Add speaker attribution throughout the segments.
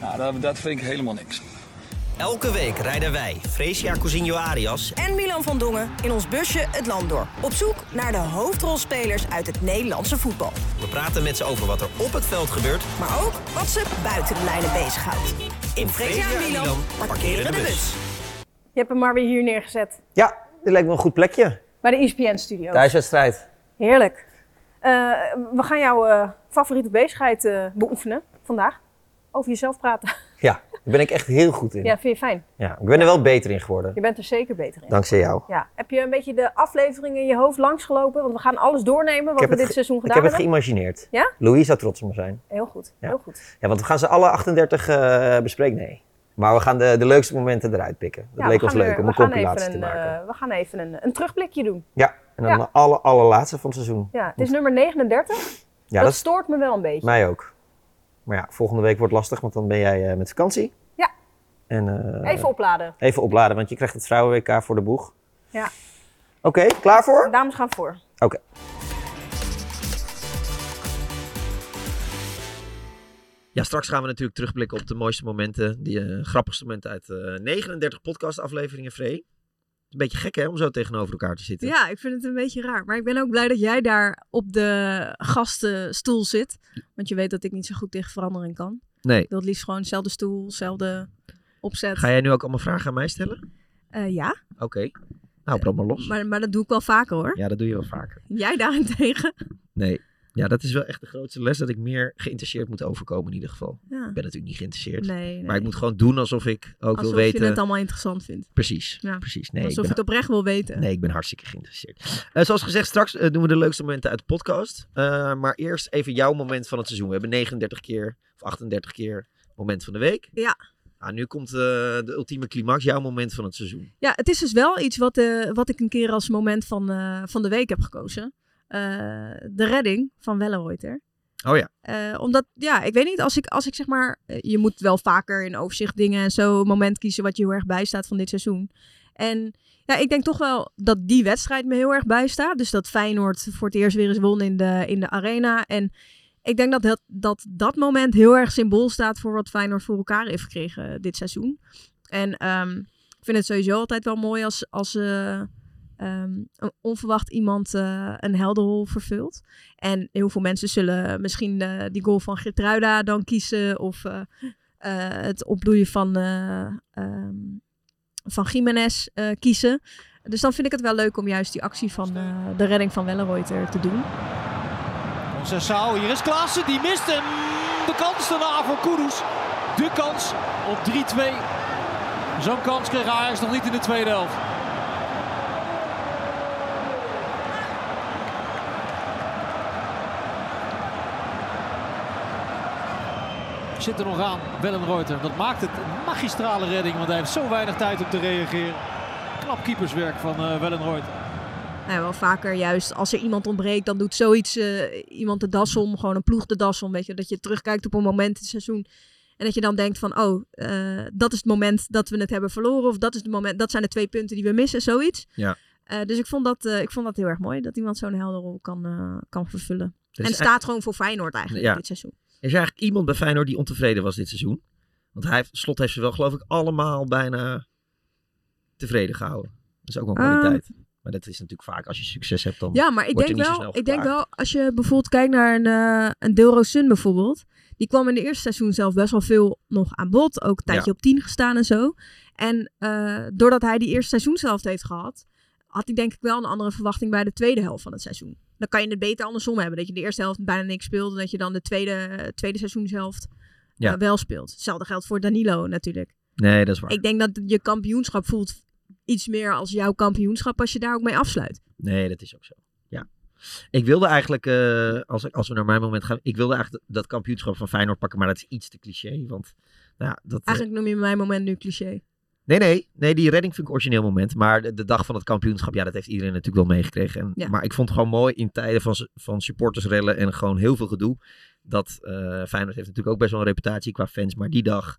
Speaker 1: nou, dat, dat vind ik helemaal niks.
Speaker 2: Elke week rijden wij, Fresia Cousinho Arias,
Speaker 3: en Milan van Dongen in ons busje het land door. Op zoek naar de hoofdrolspelers uit het Nederlandse voetbal.
Speaker 2: we praten met ze over wat er op het veld gebeurt.
Speaker 3: Maar ook wat ze buiten de lijnen bezighoudt.
Speaker 2: In
Speaker 3: Fresia en Milan parkeren de bus.
Speaker 4: Je hebt hem maar weer hier neergezet.
Speaker 5: Ja, dit lijkt me een goed plekje.
Speaker 4: Bij de E ESPN-studio.
Speaker 5: Thuiswedstrijd.
Speaker 4: Heerlijk. Eh, we gaan jouw eh, favoriete bezigheid eh, beoefenen vandaag. Over jezelf praten.
Speaker 5: Ja, daar ben ik echt heel goed in.
Speaker 4: Ja,
Speaker 5: Ja.
Speaker 4: vind je fijn.
Speaker 5: ik ben er wel beter in geworden.
Speaker 4: Je bent er zeker beter in.
Speaker 5: Dankzij jou.
Speaker 4: Ja. Heb je een beetje de afleveringen in je hoofd langsgelopen? Want we gaan alles doornemen
Speaker 5: Ik
Speaker 4: wat we
Speaker 5: heb het
Speaker 4: dit
Speaker 5: ge-
Speaker 4: seizoen
Speaker 5: Ik
Speaker 4: gedaan
Speaker 5: heb het
Speaker 4: hebben.
Speaker 5: geïmagineerd.
Speaker 4: Ja?
Speaker 5: Louis zou trots op me zijn.
Speaker 4: Heel goed,
Speaker 5: Ja.
Speaker 4: heel goed.
Speaker 5: Ja, want we gaan ze alle 38 eh, bespreken. Nee. Maar we gaan de, de leukste momenten eruit pikken. Dat
Speaker 4: Ja,
Speaker 5: leek
Speaker 4: we
Speaker 5: ons
Speaker 4: gaan
Speaker 5: leuk
Speaker 4: er-
Speaker 5: om
Speaker 4: we
Speaker 5: een
Speaker 4: gaan
Speaker 5: compilatie
Speaker 4: even
Speaker 5: te
Speaker 4: een,
Speaker 5: maken.
Speaker 4: eh, we gaan even een, een terugblikje doen.
Speaker 5: ja, en dan
Speaker 4: ja.
Speaker 5: de alle, allerlaatste van het seizoen.
Speaker 4: Ja, het is nummer 39.
Speaker 5: Ja,
Speaker 4: dat
Speaker 5: dat is
Speaker 4: stoort me wel een beetje.
Speaker 5: mij ook. Maar ja, volgende week wordt lastig, want dan ben jij eh, met vakantie.
Speaker 4: Ja.
Speaker 5: En, eh,
Speaker 4: Even opladen.
Speaker 5: even opladen, want je krijgt het Vrouwen-WK voor de boeg.
Speaker 4: Ja.
Speaker 5: Oké, klaar voor?
Speaker 4: Dames gaan voor.
Speaker 5: Oké. Ja, straks gaan we natuurlijk terugblikken op de mooiste momenten, die eh, grappigste momenten uit eh 39 podcastafleveringen, Free. Het is een beetje gek hè, om zo tegenover elkaar te zitten.
Speaker 6: Ja, ik vind het een beetje raar. Maar ik ben ook blij dat jij daar op de gastenstoel zit. Want je weet dat ik niet zo goed tegen verandering kan.
Speaker 5: Nee.
Speaker 6: Ik wil het liefst gewoon dezelfde stoel, dezelfde opzet.
Speaker 5: Ga jij nu ook allemaal vragen aan mij stellen?
Speaker 6: Eh, ja,
Speaker 5: Oké. Nou, brand maar los.
Speaker 6: maar, maar dat doe ik wel vaker hoor.
Speaker 5: Ja, dat doe je wel vaker.
Speaker 6: Jij daarentegen.
Speaker 5: Nee. Ja, dat is wel echt de grootste les dat ik meer geïnteresseerd moet overkomen in ieder geval.
Speaker 6: Ja.
Speaker 5: Ik ben natuurlijk niet geïnteresseerd.
Speaker 6: Nee, nee.
Speaker 5: Maar ik moet gewoon doen alsof ik ook
Speaker 6: Alsof
Speaker 5: wil weten.
Speaker 6: je het allemaal interessant vindt.
Speaker 5: Precies.
Speaker 6: Ja.
Speaker 5: Precies. Nee,
Speaker 6: Alsof
Speaker 5: ik
Speaker 6: je het
Speaker 5: ben,
Speaker 6: oprecht wil weten.
Speaker 5: nee, ik ben hartstikke geïnteresseerd. Eh, zoals gezegd, straks eh, doen we de leukste momenten uit de podcast. Eh, maar eerst even jouw moment van het seizoen. We hebben 39 keer of 38 keer moment van de week.
Speaker 6: Ja.
Speaker 5: Nou, nu komt eh, de ultieme climax, jouw moment van het seizoen.
Speaker 6: Ja, het is dus wel iets wat, eh, wat ik een keer als moment van, eh, van de week heb gekozen. Eh, de redding van Wellenreuter.
Speaker 5: Oh ja.
Speaker 6: Eh, omdat, ja, ik weet niet, als ik, als ik zeg maar, eh, je moet wel vaker in overzicht dingen en zo een moment kiezen wat je heel erg bijstaat van dit seizoen. En ja, ik denk toch wel dat die wedstrijd me heel erg bijstaat. Dus dat Feyenoord voor het eerst weer eens won in de, in de arena. En ik denk dat dat, dat dat moment heel erg symbool staat voor wat Feyenoord voor elkaar heeft gekregen eh, dit seizoen. En ehm, ik vind het sowieso altijd wel mooi als, als eh, ehm, een onverwacht iemand eh, een heldenrol vervult. En heel veel mensen zullen misschien eh, die goal van Gertruida dan kiezen. Of eh, eh, het opbloeien van, eh ehm, van Jiménez eh, kiezen. Dus dan vind ik het wel leuk om juist die actie van eh, de redding van Wellenreuter te doen.
Speaker 7: Onze Sao, hier is Klaassen, die mist hem. De kans daarna voor Kudus. De kans op 3-2. Zo'n kans kreeg Ajax nog niet in de tweede helft. Zit er nog aan, Wellenreuter. Dat maakt het een magistrale redding, want hij heeft zo weinig tijd om te reageren. Knap keeperswerk van eh Wellenreuter.
Speaker 6: Nou ja, wel vaker juist als er iemand ontbreekt, dan doet zoiets eh, iemand de das om, gewoon een ploeg de das om. Weet je, dat je terugkijkt op een moment in het seizoen. En dat je dan denkt van, oh, eh, dat is het moment dat we het hebben verloren. Of dat, is het moment, dat zijn de twee punten die we missen, zoiets.
Speaker 5: Ja.
Speaker 6: Eh, dus ik vond, dat, eh, ik vond dat heel erg mooi, dat iemand zo'n helder rol kan, eh, kan vervullen.
Speaker 5: Er
Speaker 6: en
Speaker 5: is
Speaker 6: staat gewoon voor Feyenoord eigenlijk
Speaker 5: Dus Ja.
Speaker 6: dit seizoen.
Speaker 5: Er is eigenlijk iemand bij Feyenoord die ontevreden was dit seizoen. Want hij heeft, slot heeft ze wel, geloof ik, allemaal bijna tevreden gehouden. Dat is ook wel kwaliteit. maar dat is natuurlijk vaak als je succes hebt, dan.
Speaker 6: Ah. Ja, maar ik
Speaker 5: wordt
Speaker 6: denk,
Speaker 5: er niet zo
Speaker 6: wel,
Speaker 5: snel
Speaker 6: ik denk
Speaker 5: geklaagd.
Speaker 6: wel, als je bijvoorbeeld kijkt naar een, eh een Delro Sun bijvoorbeeld. Die kwam in de eerste seizoen zelf best wel veel nog aan bod. Ook een tijdje
Speaker 5: Ja.
Speaker 6: op 10 gestaan en zo. En eh, doordat hij die eerste seizoen zelf heeft gehad, had hij denk ik wel een andere verwachting bij de tweede helft van het seizoen. Dan kan je het beter andersom hebben. Dat je de eerste helft bijna niks speelt. En dat je dan de tweede, tweede seizoenshelft
Speaker 5: Ja.
Speaker 6: eh, wel speelt. Hetzelfde geldt voor Danilo natuurlijk.
Speaker 5: Nee, dat is waar.
Speaker 6: Ik denk dat je kampioenschap voelt iets meer als jouw kampioenschap als je daar ook mee afsluit.
Speaker 5: Nee, dat is ook zo. Ja. Ik wilde eigenlijk, eh, als, ik- als we naar mijn moment gaan, ik wilde eigenlijk dat kampioenschap van Feyenoord pakken, maar dat is iets te cliché. Want Nou, ja, dat, eh,
Speaker 6: Eigenlijk noem je mijn moment nu cliché.
Speaker 5: Nee, nee. Nee, die redding vind ik een origineel moment. Maar de, de dag van het kampioenschap, ja, dat heeft iedereen natuurlijk wel meegekregen. En,
Speaker 6: Ja.
Speaker 5: Maar ik vond het gewoon mooi in tijden van, s- van supportersrellen en gewoon heel veel gedoe. Dat eh Feyenoord heeft natuurlijk ook best wel een reputatie qua fans. Maar die dag,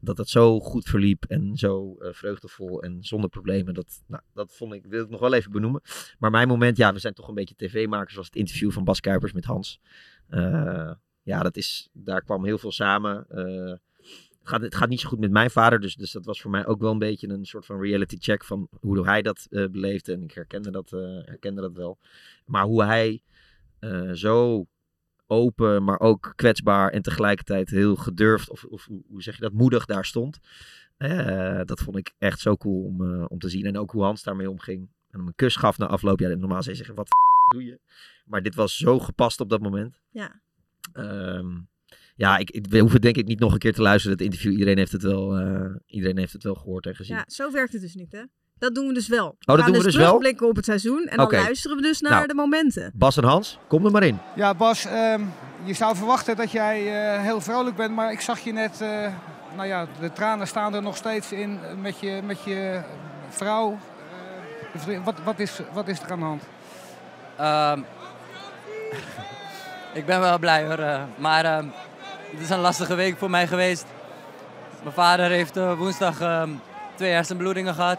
Speaker 5: dat het zo goed verliep en zo eh, vreugdevol en zonder problemen. Dat, nou, dat vond ik, wil ik nog wel even benoemen. Maar mijn moment, ja, we zijn toch een beetje tv-makers. Was het interview van Bas Kuipers met Hans. Eh, ja, dat is, daar kwam heel veel samen. Eh, het gaat, het gaat niet zo goed met mijn vader. Dus, dus dat was voor mij ook wel een beetje een soort van reality check van hoe hij dat eh, beleefde. En ik herkende dat, eh, herkende dat wel. Maar hoe hij eh, zo open, maar ook kwetsbaar en tegelijkertijd heel gedurfd, of, of hoe- hoe zeg je dat, moedig daar stond. eh, dat vond ik echt zo cool om, eh, om te zien. En ook hoe Hans daarmee omging. En hem een kus gaf na afloop. Ja, normaal zou je zeggen, wat de doe je? Maar dit was zo gepast op dat moment.
Speaker 6: Ja.
Speaker 5: Ehm, ja, ik, ik, we hoeven denk ik niet nog een keer te luisteren, dat interview. Iedereen heeft het wel, eh, iedereen heeft het wel gehoord en gezien.
Speaker 6: Ja, zo werkt het dus niet, hè? Dat doen we dus wel.
Speaker 5: dat
Speaker 6: gaan
Speaker 5: doen we dus wel?
Speaker 6: terugblikken op het seizoen en
Speaker 5: Oké.
Speaker 6: dan luisteren we dus naar
Speaker 5: Nou.
Speaker 6: de momenten.
Speaker 5: Bas en Hans, kom er maar in.
Speaker 8: Ja, Bas, ehm, je zou verwachten dat jij eh, heel vrolijk bent, maar ik zag je net, eh, nou ja, de tranen staan er nog steeds in met je, met je vrouw. Eh, je vriend- wat, wat, is, wat is er aan de hand?
Speaker 9: Ehm, ik ben wel blij hoor. eh, maar ehm, het is een lastige week voor mij geweest. Mijn vader heeft eh, woensdag ehm, twee hersenbloedingen gehad.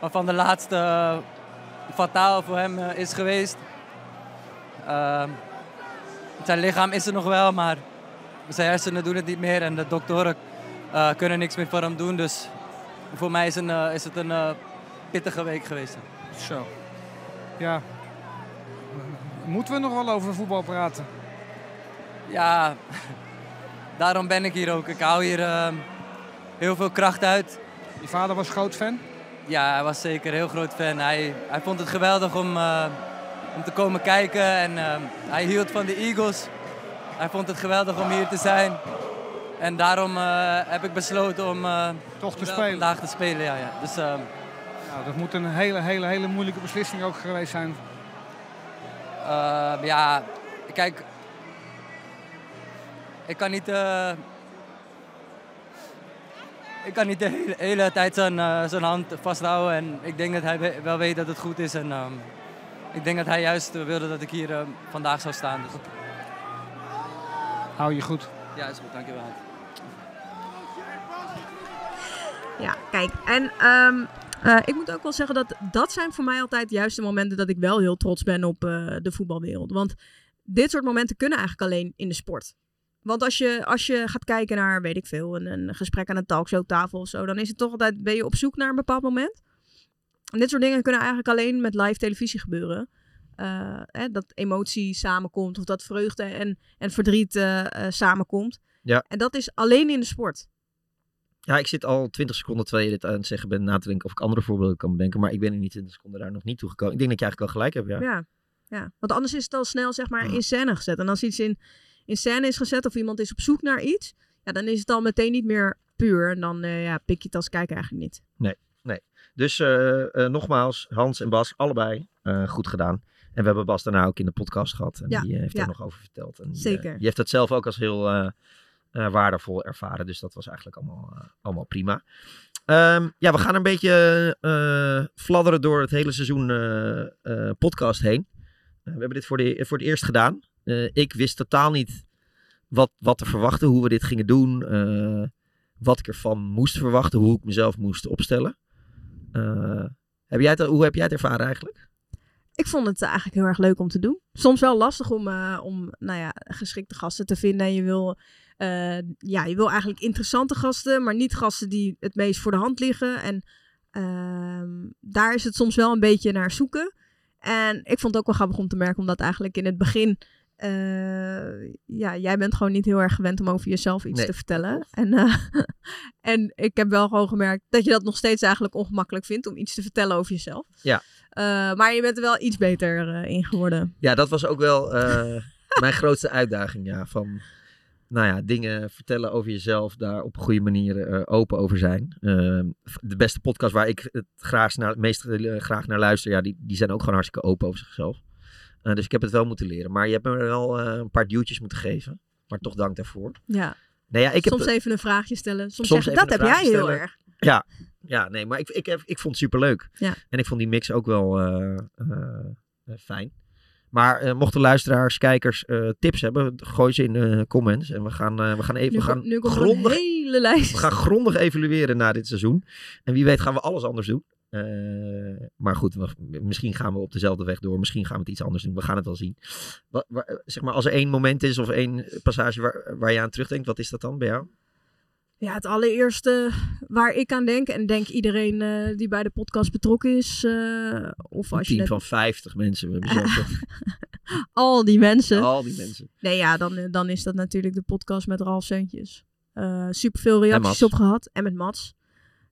Speaker 9: Waarvan de laatste eh, fataal voor hem eh, is geweest. Ehm, zijn lichaam is er nog wel, maar zijn hersenen doen het niet meer. En de doktoren eh, kunnen niks meer voor hem doen. Dus voor mij is, een, eh, is het een eh, pittige week geweest.
Speaker 8: Zo. Ja. Moeten we nog wel over voetbal praten?
Speaker 9: Ja, daarom ben ik hier ook. Ik hou hier ehm, heel veel kracht uit.
Speaker 8: Je vader was groot fan?
Speaker 9: Ja, hij was zeker een heel groot fan. Hij, hij vond het geweldig om, eh, om te komen kijken en ehm, hij hield van de Eagles. Hij vond het geweldig om hier te zijn. En daarom eh, heb ik besloten om Toch te spelen. vandaag te spelen. Ja, ja. Dus, ehm,
Speaker 8: Nou, dat moet een hele, hele, hele moeilijke beslissing ook geweest zijn.
Speaker 9: Eh, ja, kijk. Ik kan niet. eh, ik kan niet de hele, hele tijd zijn, eh, zijn hand vasthouden. En ik denk dat hij we- wel weet dat het goed is. En ehm, ik denk dat hij juist eh, wilde dat ik hier eh, vandaag zou staan. Dus.
Speaker 8: Hou je goed.
Speaker 9: Ja, is goed. Dankjewel.
Speaker 6: Ja, kijk. En ehm, eh, ik moet ook wel zeggen dat dat zijn voor mij altijd juist de momenten dat ik wel heel trots ben op eh, de voetbalwereld. Want dit soort momenten kunnen eigenlijk alleen in de sport. Want als je, als je gaat kijken naar, weet ik veel, een, een gesprek aan een talkshowtafel of zo, dan is het toch altijd, ben je op zoek naar een bepaald moment. En dit soort dingen kunnen eigenlijk alleen met live televisie gebeuren. Eh, hè, dat emotie samenkomt of dat vreugde en, en verdriet eh, eh, samenkomt.
Speaker 5: Ja.
Speaker 6: En dat is alleen in de sport.
Speaker 5: Ja, ik zit al 20 seconden terwijl je dit aan het zeggen bent na te denken of ik andere voorbeelden kan bedenken. Maar ik ben in die 20 seconden daar nog niet toe gekomen. Ik denk dat je eigenlijk wel gelijk hebt, ja.
Speaker 6: Ja. ja. Want anders is het al snel zeg maar in scène gezet. En als iets in, in scène is gezet of iemand is op zoek naar iets, ja, dan is het al meteen niet meer puur. En dan eh, ja, pik je het als kijker eigenlijk niet.
Speaker 5: Nee, nee. Dus eh, eh, nogmaals, Hans en Bas, allebei eh, goed gedaan. En we hebben Bas daarna ook in de podcast gehad. En
Speaker 6: Ja,
Speaker 5: die eh, heeft
Speaker 6: ja.
Speaker 5: er nog over verteld. En, die, eh,
Speaker 6: Zeker.
Speaker 5: die heeft dat zelf ook als heel eh, eh, waardevol ervaren. Dus dat was eigenlijk allemaal, eh, allemaal prima. Ehm, ja, we gaan een beetje eh, fladderen door het hele seizoen eh, eh, podcast heen. Eh, we hebben dit voor, de, voor het eerst gedaan. Eh, ik wist totaal niet wat, wat te verwachten, hoe we dit gingen doen. eh, wat ik ervan moest verwachten, hoe ik mezelf moest opstellen. Eh, heb jij het, hoe heb jij het ervaren eigenlijk?
Speaker 6: Ik vond het eigenlijk heel erg leuk om te doen. Soms wel lastig om, eh, om nou ja, geschikte gasten te vinden. En je wil, eh, ja, je wil eigenlijk interessante gasten, maar niet gasten die het meest voor de hand liggen. En ehm, daar is het soms wel een beetje naar zoeken. En ik vond het ook wel grappig om te merken, omdat eigenlijk in het begin. eh, ja, jij bent gewoon niet heel erg gewend om over jezelf iets
Speaker 10: Nee,
Speaker 6: te vertellen. En, eh, en ik heb wel gewoon gemerkt dat je dat nog steeds eigenlijk ongemakkelijk vindt om iets te vertellen over jezelf.
Speaker 5: Ja.
Speaker 6: Eh, maar je bent er wel iets beter eh, in geworden.
Speaker 5: Ja, dat was ook wel eh, mijn grootste uitdaging. Ja, van nou ja, dingen vertellen over jezelf, daar op een goede manier eh, open over zijn. Ehm, de beste podcast waar ik het graagst naar, het meest eh, graag naar luister, ja, die, die zijn ook gewoon hartstikke open over zichzelf. Eh, dus ik heb het wel moeten leren. Maar je hebt me wel eh, een paar duwtjes moeten geven. Maar toch dank daarvoor.
Speaker 6: Ja.
Speaker 5: Nou ja, ik heb,
Speaker 6: soms even een vraagje stellen. Soms,
Speaker 5: Soms
Speaker 6: zeggen, dat
Speaker 5: even
Speaker 6: heb
Speaker 5: een
Speaker 6: jij
Speaker 5: vraagje
Speaker 6: heel
Speaker 5: stellen.
Speaker 6: erg.
Speaker 5: Ja, ja nee, maar ik, ik, heb- ik vond het superleuk.
Speaker 6: Ja.
Speaker 5: En ik vond die mix ook wel eh, eh, eh, fijn. Maar eh, mochten luisteraars, kijkers eh, tips hebben, gooi ze in de comments. En we gaan, eh, we gaan even
Speaker 6: Nu,
Speaker 5: we
Speaker 6: kom-
Speaker 5: gaan
Speaker 6: nu komt er een
Speaker 5: grondig
Speaker 6: hele lijst.
Speaker 5: we gaan grondig evalueren na dit seizoen. En wie weet gaan we alles anders doen. Eh, maar goed, we- misschien gaan we op dezelfde weg door. Misschien gaan we het iets anders doen. We gaan het wel zien. Wat, waar- eh, zeg maar, als er één moment is of één passage waar, waar je aan terugdenkt, wat is dat dan bij jou?
Speaker 6: Ja, het allereerste waar ik aan denk, en denk iedereen eh, die bij de podcast betrokken is, eh, of
Speaker 5: Een
Speaker 6: als je
Speaker 5: team
Speaker 6: net-
Speaker 5: van 50 mensen. We hebben zoveel.
Speaker 6: al die mensen.
Speaker 5: Al die mensen.
Speaker 6: Nee, ja, dan, eh, dan is dat natuurlijk de podcast met Ralf Zeuntjes. Eh Super veel
Speaker 5: En
Speaker 6: reacties op
Speaker 5: Mats.
Speaker 6: gehad. En met Mats.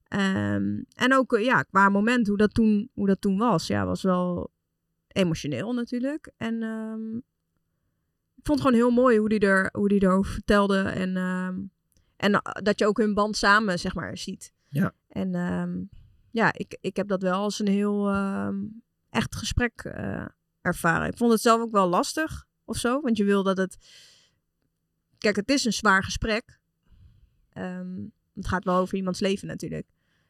Speaker 6: Ehm, en ook eh, ja, qua moment, hoe dat toen, hoe dat toen was. Ja, was wel emotioneel natuurlijk. En ehm, ik vond het gewoon heel mooi hoe die, er, hoe die erover vertelde. En, ehm, en eh, dat je ook hun band samen, zeg maar, ziet.
Speaker 5: Ja.
Speaker 6: En ehm, ja, ik, ik heb dat wel als een heel ehm, echt gesprek eh, ervaren. Ik vond het zelf ook wel lastig of zo. Want je wil dat het. Kijk, het is een zwaar gesprek. Ehm, het gaat wel over iemands leven natuurlijk.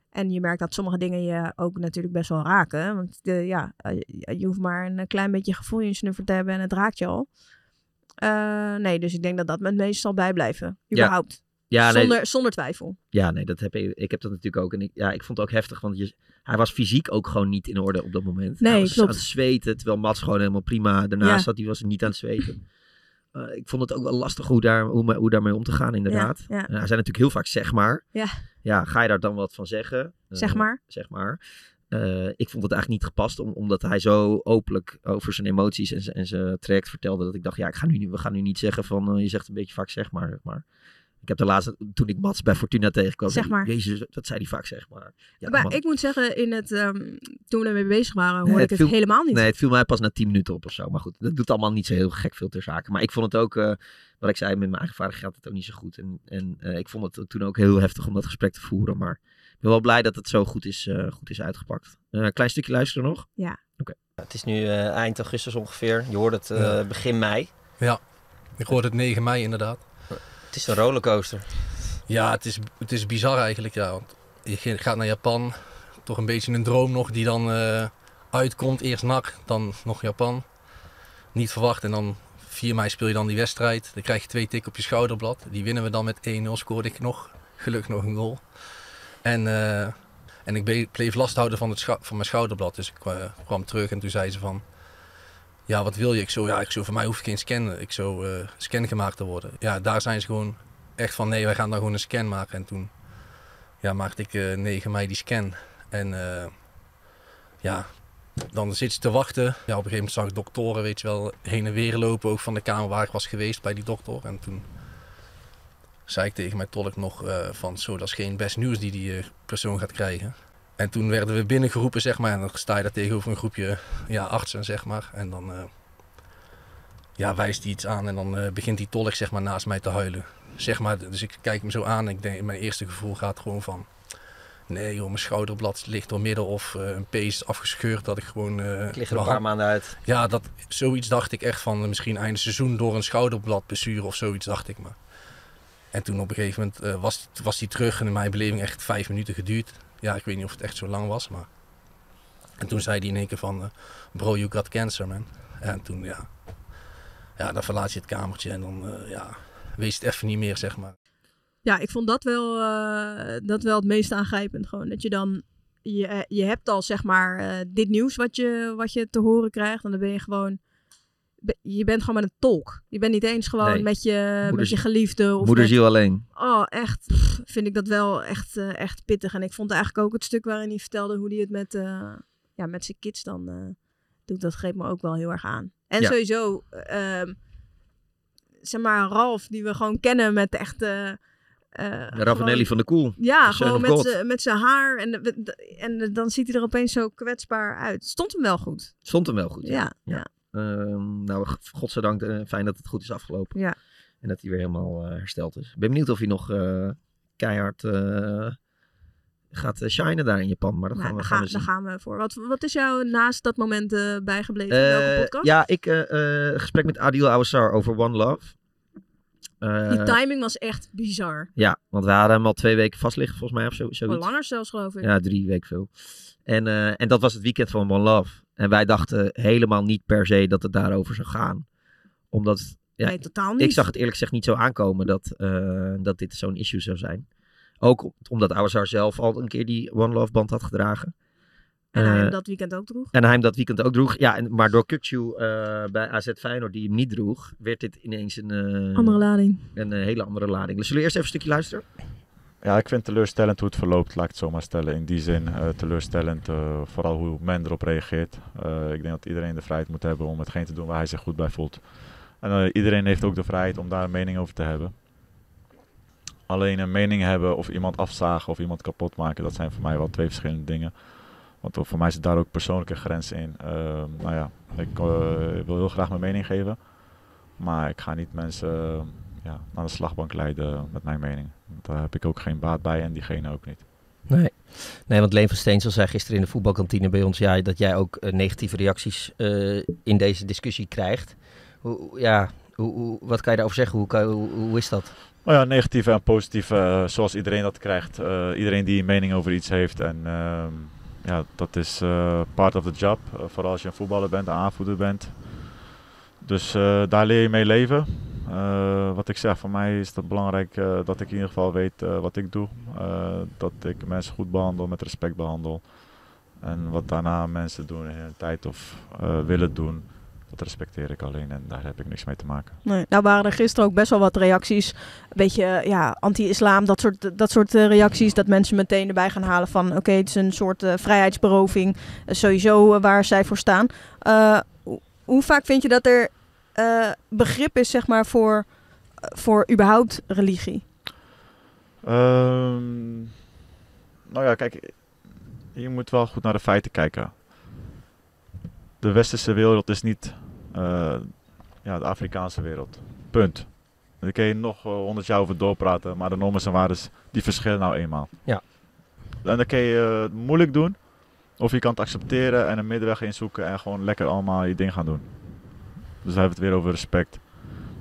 Speaker 6: En je merkt dat sommige dingen je ook natuurlijk best wel raken. hè. Want eh, ja, eh, je- je hoeft maar een klein beetje gevoel in snuffer te hebben en het raakt je al. Eh, nee, dus ik denk dat dat me het meest zal bijblijven.
Speaker 5: Ja.
Speaker 6: Überhaupt.
Speaker 5: Ja, nee.
Speaker 6: zonder, zonder twijfel.
Speaker 5: Ja, nee, dat heb ik, ik heb dat natuurlijk ook. En ik, ja, ik vond het ook heftig, want je, hij was fysiek ook gewoon niet in orde op dat moment.
Speaker 6: Nee,
Speaker 5: hij was
Speaker 6: klopt.
Speaker 5: aan het zweten, terwijl Mats gewoon helemaal prima daarnaast
Speaker 6: Ja.
Speaker 5: zat. Die was niet aan het zweten. Eh, ik vond het ook wel lastig hoe, daar, hoe, me- hoe daarmee om te gaan, inderdaad.
Speaker 6: ja.
Speaker 5: Eh, hij zei natuurlijk heel vaak zeg maar.
Speaker 6: Ja.
Speaker 5: Ja, ga je daar dan wat van zeggen? Eh,
Speaker 6: Zeg maar.
Speaker 5: Zeg maar. Eh, ik vond het eigenlijk niet gepast, om, omdat hij zo openlijk over zijn emoties en, zijn- en zijn traject vertelde. Dat ik dacht, ja, ik ga nu, niet- we gaan nu niet zeggen van, eh, je zegt een beetje vaak zeg maar, zeg maar. Ik heb de laatste, toen ik Mats bij Fortuna tegenkwam,
Speaker 6: Zeg
Speaker 5: zei ik,
Speaker 6: maar.
Speaker 5: Jezus, dat zei hij vaak zeg maar. Ja,
Speaker 6: maar
Speaker 5: man.
Speaker 6: ik moet zeggen, in het, ehm, toen we ermee bezig waren, hoorde
Speaker 5: Nee,
Speaker 6: ik het dus
Speaker 5: viel-
Speaker 6: helemaal niet.
Speaker 5: Nee, het viel mij pas na 10 minuten op of zo. Maar goed, dat doet allemaal niet zo heel gek veel ter zake. Maar ik vond het ook, eh, wat ik zei, met mijn eigen vader gaat het ook niet zo goed. En, en eh, ik vond het toen ook heel heftig om dat gesprek te voeren. Maar ik ben wel blij dat het zo goed is, eh, goed is uitgepakt. Eh, klein stukje luisteren nog.
Speaker 6: Ja.
Speaker 5: Het is nu eh, eind augustus ongeveer. Je hoort het eh,
Speaker 10: Ja.
Speaker 5: begin mei.
Speaker 10: Ja, ik hoorde het 9 mei inderdaad.
Speaker 5: Het is een rollercoaster.
Speaker 10: Ja, het is, het is bizar eigenlijk. Ja, want je ge- gaat naar Japan, toch een beetje een droom nog die dan eh, uitkomt. Eerst NAC, dan nog Japan. Niet verwacht en dan 4 mei speel je dan die wedstrijd. Dan krijg je twee tikken op je schouderblad. Die winnen we dan met 1-0, scoorde ik nog. Gelukkig nog een goal. En, eh, en ik be- bleef last houden van, het scha- van mijn schouderblad. Dus ik kwa- kwam terug en toen zei ze van... Ja, wat wil je? Ik zo, ja, ik zo, voor mij hoef ik geen scan. Ik zo, eh, scan gemaakt te worden. Ja, daar zijn ze gewoon echt van, nee, wij gaan daar gewoon een scan maken. En toen ja, maakte ik eh 9 mei die scan. En eh, ja, dan zit je te wachten. Ja, op een gegeven moment zag ik doktoren, weet je wel, heen en weer lopen. Ook van de kamer waar ik was geweest bij die dokter. En toen zei ik tegen mijn tolk nog eh, van, zo, dat is geen best nieuws die die eh, persoon gaat krijgen. En toen werden we binnengeroepen, zeg maar. En dan sta je daar tegenover een groepje ja, artsen, zeg maar. En dan... eh, ja, wijst hij iets aan en dan eh, begint die tolk zeg maar, naast mij te huilen. Zeg maar, dus ik kijk hem zo aan en ik denk, mijn eerste gevoel gaat gewoon van... Nee joh, mijn schouderblad ligt door midden of eh, een pees afgescheurd dat ik gewoon... eh,
Speaker 5: Ik lig er een paar
Speaker 10: mijn hand-
Speaker 5: maanden uit.
Speaker 10: Ja, dat, zoiets dacht ik echt van eh, misschien einde seizoen door een schouderblad besturen of zoiets dacht ik maar. En toen op een gegeven moment eh, was, was die terug en in mijn beleving echt vijf minuten geduurd. Ja, ik weet niet of het echt zo lang was, maar... En toen zei hij in één keer van, eh, bro, you got cancer, man. En toen, ja, ja, dan verlaat je het kamertje en dan eh, ja, wees het even niet meer, zeg maar.
Speaker 6: Ja, ik vond dat wel, eh, dat wel het meest aangrijpend. Gewoon dat je dan. Je, eh, je hebt al zeg maar eh, dit nieuws wat je, wat je te horen krijgt. En dan ben je gewoon. be- Je bent gewoon met een tolk. Je bent niet eens gewoon
Speaker 5: Nee.
Speaker 6: met, je, met
Speaker 5: Moeders-
Speaker 6: je geliefde. Of
Speaker 5: moederziel
Speaker 6: met-
Speaker 5: alleen.
Speaker 6: Oh, echt. pff, vind ik dat wel echt, eh, echt pittig. En ik vond eigenlijk ook het stuk waarin hij vertelde hoe hij het met, eh, ja, met zijn kids dan eh, doet. Dat greep me ook wel heel erg aan. En
Speaker 11: Ja.
Speaker 6: sowieso, ehm, zeg maar, Ralf, die we gewoon kennen met echt. eh, eh,
Speaker 5: Ravanelli
Speaker 6: gewoon-
Speaker 5: van de Koel.
Speaker 6: Ja,
Speaker 5: De Son
Speaker 6: gewoon
Speaker 5: of
Speaker 6: met eh,
Speaker 5: God.
Speaker 6: z'n- met zijn haar. En, de- de- en dan ziet hij er opeens zo kwetsbaar uit. Stond hem wel goed.
Speaker 5: Stond hem wel goed.
Speaker 6: Ja,
Speaker 5: Ehm, nou, g- godzijdank eh, fijn dat het goed is afgelopen.
Speaker 6: Ja.
Speaker 5: En dat hij weer helemaal eh, hersteld is. Ik ben benieuwd of hij nog eh, keihard eh, gaat eh, shinen daar in Japan. Maar dat
Speaker 6: Nou,
Speaker 5: gaan, we,
Speaker 6: daar
Speaker 5: gaan we
Speaker 6: daar
Speaker 5: zien.
Speaker 6: gaan we voor. Wat, wat is jou naast dat moment eh, bijgebleven? in
Speaker 5: Eh,
Speaker 6: welke podcast?
Speaker 5: ja, ik eh eh, gesprek met Adil Awasar over One Love. Eh,
Speaker 6: Die timing was echt bizar.
Speaker 5: Ja, want we hadden hem al twee weken vast liggen, volgens mij, of zo, zoiets.
Speaker 6: Wel langer zelfs, geloof ik.
Speaker 5: Ja, drie weken veel. En, eh, en dat was het weekend van One Love. En wij dachten helemaal niet per se dat het daarover zou gaan. Omdat... Ja,
Speaker 6: Nee, totaal
Speaker 5: Ik
Speaker 6: niet.
Speaker 5: zag het eerlijk gezegd niet zo aankomen dat, eh, dat dit zo'n issue zou zijn. Ook omdat Ouwezar zelf al een keer die One Love band had gedragen.
Speaker 6: En hij hem
Speaker 5: Eh,
Speaker 6: dat weekend ook droeg.
Speaker 5: En hij hem dat weekend ook droeg. Ja, en, maar door Kukcu eh, bij AZ Feyenoord, die hem niet droeg, werd dit ineens een... eh,
Speaker 6: Andere lading.
Speaker 5: Een eh, hele andere lading. Zullen we eerst even een stukje luisteren?
Speaker 11: Ja, ik vind teleurstellend hoe het verloopt, laat ik het zo maar stellen. In die zin eh, teleurstellend, eh, vooral hoe men erop reageert. Eh, ik denk dat iedereen de vrijheid moet hebben om hetgeen te doen waar hij zich goed bij voelt. En eh, iedereen heeft ook de vrijheid om daar een mening over te hebben. Alleen een mening hebben of iemand afzagen of iemand kapot maken, dat zijn voor mij wel twee verschillende dingen. Want voor mij zit daar ook persoonlijke grenzen in. Eh, nou ja, ik eh, wil heel graag mijn mening geven, maar ik ga niet mensen eh, ja, naar de slagbank leiden met mijn mening. Daar heb ik ook geen baat bij en diegene ook niet.
Speaker 5: Nee. nee, want Leen van Steensel zei gisteren in de voetbalkantine bij ons... Ja, dat jij ook eh, negatieve reacties eh, in deze discussie krijgt. Hoe, hoe- ja, hoe, hoe- wat kan je daarover zeggen? Hoe, kan, hoe, hoe is dat?
Speaker 11: Nou ja, negatieve en positieve, eh, zoals iedereen dat krijgt. Eh, iedereen die een mening over iets heeft. En ehm, ja, dat is eh, part of the job. Eh, vooral als je een voetballer bent, een aanvoerder bent. Dus eh, daar leer je mee leven. Eh, wat ik zeg, voor mij is het belangrijk eh, dat ik in ieder geval weet eh, wat ik doe. Eh, dat ik mensen goed behandel, met respect behandel. En wat daarna mensen doen in hun tijd of eh, willen doen, dat respecteer ik alleen en daar heb ik niks mee te maken.
Speaker 6: Nee. Nou waren er gisteren ook best wel wat reacties. Een beetje eh, ja, anti-islam, dat soort, dat soort eh, reacties. Dat mensen meteen erbij gaan halen van... oké, het is een soort eh, vrijheidsberoving. eh, sowieso eh, waar zij voor staan. Eh, ho- hoe vaak vind je dat er eh, begrip is, zeg maar, voor, eh, voor überhaupt religie?
Speaker 11: Ehm, nou ja, kijk, je moet wel goed naar de feiten kijken. De westerse wereld is niet eh, ja, de Afrikaanse wereld. Punt. Daar kun je nog eh, honderd jaar over doorpraten, maar de normen en waardes die verschillen nou eenmaal.
Speaker 5: Ja.
Speaker 11: En dan kun je eh, het moeilijk doen, of je kan het accepteren en een middenweg inzoeken en gewoon lekker allemaal je ding gaan doen. Dus dan hebben we het weer over respect.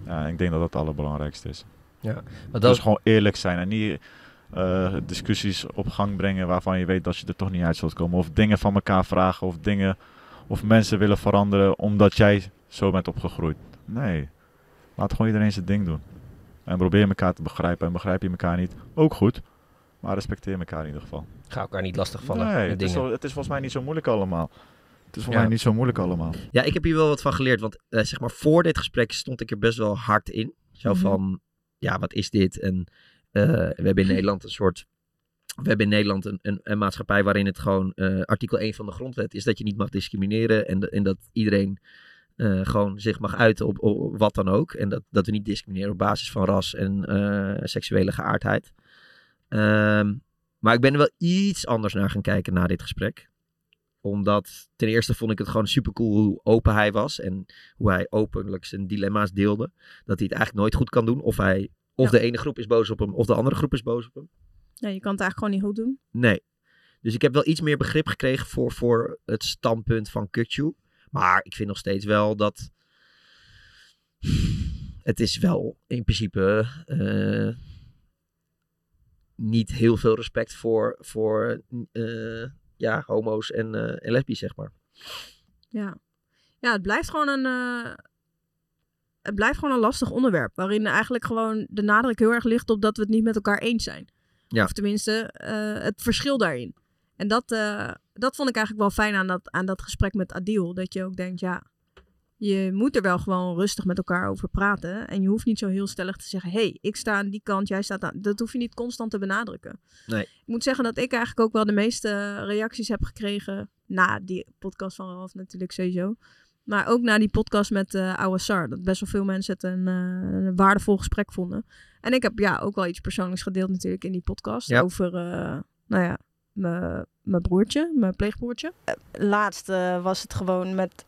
Speaker 11: Ja, ik denk dat dat het allerbelangrijkste is.
Speaker 5: Ja, maar dat-
Speaker 11: Dus gewoon eerlijk zijn en niet eh, discussies op gang brengen waarvan je weet dat je er toch niet uit zult komen. Of dingen van elkaar vragen of dingen of mensen willen veranderen omdat jij zo bent opgegroeid. Nee, laat gewoon iedereen zijn ding doen. En probeer elkaar te begrijpen. En begrijp je elkaar niet, ook goed. Maar respecteer elkaar in ieder geval.
Speaker 5: Ga elkaar niet lastigvallen
Speaker 11: Nee,
Speaker 5: met
Speaker 11: het is,
Speaker 5: dingen.
Speaker 11: wel- het is volgens mij niet zo moeilijk allemaal. Het is volgens
Speaker 5: Ja.
Speaker 11: mij niet zo moeilijk allemaal.
Speaker 5: Ja, ik heb hier wel wat van geleerd. Want eh, zeg maar, voor dit gesprek stond ik er best wel hard in. Zo
Speaker 2: Mhm.
Speaker 5: van, ja, wat is dit? En eh, we hebben in Nederland een soort... We hebben in Nederland een, een, een maatschappij waarin het gewoon... eh, artikel 1 van de grondwet is dat je niet mag discrimineren. En, de- en dat iedereen eh, gewoon zich mag uiten op, op wat dan ook. En dat, dat we niet discrimineren op basis van ras en eh, seksuele geaardheid. Ehm, maar ik ben er wel iets anders naar gaan kijken na dit gesprek omdat ten eerste vond ik het gewoon super cool hoe open hij was. En hoe hij openlijk zijn dilemma's deelde. Dat hij het eigenlijk nooit goed kan doen. Of, hij, of de ene groep is boos op hem, of de andere groep is boos op hem.
Speaker 6: Ja, je kan het eigenlijk gewoon niet goed doen.
Speaker 5: Nee. Dus ik heb wel iets meer begrip gekregen voor, voor het standpunt van Kukju. Maar ik vind nog steeds wel dat. Het is wel in principe. eh, niet heel veel respect voor. voor eh, ja, homo's en, eh en lesbisch, zeg maar.
Speaker 6: Ja. Ja, het blijft gewoon een. eh, het blijft gewoon een lastig onderwerp. Waarin eigenlijk gewoon de nadruk heel erg ligt op dat we het niet met elkaar eens zijn.
Speaker 5: Ja.
Speaker 6: Of tenminste, eh, het verschil daarin. En dat, eh, dat vond ik eigenlijk wel fijn aan dat, aan dat gesprek met Adil. Dat je ook denkt, ja, je moet er wel gewoon rustig met elkaar over praten. En je hoeft niet zo heel stellig te zeggen, hé, hey, ik sta aan die kant, jij staat aan. Dat hoef je niet constant te benadrukken.
Speaker 5: Nee.
Speaker 6: Ik moet zeggen dat ik eigenlijk ook wel de meeste reacties heb gekregen. Na die podcast van Ralf natuurlijk sowieso. Maar ook na die podcast met eh Awasar. Dat best wel veel mensen het een, eh, een waardevol gesprek vonden. En ik heb ja ook wel iets persoonlijks gedeeld natuurlijk in die podcast.
Speaker 4: Ja.
Speaker 6: Over, eh, nou ja, mijn- mijn broertje, mijn pleegbroertje. Eh, Laatst eh, was het gewoon met...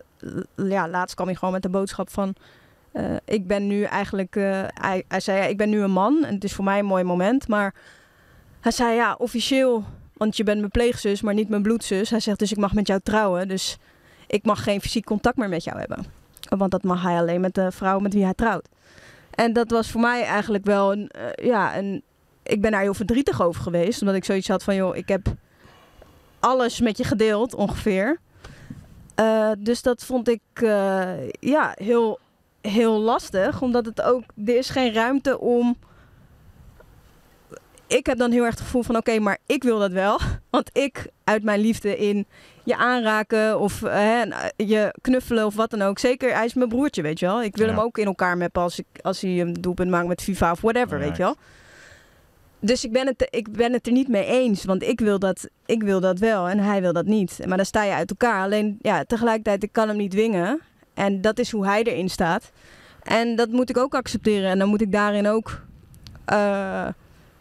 Speaker 6: Ja, laatst kwam hij gewoon met de boodschap van... eh, ik ben nu eigenlijk... eh, hij, hij zei, ja, ik ben nu een man. En het is voor mij een mooi moment. Maar hij zei, ja, officieel, want je bent mijn pleegzus, maar niet mijn bloedzus. Hij zegt, dus ik mag met jou trouwen, dus ik mag geen fysiek contact meer met jou hebben. Want dat mag hij alleen met de vrouw met wie hij trouwt. En dat was voor mij eigenlijk wel een, eh, ja, een, ik ben daar heel verdrietig over geweest. Omdat ik zoiets had van, joh, ik heb alles met je gedeeld ongeveer. Eh, dus dat vond ik eh, ja, heel, heel lastig. Omdat het ook, er is geen ruimte om ik heb dan heel erg het gevoel van oké, maar ik wil dat wel. Want ik uit mijn liefde in je aanraken of eh, hè, nou, je knuffelen of wat dan ook. Zeker, hij is mijn broertje, weet je wel. Ik wil
Speaker 12: Ja.
Speaker 6: hem ook in elkaar meppen als, ik, als hij een doelpunt maakt met FIFA of whatever, weet je wel. Dus ik ben, het, ik ben het er niet mee eens, want ik wil, dat, ik wil dat wel en hij wil dat niet. Maar dan sta je uit elkaar. Alleen ja, tegelijkertijd, ik kan hem niet dwingen. En dat is hoe hij erin staat. En dat moet ik ook accepteren. En dan moet ik daarin ook eh,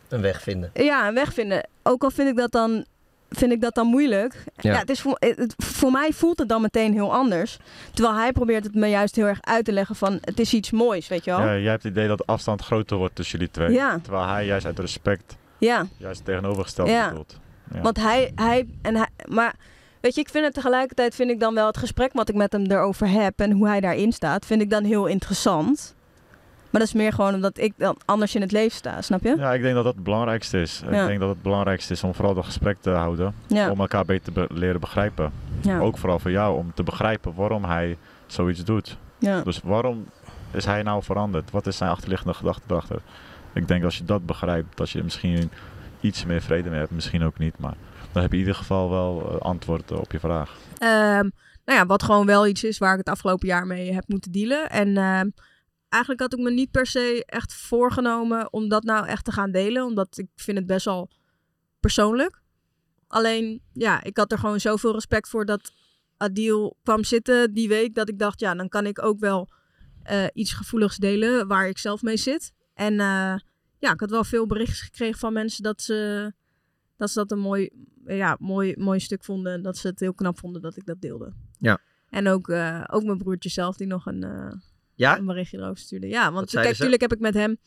Speaker 5: Een weg vinden.
Speaker 6: ja, een weg vinden. Ook al vind ik dat dan, vind ik dat dan moeilijk. Ja.
Speaker 5: Ja.
Speaker 6: het is voor, het- voor mij voelt het dan meteen heel anders. Terwijl hij probeert het me juist heel erg uit te leggen van... het is iets moois, weet je wel?
Speaker 11: Ja, jij hebt het idee dat de afstand groter wordt tussen jullie twee.
Speaker 6: Ja.
Speaker 11: Terwijl hij juist uit respect
Speaker 6: Ja.
Speaker 11: juist het tegenovergestelde
Speaker 6: Ja.
Speaker 11: bedoelt. Ja.
Speaker 6: Want hij, hij, en hij, maar weet je, ik vind het tegelijkertijd vind ik dan wel het gesprek wat ik met hem erover heb en hoe hij daarin staat, vind ik dan heel interessant. Maar dat is meer gewoon omdat ik dan anders in het leven sta, snap je?
Speaker 11: Ja, ik denk dat dat het belangrijkste is.
Speaker 6: Ja.
Speaker 11: Ik denk dat het belangrijkste is om vooral dat gesprek te houden.
Speaker 6: Ja.
Speaker 11: Om elkaar beter te be- leren begrijpen.
Speaker 6: Ja.
Speaker 11: Ook vooral voor jou, om te begrijpen waarom hij zoiets doet.
Speaker 6: Ja.
Speaker 11: Dus waarom is hij nou veranderd? Wat is zijn achterliggende gedachte erachter? Ik denk als je dat begrijpt, dat je misschien iets meer vrede mee hebt. Misschien ook niet, maar dan heb je in ieder geval wel eh, antwoord op je vraag.
Speaker 6: Ehm, nou ja, wat gewoon wel iets is waar ik het afgelopen jaar mee heb moeten dealen. En ehm, eigenlijk had ik me niet per se echt voorgenomen om dat nou echt te gaan delen. Omdat ik vind het best wel persoonlijk. Alleen, ja, ik had er gewoon zoveel respect voor dat Adil kwam zitten die week. Dat ik dacht, ja, dan kan ik ook wel eh, iets gevoeligs delen waar ik zelf mee zit. En eh, ja, ik had wel veel berichtjes gekregen van mensen dat ze dat, ze dat een mooi, ja, mooi, mooi stuk vonden. En dat ze het heel knap vonden dat ik dat deelde.
Speaker 5: Ja.
Speaker 6: En ook, eh, ook mijn broertje zelf die nog een, eh,
Speaker 5: Ja?
Speaker 6: een berichtje erover stuurde. Ja,
Speaker 5: Wat
Speaker 6: want
Speaker 5: zeiden
Speaker 6: kijk,
Speaker 5: ze?
Speaker 6: natuurlijk heb ik met hem...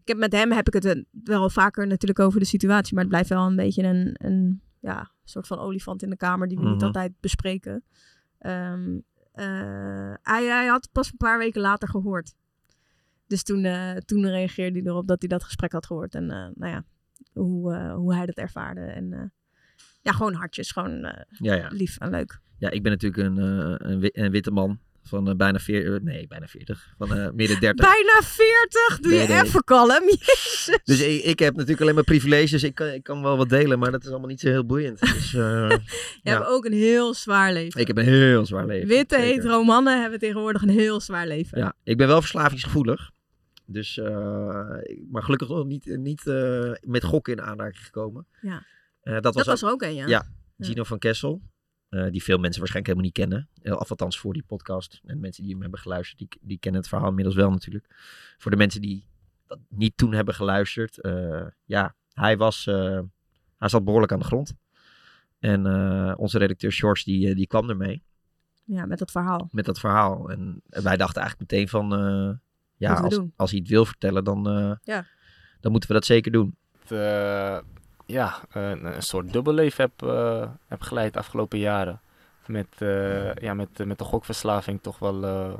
Speaker 6: Ik heb met hem heb ik het een- wel vaker natuurlijk over de situatie. Maar het blijft wel een beetje een, een ja, soort van olifant in de kamer die we niet
Speaker 12: Mhm.
Speaker 6: altijd bespreken. Ehm, eh, hij, hij had het pas een paar weken later gehoord. Dus toen, eh, toen reageerde hij erop dat hij dat gesprek had gehoord. En eh, nou ja, hoe, eh, hoe hij dat ervaarde. En eh, ja, gewoon hartjes. Gewoon eh,
Speaker 5: Ja, ja.
Speaker 6: lief en leuk.
Speaker 5: Ja, ik ben natuurlijk een, eh, een, wi- een witte man van eh, bijna 40. Nee, bijna 40. Van eh, midden 30.
Speaker 6: Bijna 40! Doe
Speaker 5: Nee,
Speaker 6: je
Speaker 5: nee.
Speaker 6: even kalm. Jezus.
Speaker 5: Dus ik, ik heb natuurlijk alleen maar privileges. Ik kan, ik kan wel wat delen, maar dat is allemaal niet zo heel boeiend. Dus, eh,
Speaker 6: Je
Speaker 5: ja.
Speaker 6: hebt ook een heel zwaar leven.
Speaker 5: Ik heb een heel zwaar leven.
Speaker 6: Witte
Speaker 5: zeker.
Speaker 6: hetero mannen hebben tegenwoordig een heel zwaar leven.
Speaker 5: Ja, ik ben wel verslavingsgevoelig. Dus, eh, ik- maar gelukkig nog niet, niet eh, met gokken in aanraking gekomen.
Speaker 6: Ja.
Speaker 5: Eh, dat
Speaker 6: Dat
Speaker 5: was,
Speaker 6: was er ook een, ja.
Speaker 5: Ja,
Speaker 6: Ja.
Speaker 5: Gino van Kessel. eh, die veel mensen waarschijnlijk helemaal niet kennen. Eh, Of althans voor die podcast. En mensen die hem hebben geluisterd, die, die kennen het verhaal inmiddels wel natuurlijk. Voor de mensen die dat niet toen hebben geluisterd. eh, ja, hij was... eh, hij zat behoorlijk aan de grond. En eh, onze redacteur George, die, eh, die kwam ermee
Speaker 6: Ja, met dat verhaal.
Speaker 5: met dat verhaal. En wij dachten eigenlijk meteen van, eh, ja,
Speaker 6: Moeten we
Speaker 5: als,
Speaker 6: doen.
Speaker 5: als hij het wil vertellen, dan, eh,
Speaker 6: Ja.
Speaker 5: dan moeten we dat zeker doen.
Speaker 13: eh, ja, een, een soort dubbelleven heb, eh, heb geleid de afgelopen jaren. Met, eh, ja, met, met de gokverslaving toch wel eh,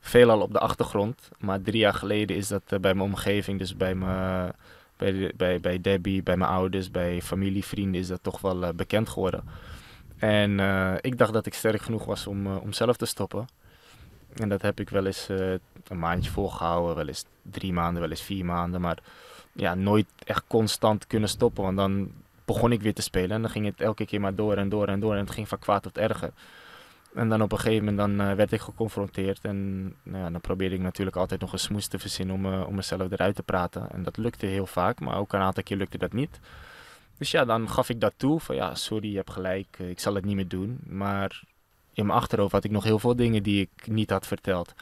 Speaker 13: veelal op de achtergrond. Maar drie jaar geleden is dat eh, bij mijn omgeving, dus bij, mijn, bij, de- bij, bij Debbie, bij mijn ouders, bij familie, vrienden, is dat toch wel eh, bekend geworden. En eh, ik dacht dat ik sterk genoeg was om, eh, om zelf te stoppen. En dat heb ik wel eens eh, een maandje volgehouden, wel eens drie maanden, wel eens vier maanden. Maar ja, nooit echt constant kunnen stoppen. Want dan begon ik weer te spelen en dan ging het elke keer maar door en door en door. En het ging van kwaad tot erger. En dan op een gegeven moment dan, eh, werd ik geconfronteerd. En nou ja, dan probeerde ik natuurlijk altijd nog een smoes te verzinnen om, eh, om mezelf eruit te praten. En dat lukte heel vaak, maar ook een aantal keer lukte dat niet. Dus ja, dan gaf ik dat toe. Van ja, sorry, je hebt gelijk. eh, Ik zal het niet meer doen. Maar in mijn achterhoofd had ik nog heel veel dingen die ik niet had verteld.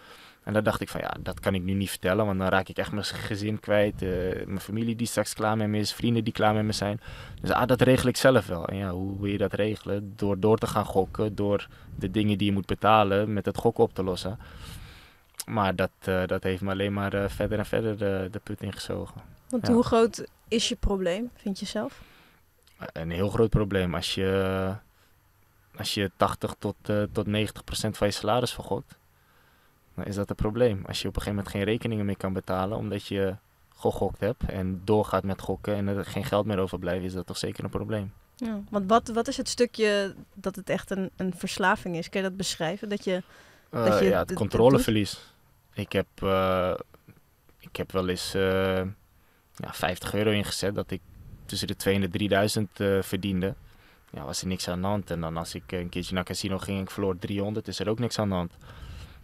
Speaker 13: En daar dacht ik van ja, dat kan ik nu niet vertellen, want dan raak ik echt mijn gezin kwijt. eh, mijn familie die straks klaar met me is, vrienden die klaar met me zijn. Dus ah, dat regel ik zelf wel. En ja, hoe wil je dat regelen? Door door te gaan gokken, door de dingen die je moet betalen met het gokken op te lossen. Maar dat, eh, dat heeft me alleen maar eh, verder en verder de, de put ingezogen.
Speaker 6: Want
Speaker 13: Ja.
Speaker 6: hoe groot is je probleem, vind je zelf?
Speaker 13: een heel groot probleem. Als je, als je 80 tot, eh, tot 90 procent van je salaris vergokt, dan is dat een probleem. Als je op een gegeven moment geen rekeningen meer kan betalen omdat je gegokt hebt en doorgaat met gokken en er geen geld meer overblijft, is dat toch zeker een probleem.
Speaker 6: Ja, want wat, wat is het stukje dat het echt een, een verslaving is? Kun je dat beschrijven? Dat je,
Speaker 13: Eh,
Speaker 6: dat je
Speaker 13: ja,
Speaker 6: d-
Speaker 13: het
Speaker 6: d-
Speaker 13: controleverlies. Ik heb, eh, ik heb wel eens eh, ja, 50 euro ingezet dat ik tussen de 2 en de 3000 eh, verdiende. Ja, was er niks aan de hand. En dan als ik eh, een keertje naar casino ging en ik verloor 300, is er ook niks aan de hand.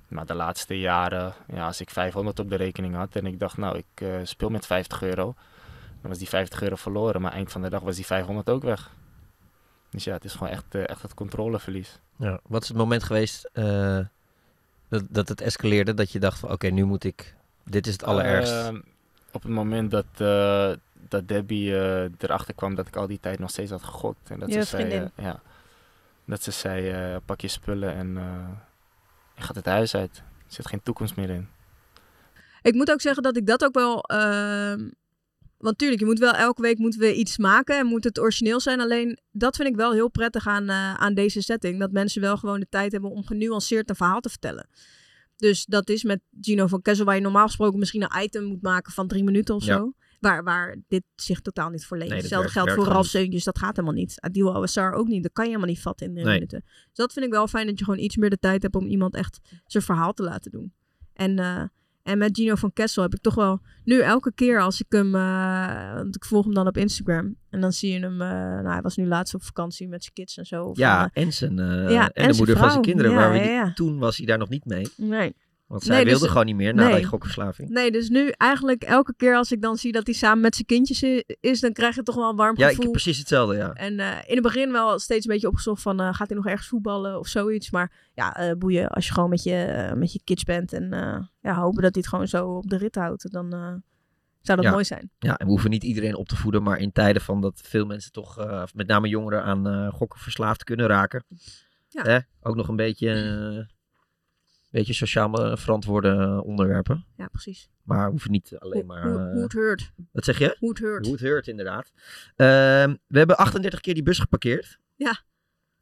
Speaker 13: Maar de laatste jaren, ja, als ik 500 op de rekening had en ik dacht, nou, ik eh, speel met 50 euro. Dan was die 50 euro verloren, maar eind van de dag was die 500 ook weg. Dus ja, het is gewoon echt, eh, echt het controleverlies.
Speaker 5: Ja, wat is het moment geweest eh, dat, dat het escaleerde? Dat je dacht van oké, nu moet ik... Dit is het allerergst.
Speaker 13: Ehm, op het moment dat, eh, dat Debbie eh, erachter kwam dat ik al die tijd nog steeds had gegokt. En dat
Speaker 6: Je
Speaker 13: ze zei,
Speaker 6: vriendin.
Speaker 13: eh, ja, dat ze zei, eh, pak je spullen en eh, je gaat het huis uit. Er zit geen toekomst meer in.
Speaker 6: Ik moet ook zeggen dat ik dat ook wel. ehm, want tuurlijk, je moet wel elke week moeten we iets maken en moet het origineel zijn. Alleen dat vind ik wel heel prettig aan, eh, aan deze setting. Dat mensen wel gewoon de tijd hebben om genuanceerd een verhaal te vertellen. Dus dat is met Gino van Kessel, waar je normaal gesproken misschien een item moet maken van drie minuten of
Speaker 5: Ja.
Speaker 6: zo. Waar, waar dit zich totaal niet voor leent.
Speaker 5: Nee, dat
Speaker 6: Hetzelfde geldt
Speaker 5: werkt- werkt
Speaker 6: voor
Speaker 5: gewoon
Speaker 6: Ralf Zeuntjes, dat gaat helemaal niet. Adil Awassar ook niet, dat kan je helemaal niet vatten in drie
Speaker 5: Nee.
Speaker 6: minuten. Dus dat vind ik wel fijn dat je gewoon iets meer de tijd hebt om iemand echt zijn verhaal te laten doen. En, eh, en met Gino van Kessel heb ik toch wel nu elke keer als ik hem, eh, want ik volg hem dan op Instagram. En dan zie je hem, eh, nou hij was nu laatst op vakantie met zijn kids en zo. Of,
Speaker 5: Ja,
Speaker 6: eh,
Speaker 5: en, zijn, eh,
Speaker 6: ja,
Speaker 5: en, de
Speaker 6: zijn
Speaker 5: moeder van zijn
Speaker 6: vrouw.
Speaker 5: kinderen.
Speaker 6: Ja,
Speaker 5: waar we
Speaker 6: ja,
Speaker 5: die-
Speaker 6: ja.
Speaker 5: Toen was hij daar nog niet mee.
Speaker 6: Nee.
Speaker 5: Want zij
Speaker 6: Nee, dus-
Speaker 5: wilde gewoon niet meer na
Speaker 6: nee.
Speaker 5: die gokverslaving.
Speaker 6: Nee, dus nu eigenlijk elke keer als ik dan zie dat hij samen met zijn kindjes i- is, dan krijg je toch wel een warm
Speaker 5: Ja, ik
Speaker 6: gevoel.
Speaker 5: heb precies hetzelfde, ja.
Speaker 6: En eh, in het begin wel steeds een beetje opgezocht van eh, gaat hij nog ergens voetballen of zoiets. Maar ja, eh, boeien als je gewoon met je, eh, met je kids bent en eh, ja, hopen dat hij het gewoon zo op de rit houdt. Dan eh, zou dat
Speaker 5: Ja.
Speaker 6: mooi zijn.
Speaker 5: Ja, en we hoeven niet iedereen op te voeden, maar in tijden van dat veel mensen toch, eh, of met name jongeren, aan eh, gokken verslaafd kunnen raken.
Speaker 6: Ja.
Speaker 5: Hè? Ook nog een beetje, eh, beetje sociaal eh, verantwoorde eh, onderwerpen.
Speaker 6: Ja, precies.
Speaker 5: Maar we hoeven niet alleen maar...
Speaker 6: Hoe-
Speaker 5: eh,
Speaker 6: hoe het heurt.
Speaker 5: Wat zeg je?
Speaker 6: Hoe het heurt.
Speaker 5: Hoe het heurt, inderdaad. Ehm, we hebben 38 keer die bus geparkeerd.
Speaker 6: Ja,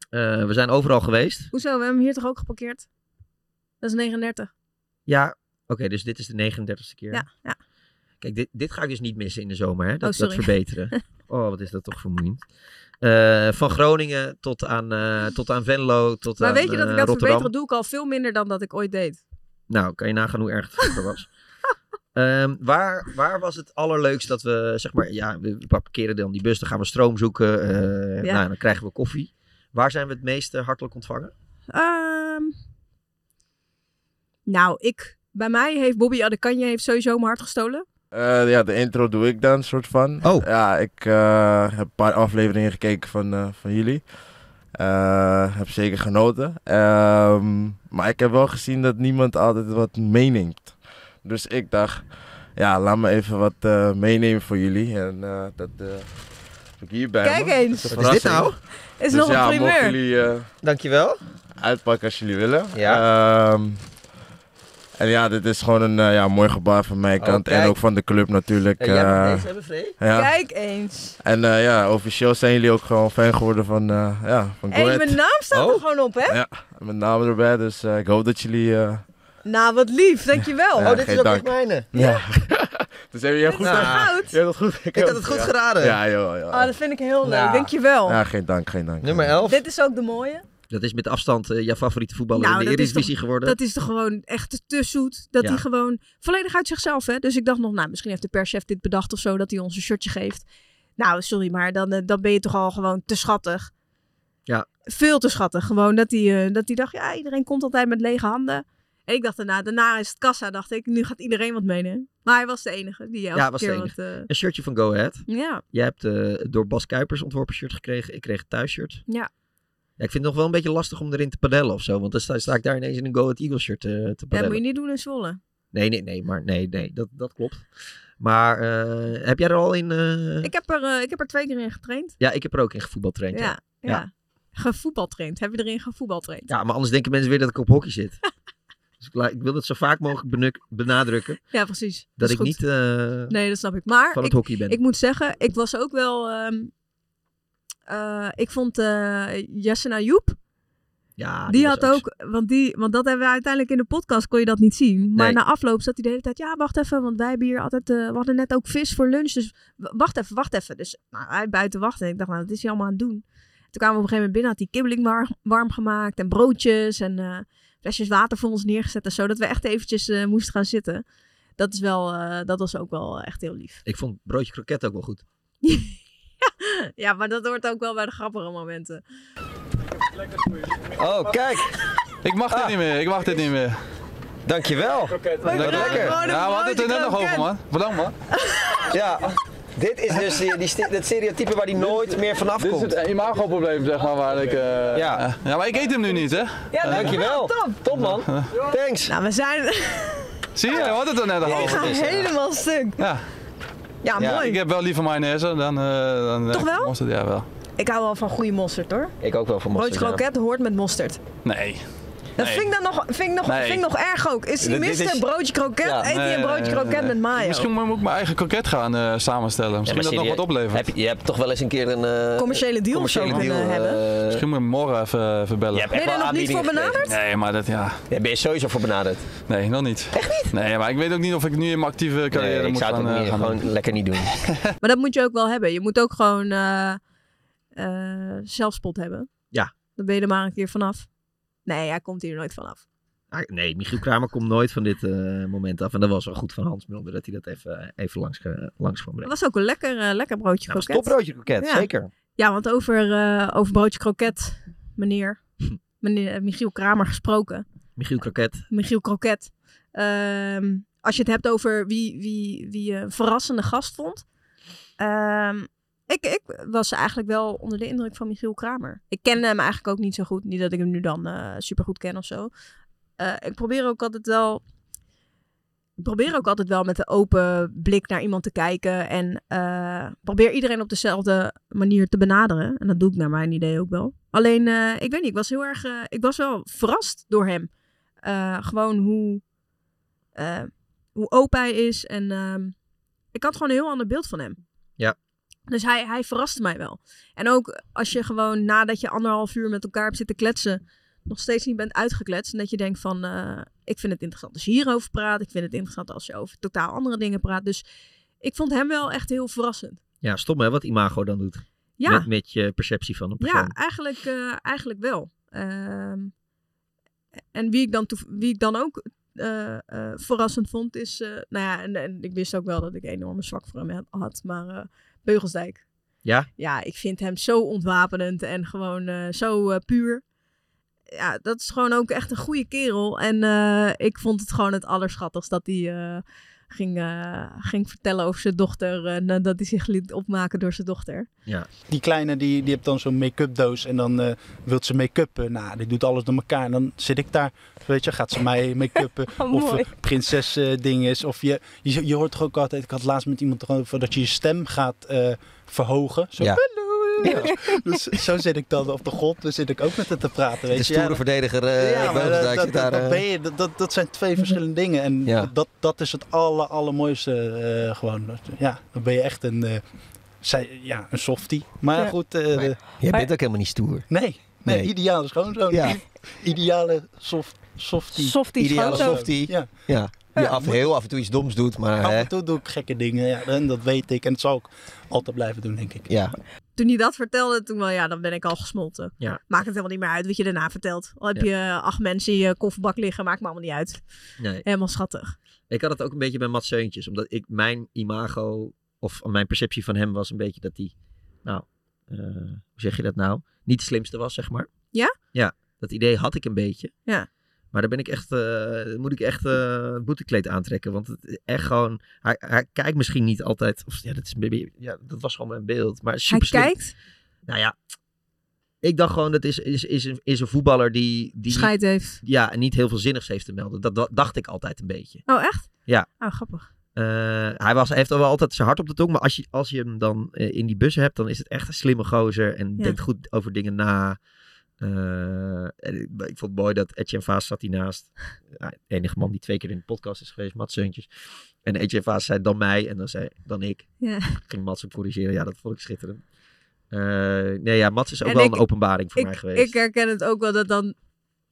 Speaker 5: Eh, we zijn overal geweest.
Speaker 6: hoezo? We hebben hem hier toch ook geparkeerd? Dat is 39.
Speaker 5: Ja, oké, dus dit is de 39ste keer.
Speaker 6: Ja, ja.
Speaker 5: Kijk, dit, dit ga ik dus niet missen in de zomer, hè? Dat,
Speaker 6: Oh,
Speaker 5: dat
Speaker 6: sorry.
Speaker 5: verbeteren. Oh, wat is dat toch vermoeiend. Eh, van Groningen tot aan, eh, tot aan Venlo, tot
Speaker 6: Maar
Speaker 5: aan
Speaker 6: weet je dat ik
Speaker 5: eh,
Speaker 6: dat
Speaker 5: Rotterdam.
Speaker 6: verbeteren doe ik al veel minder dan dat ik ooit deed.
Speaker 5: Nou, kan je nagaan hoe erg het vroeger was. Ehm, waar, waar was het allerleukst dat we, zeg maar, ja, we parkeren dan die bus, dan gaan we stroom zoeken, eh,
Speaker 6: Ja.
Speaker 5: nou, dan krijgen we koffie. Waar zijn we het meest eh, hartelijk ontvangen?
Speaker 6: Ehm, nou, ik, bij mij heeft Bobby Adekanje heeft sowieso mijn hart gestolen.
Speaker 12: Eh, ja, de intro doe ik dan, soort van.
Speaker 5: Oh.
Speaker 12: Ja, ik eh, heb een paar afleveringen gekeken van, eh, van jullie. Eh, heb zeker genoten. Ehm, maar ik heb wel gezien dat niemand altijd wat meeneemt. Dus ik dacht, ja, laat me even wat eh, meenemen voor jullie. En eh, dat eh, heb ik hierbij.
Speaker 6: Kijk
Speaker 12: me.
Speaker 6: eens.
Speaker 12: Dat een
Speaker 5: Wat is dit
Speaker 12: verrassing.
Speaker 5: nou?
Speaker 6: Is
Speaker 12: Dus
Speaker 6: nog een
Speaker 12: ja, mochten
Speaker 6: primeur.
Speaker 12: jullie eh,
Speaker 5: Dankjewel.
Speaker 12: uitpakken als jullie willen. Ehm, en ja, dit is gewoon een eh, ja, mooi gebaar van mijn
Speaker 5: Oh,
Speaker 12: kant. En
Speaker 5: kijk.
Speaker 12: ook van de club natuurlijk.
Speaker 5: Ja, jij mag
Speaker 12: eh,
Speaker 5: deze hebben, Free.
Speaker 12: ja.
Speaker 6: Kijk eens.
Speaker 12: En eh, ja, officieel zijn jullie ook gewoon fan geworden van, eh ja, van
Speaker 6: Hé,
Speaker 12: Go Ahead.
Speaker 6: mijn naam staat er gewoon op, hè?
Speaker 12: Oh? Ja, mijn naam erbij. Dus eh, ik hoop dat jullie... eh,
Speaker 6: Nou, wat lief, dankjewel.
Speaker 12: Ja, Oh, dit is geen ook echt dank.
Speaker 5: mijne.
Speaker 12: ja. dus heb je heel goed
Speaker 6: Dit is
Speaker 12: gedaan.
Speaker 6: goud.
Speaker 12: Je hebt het goed. Ik
Speaker 6: had het goed geraden.
Speaker 12: Ja, joh, joh.
Speaker 6: Oh, dat vind ik heel leuk,
Speaker 5: Nou.
Speaker 6: dankjewel.
Speaker 12: Ja, geen dank, geen dank.
Speaker 5: Nummer 11.
Speaker 6: Dit is ook de mooie.
Speaker 5: Dat is met afstand eh, jouw favoriete voetballer in de
Speaker 6: Nou, dat is toch-
Speaker 5: Eredivisie geworden.
Speaker 6: Dat is toch gewoon echt te zoet. Dat
Speaker 5: Ja.
Speaker 6: hij gewoon volledig uit zichzelf, hè? Dus ik dacht nog, nou, misschien heeft de perschef dit bedacht of zo, dat hij ons een shirtje geeft. Nou, sorry, maar dan, eh, dan ben je toch al gewoon te schattig.
Speaker 5: Ja,
Speaker 6: Veel te schattig. Gewoon dat hij, eh, dat hij dacht, ja, iedereen komt altijd met lege handen. En ik dacht daarna, daarna is het kassa, dacht ik. Nu gaat iedereen wat meenemen. Maar hij was de enige die elke
Speaker 5: ja was
Speaker 6: keer
Speaker 5: de enige. Dus
Speaker 6: wat... eh,
Speaker 5: Een shirtje van Go Ahead.
Speaker 6: Ja.
Speaker 5: Jij hebt eh, het door Bas Kuipers ontworpen shirt gekregen. Ik kreeg het thuisshirt.
Speaker 6: ja.
Speaker 5: Ja, ik vind het nog wel een beetje lastig om erin te padellen of zo. Want dan sta, sta ik daar ineens in een Go Ahead Eagles shirt eh, te
Speaker 6: ja,
Speaker 5: padellen.
Speaker 6: dat moet je niet doen in Zwolle.
Speaker 5: Nee, nee, nee. Maar nee, nee. Dat, dat klopt. Maar eh, heb jij er al in... eh,
Speaker 6: Ik heb, er, eh, ik heb er twee keer in getraind.
Speaker 5: Ja, ik heb er ook in gevoetbaltraind.
Speaker 6: Ja, ja.
Speaker 5: ja.
Speaker 6: Gevoetbaltraind. Heb je erin gevoetbaltraind?
Speaker 5: Ja, maar anders denken mensen weer dat ik op hockey zit. dus ik, la- ik wil het zo vaak mogelijk benuk- benadrukken.
Speaker 6: Ja, precies. Dat,
Speaker 5: Dat
Speaker 6: is
Speaker 5: ik
Speaker 6: goed.
Speaker 5: niet... eh,
Speaker 6: Nee, dat snap ik. Maar
Speaker 5: van het
Speaker 6: ik,
Speaker 5: hockey ben.
Speaker 6: ik moet zeggen, ik was ook wel... ehm, eh, ik vond eh Jessen Joep
Speaker 5: Ja,
Speaker 6: die, had ook, want, die, want dat hebben we uiteindelijk in de podcast, kon je dat niet zien. Maar
Speaker 5: Nee.
Speaker 6: na afloop zat hij de hele tijd, ja, wacht even, want wij hebben hier altijd, eh, we hadden net ook vis voor lunch, dus w- wacht even, wacht even. Dus nou, hij buiten wachten. Ik dacht, nou, wat is hij allemaal aan het doen? Toen kwamen we op een gegeven moment binnen, had hij kibbeling war- warm gemaakt en broodjes en eh, flesjes water voor ons neergezet en zo, dat we echt eventjes eh, moesten gaan zitten. Dat, is wel, eh, dat was ook wel echt heel lief.
Speaker 5: Ik vond broodje kroket ook wel goed.
Speaker 6: Ja, maar dat hoort ook wel bij de grappige momenten.
Speaker 1: Oh, kijk. Ik mag
Speaker 2: Ah.
Speaker 1: dit niet meer. Ik mag dit niet meer. Dankjewel.
Speaker 2: Wat lekker. Nou,
Speaker 1: Ja,
Speaker 5: Nou,
Speaker 2: gewoon
Speaker 1: we
Speaker 2: een
Speaker 1: hadden het er net
Speaker 2: broodje
Speaker 1: nog over,
Speaker 2: kroket.
Speaker 1: man. Bedankt, man.
Speaker 2: Ja, dit is dus die, die, ste- dat stereotype waar die nooit meer vanaf
Speaker 1: Dit is
Speaker 2: komt.
Speaker 1: het imago-probleem, zeg maar, waar ik... eh,
Speaker 2: Ja.
Speaker 1: eh, ja, maar ik eet hem nu niet, hè?
Speaker 2: Ja, dankjewel. Top, top man. Thanks.
Speaker 6: Nou, we zijn...
Speaker 1: Zie je, we hadden het er net al
Speaker 6: Ik
Speaker 1: over.
Speaker 6: ga helemaal stuk.
Speaker 1: Ja.
Speaker 6: Ja, mooi.
Speaker 1: Ik heb wel liever mayonaise dan... eh dan
Speaker 6: Toch wel?
Speaker 1: Mosterd, ja, wel.
Speaker 6: Ik hou wel van goede mosterd hoor.
Speaker 2: Ik ook wel voor
Speaker 6: Broodje kroket hoort met mosterd.
Speaker 1: Nee.
Speaker 6: Dat vind ik dan nog, vind ik nog,
Speaker 1: Nee.
Speaker 6: vind ik nog erg ook. Is die
Speaker 1: Dit- dit
Speaker 6: mister
Speaker 1: is-
Speaker 6: broodje kroket?
Speaker 1: Ja.
Speaker 6: Eet hij een
Speaker 1: Nee,
Speaker 6: broodje
Speaker 1: nee,
Speaker 6: kroket
Speaker 1: nee.
Speaker 6: met mayo?
Speaker 1: Misschien moet ik mijn eigen kroket gaan eh, samenstellen. Misschien dat nog
Speaker 2: serieus,
Speaker 1: wat oplevert.
Speaker 2: Heb je, je hebt toch wel eens een keer een... eh,
Speaker 6: Commerciële deal of zo
Speaker 2: commerciële
Speaker 6: kunnen
Speaker 2: deal,
Speaker 6: hebben.
Speaker 2: eh,
Speaker 1: Misschien moet ik morgen even, even bellen.
Speaker 2: hebt Ben je echt daar wel nog niet aanbiedingen voor gekregen. benaderd?
Speaker 1: Nee, maar dat ja.
Speaker 2: Daar ben je sowieso voor benaderd.
Speaker 1: Nee, nog niet. Echt niet? Nee, maar ik weet ook niet of ik nu in mijn actieve carrière
Speaker 2: ik
Speaker 1: moet
Speaker 2: zou het
Speaker 1: gaan,
Speaker 2: ook
Speaker 1: eh,
Speaker 2: niet-
Speaker 1: gaan
Speaker 2: gewoon
Speaker 1: doen.
Speaker 2: lekker niet doen.
Speaker 6: Maar dat moet je ook wel hebben. Je moet ook gewoon eh, eh, zelfspot hebben.
Speaker 5: Ja.
Speaker 6: Dan ben je er maar een keer vanaf. Nee, hij komt hier nooit vanaf.
Speaker 5: Ah, Nee, Michiel Kramer komt nooit van dit eh, moment af. En dat was wel goed van Hans Mulder dat hij dat even, eh, even langs, ge- langs kwam
Speaker 6: Dat
Speaker 5: brengen.
Speaker 6: was ook een lekker, eh, lekker broodje
Speaker 5: Dat was
Speaker 6: kroket.
Speaker 5: topbroodje kroket, zeker.
Speaker 6: Ja, want over, eh, over broodje kroket, meneer, meneer eh, Michiel Kramer gesproken.
Speaker 5: Michiel Kroket.
Speaker 6: Michiel Kroket. Ehm, als je het hebt over wie, wie, wie je een verrassende gast vond. Ehm, ik, ik was eigenlijk wel onder de indruk van Michiel Kramer. Ik kende hem eigenlijk ook niet zo goed. Niet dat ik hem nu dan eh super goed ken of zo. Eh, ik probeer ook altijd wel. Ik probeer ook altijd wel met een open blik naar iemand te kijken. En eh, probeer iedereen op dezelfde manier te benaderen. En dat doe ik naar mijn idee ook wel. Alleen, eh, ik weet niet, ik was heel erg. eh, ik was wel verrast door hem. Eh, gewoon hoe, eh, hoe open hij is. En ehm, ik had gewoon een heel ander beeld van hem.
Speaker 5: Ja.
Speaker 6: Dus hij, hij verraste mij wel. En ook als je gewoon nadat je anderhalf uur met elkaar hebt zitten kletsen, nog steeds niet bent uitgekletst. En dat je denkt van, eh, ik vind het interessant als je hierover praat. Ik vind het interessant als je over totaal andere dingen praat. Dus ik vond hem wel echt heel verrassend.
Speaker 5: Ja, stom hè, wat imago dan doet.
Speaker 6: Ja.
Speaker 5: Met, met je perceptie van een persoon.
Speaker 6: Ja, eigenlijk, eh, eigenlijk wel. Ehm, en wie ik dan, toe- wie ik dan ook eh, eh, verrassend vond is... eh, nou ja, en, en ik wist ook wel dat ik enorme zwak voor hem had- had. Maar eh, Beugelsdijk.
Speaker 5: Ja?
Speaker 6: Ja, ik vind hem zo ontwapenend en gewoon eh, zo eh, puur. Ja, dat is gewoon ook echt een goede kerel. En eh, ik vond het gewoon het allerschattigst dat hij eh, ging, eh, ging vertellen over zijn dochter. En eh, dat hij zich liet opmaken door zijn dochter.
Speaker 5: Ja.
Speaker 14: Die kleine die, die heeft dan zo'n make-up doos en dan eh wilt ze make-up. eh, nou, die doet alles door elkaar. En dan zit ik daar, weet je, gaat ze mij make-uppen.
Speaker 6: Oh,
Speaker 14: of
Speaker 6: mooi.
Speaker 14: eh, prinses eh, ding is. Of je, je, je hoort toch ook altijd, ik had laatst met iemand erover, dat je je stem gaat eh, verhogen. Zo,
Speaker 2: Ja.
Speaker 14: "Hallo." Dus zo zit ik dan op de grond, dan zit ik ook met haar te praten. Weet
Speaker 2: De
Speaker 14: je.
Speaker 2: stoere verdediger eh
Speaker 14: Ja, maar
Speaker 2: Beugelsdijk
Speaker 14: dat,
Speaker 2: zit
Speaker 14: dat-
Speaker 2: daar.
Speaker 14: dat
Speaker 2: eh,
Speaker 14: ben je- dat- dat- dat zijn twee verschillende dingen. En
Speaker 2: Ja.
Speaker 14: dat, dat is het aller, allermooiste eh, gewoon. Ja, dan ben je echt een, eh, zij, ja, een softie. Maar
Speaker 2: Ja.
Speaker 14: goed... eh,
Speaker 2: Jij bent ook helemaal niet stoer.
Speaker 14: Nee, nee,
Speaker 2: Nee.
Speaker 14: ideale schoonzoon.
Speaker 2: Ja.
Speaker 14: I- Ideale soft, softie.
Speaker 2: Ideale softie.
Speaker 14: Ja.
Speaker 2: Ja. Die
Speaker 14: Ja,
Speaker 2: af,
Speaker 14: moet-
Speaker 2: heel af en toe iets doms doet, maar...
Speaker 14: Af
Speaker 2: hè.
Speaker 14: en toe doe ik gekke dingen. Ja, en dat weet ik. En dat zal ik altijd blijven doen, denk ik.
Speaker 2: Ja.
Speaker 6: toen hij dat vertelde, toen wel, ja, dan ben ik al gesmolten.
Speaker 14: Ja.
Speaker 6: Maakt het helemaal niet meer uit wat je daarna vertelt. Al heb je acht mensen in je kofferbak liggen, maakt me allemaal niet uit.
Speaker 5: Nee.
Speaker 6: Helemaal schattig.
Speaker 5: Ik had het ook een beetje bij Mats Zeuntjes. Omdat ik mijn imago, of mijn perceptie van hem was een beetje dat hij, nou, eh, hoe zeg je dat nou? Niet de slimste was, zeg maar.
Speaker 6: Ja?
Speaker 5: Ja, dat idee had ik een beetje.
Speaker 6: Ja.
Speaker 5: Maar daar ben ik echt, eh, moet ik echt eh, het boetekleed aantrekken. Want het is echt gewoon, hij, hij kijkt misschien niet altijd, of ja, dat, is, een beetje- ja, dat was gewoon mijn beeld. Maar super
Speaker 6: kijkt?
Speaker 5: Nou ja, ik dacht gewoon, dat is, is, is, een, is een voetballer die... die
Speaker 6: Scheid heeft.
Speaker 5: Ja, en niet heel veel zinnigs heeft te melden. Dat, dat dacht ik altijd een beetje.
Speaker 6: Oh, echt?
Speaker 5: Ja.
Speaker 6: Oh, grappig.
Speaker 5: Eh, hij was, hij heeft al wel altijd zijn hart op de tong. Maar als je, als je hem dan eh, in die bus hebt, dan is het echt een slimme gozer. En
Speaker 6: Ja.
Speaker 5: denkt goed over dingen na. Eh, en ik, ik vond het mooi dat Etienne Vaas zat hiernaast. Ja, de enige man die twee keer in de podcast is geweest, Mats Zeuntjes. En Etienne Vaas zei dan mij en dan, zei, dan ik.
Speaker 6: Ja.
Speaker 5: Ging Mats hem corrigeren. Ja, dat vond ik schitterend. Eh, nee, ja, Mats is ook
Speaker 6: En
Speaker 5: wel
Speaker 6: ik-
Speaker 5: een openbaring voor
Speaker 6: ik,
Speaker 5: mij geweest.
Speaker 6: Ik herken het ook wel dat dan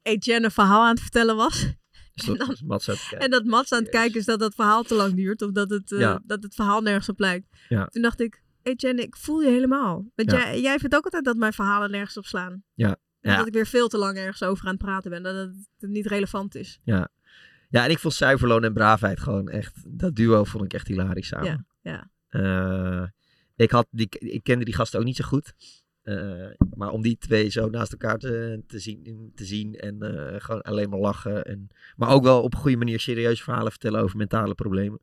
Speaker 6: Etienne een verhaal aan het vertellen was.
Speaker 5: Dus dat is Mats aan het kijken.
Speaker 6: En dat Mats aan het kijken is dat dat verhaal te lang duurt. Of dat het, eh,
Speaker 5: Ja.
Speaker 6: dat het verhaal nergens op lijkt.
Speaker 5: Ja.
Speaker 6: Toen dacht ik, Etienne, ik voel je helemaal. Want
Speaker 5: Ja.
Speaker 6: jij, jij vindt ook altijd dat mijn verhalen nergens op slaan.
Speaker 5: Ja.
Speaker 6: En
Speaker 5: Ja.
Speaker 6: Dat ik weer veel te lang ergens over aan het praten ben. Dat het dat het niet relevant is.
Speaker 5: Ja. ja, en ik vond Zuiverloon en Braafheid gewoon echt... Dat duo vond ik echt hilarisch samen.
Speaker 6: Ja, ja.
Speaker 5: Eh, ik, had die, ik kende die gasten ook niet zo goed. Eh, maar om die twee zo naast elkaar te, te, zien, te zien en eh, gewoon alleen maar lachen. En, maar ook wel op een goede manier serieuze verhalen vertellen over mentale problemen.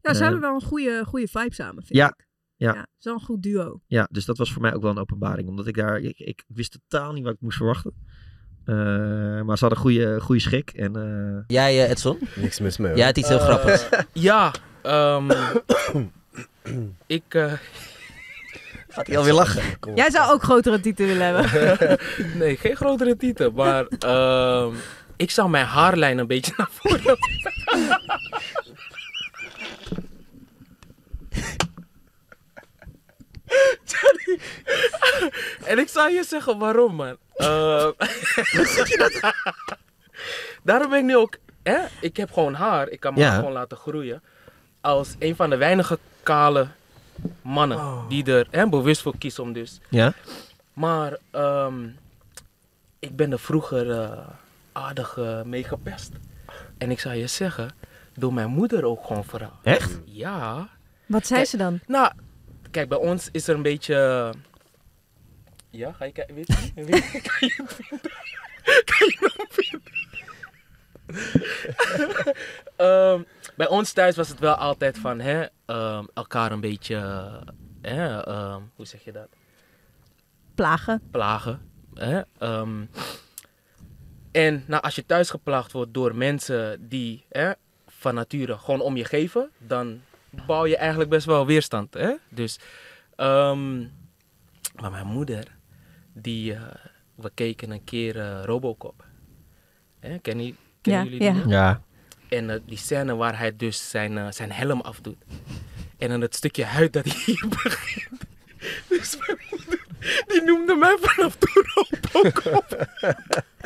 Speaker 6: Ja, ze
Speaker 5: Eh,
Speaker 6: hebben wel een goede, goede vibe samen, vind
Speaker 5: ja,
Speaker 6: ik.
Speaker 5: ja.
Speaker 6: Het is wel een goed duo.
Speaker 5: Ja, dus dat was voor mij ook wel een openbaring. Omdat ik daar, ik, ik wist totaal niet wat ik moest verwachten. Eh, maar ze hadden goede, goede schik. En,
Speaker 15: Jij, eh, Edson?
Speaker 16: Niks mis mee, hoor.
Speaker 15: Jij had iets heel
Speaker 16: Eh,
Speaker 15: grappigs.
Speaker 1: Ja,
Speaker 6: ehm,
Speaker 1: ik...
Speaker 15: Gaat hij alweer lachen?
Speaker 6: eh, Jij zou ook grotere titel willen hebben.
Speaker 1: nee, geen grotere titel, maar ehm, ik zou mijn haarlijn een beetje naar voren. Johnny, en ik zou je zeggen waarom, man. Ehm, Daarom ben ik nu ook. Hè? Ik heb gewoon haar, ik kan me
Speaker 15: Ja.
Speaker 1: gewoon laten groeien. Als een van de weinige kale mannen die er hè, bewust voor kiezen om dus.
Speaker 15: Oh. Ja?
Speaker 1: Maar ehm, ik ben er vroeger eh, aardig eh, mee gepest. En ik zou je zeggen, door mijn moeder ook gewoon vooral.
Speaker 15: Echt?
Speaker 1: Ja.
Speaker 6: Wat zei
Speaker 1: Kijk,
Speaker 6: ze dan?
Speaker 1: Nou, kijk, bij ons is er een beetje... eh, Ja, ga je kijken? Weet je? Weet je? Kan je het vinden? Kan je hem vinden? Ehm, bij ons thuis was het wel altijd van hè, ehm, elkaar een beetje, hè, ehm, hoe zeg je dat?
Speaker 6: Plagen.
Speaker 1: plagen. Hè? Ehm, en nou, als je thuis geplaagd wordt door mensen die hè, van nature gewoon om je geven, dan bouw je eigenlijk best wel weerstand. Hè? Dus, ehm, maar mijn moeder, die, eh, we keken een keer eh, Robocop. Hè? Ken je,
Speaker 15: Ja,
Speaker 1: kennen jullie die
Speaker 15: ja.
Speaker 1: nog?
Speaker 15: Ja.
Speaker 1: En eh, die scène waar hij dus zijn, eh, zijn helm afdoet. En dan het stukje huid dat hij hier begint. Dus mijn moeder, die noemde mij vanaf toen Robocop.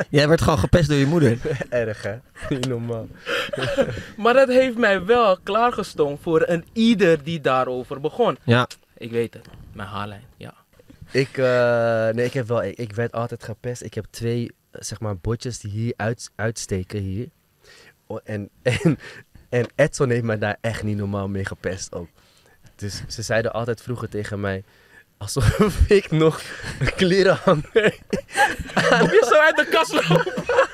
Speaker 15: Jij werd gewoon gepest door je moeder.
Speaker 1: Erg, hè? Niet normaal. maar dat heeft mij wel klaargestoomd voor een ieder die daarover begon.
Speaker 15: Ja.
Speaker 1: Ik weet het, mijn haarlijn, ja.
Speaker 15: Ik, eh, nee, ik, heb wel, ik, ik werd altijd gepest. Ik heb twee, eh, zeg maar, botjes die hier uit, uitsteken hier. O- En, en, en Edson heeft mij daar echt niet normaal mee gepest ook. Dus ze zeiden altijd vroeger tegen mij, alsof ik nog een klerenhanger...
Speaker 1: Kom je zo uit de kast lopen?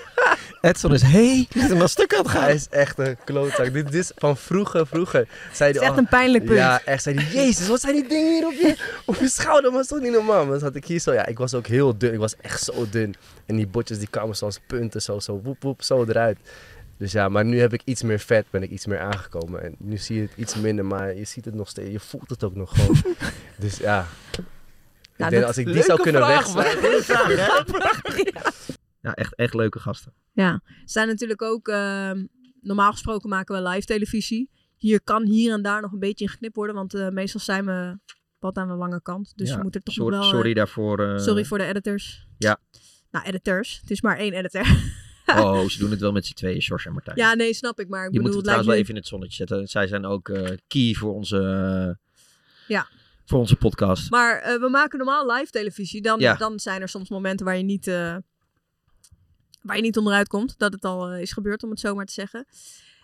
Speaker 15: Edson is helemaal stuk aan het gaan. Hij is echt een klootzak. Dit is van vroeger, vroeger. Zei
Speaker 6: Het is echt een pijnlijk punt.
Speaker 15: Ja, echt. Zei die, jezus, wat zijn die dingen hier op je, op je schouder? Maar dat is toch niet normaal? Maar dan zat ik hier zo. Ja, ik was ook heel dun. Ik was echt zo dun. En die botjes die kwamen zoals punten. Zo, zo, woep, woep, zo eruit. Dus ja, maar nu heb ik iets meer vet, ben ik iets meer aangekomen. En nu zie je het iets minder, maar je ziet het nog steeds. Je voelt het ook nog gewoon. dus ja.
Speaker 6: Nou,
Speaker 15: ik denk
Speaker 6: dat-
Speaker 15: als ik die
Speaker 6: Leuke
Speaker 15: zou kunnen
Speaker 6: vraag,
Speaker 15: wegslaan.
Speaker 6: man.
Speaker 5: ja, echt, echt leuke gasten.
Speaker 6: Ja, ze zijn natuurlijk ook, ehm, normaal gesproken maken we live televisie. Hier kan hier en daar nog een beetje in geknipt worden, want eh, meestal zijn we wat aan de lange kant. Dus
Speaker 5: Ja,
Speaker 6: je moet er toch
Speaker 5: sorry-
Speaker 6: nog wel... eh,
Speaker 5: sorry daarvoor, eh,
Speaker 6: sorry voor de editors.
Speaker 5: Ja.
Speaker 6: Nou, editors. Het is maar één editor.
Speaker 5: Oh, ze doen het wel met z'n tweeën, George en Martijn.
Speaker 6: ja, nee, snap ik. Maar ik
Speaker 5: Die
Speaker 6: bedoel,
Speaker 5: moeten we
Speaker 6: het lijkt
Speaker 5: trouwens wel
Speaker 6: nu-
Speaker 5: even in het zonnetje zetten. Zij zijn ook eh, key voor onze, eh,
Speaker 6: Ja.
Speaker 5: voor onze podcast.
Speaker 6: Maar eh, we maken normaal live televisie. Dan,
Speaker 5: Ja.
Speaker 6: dan zijn er soms momenten waar je niet, eh, waar je niet onderuit komt. Dat het al eh, is gebeurd, om het zo maar te zeggen.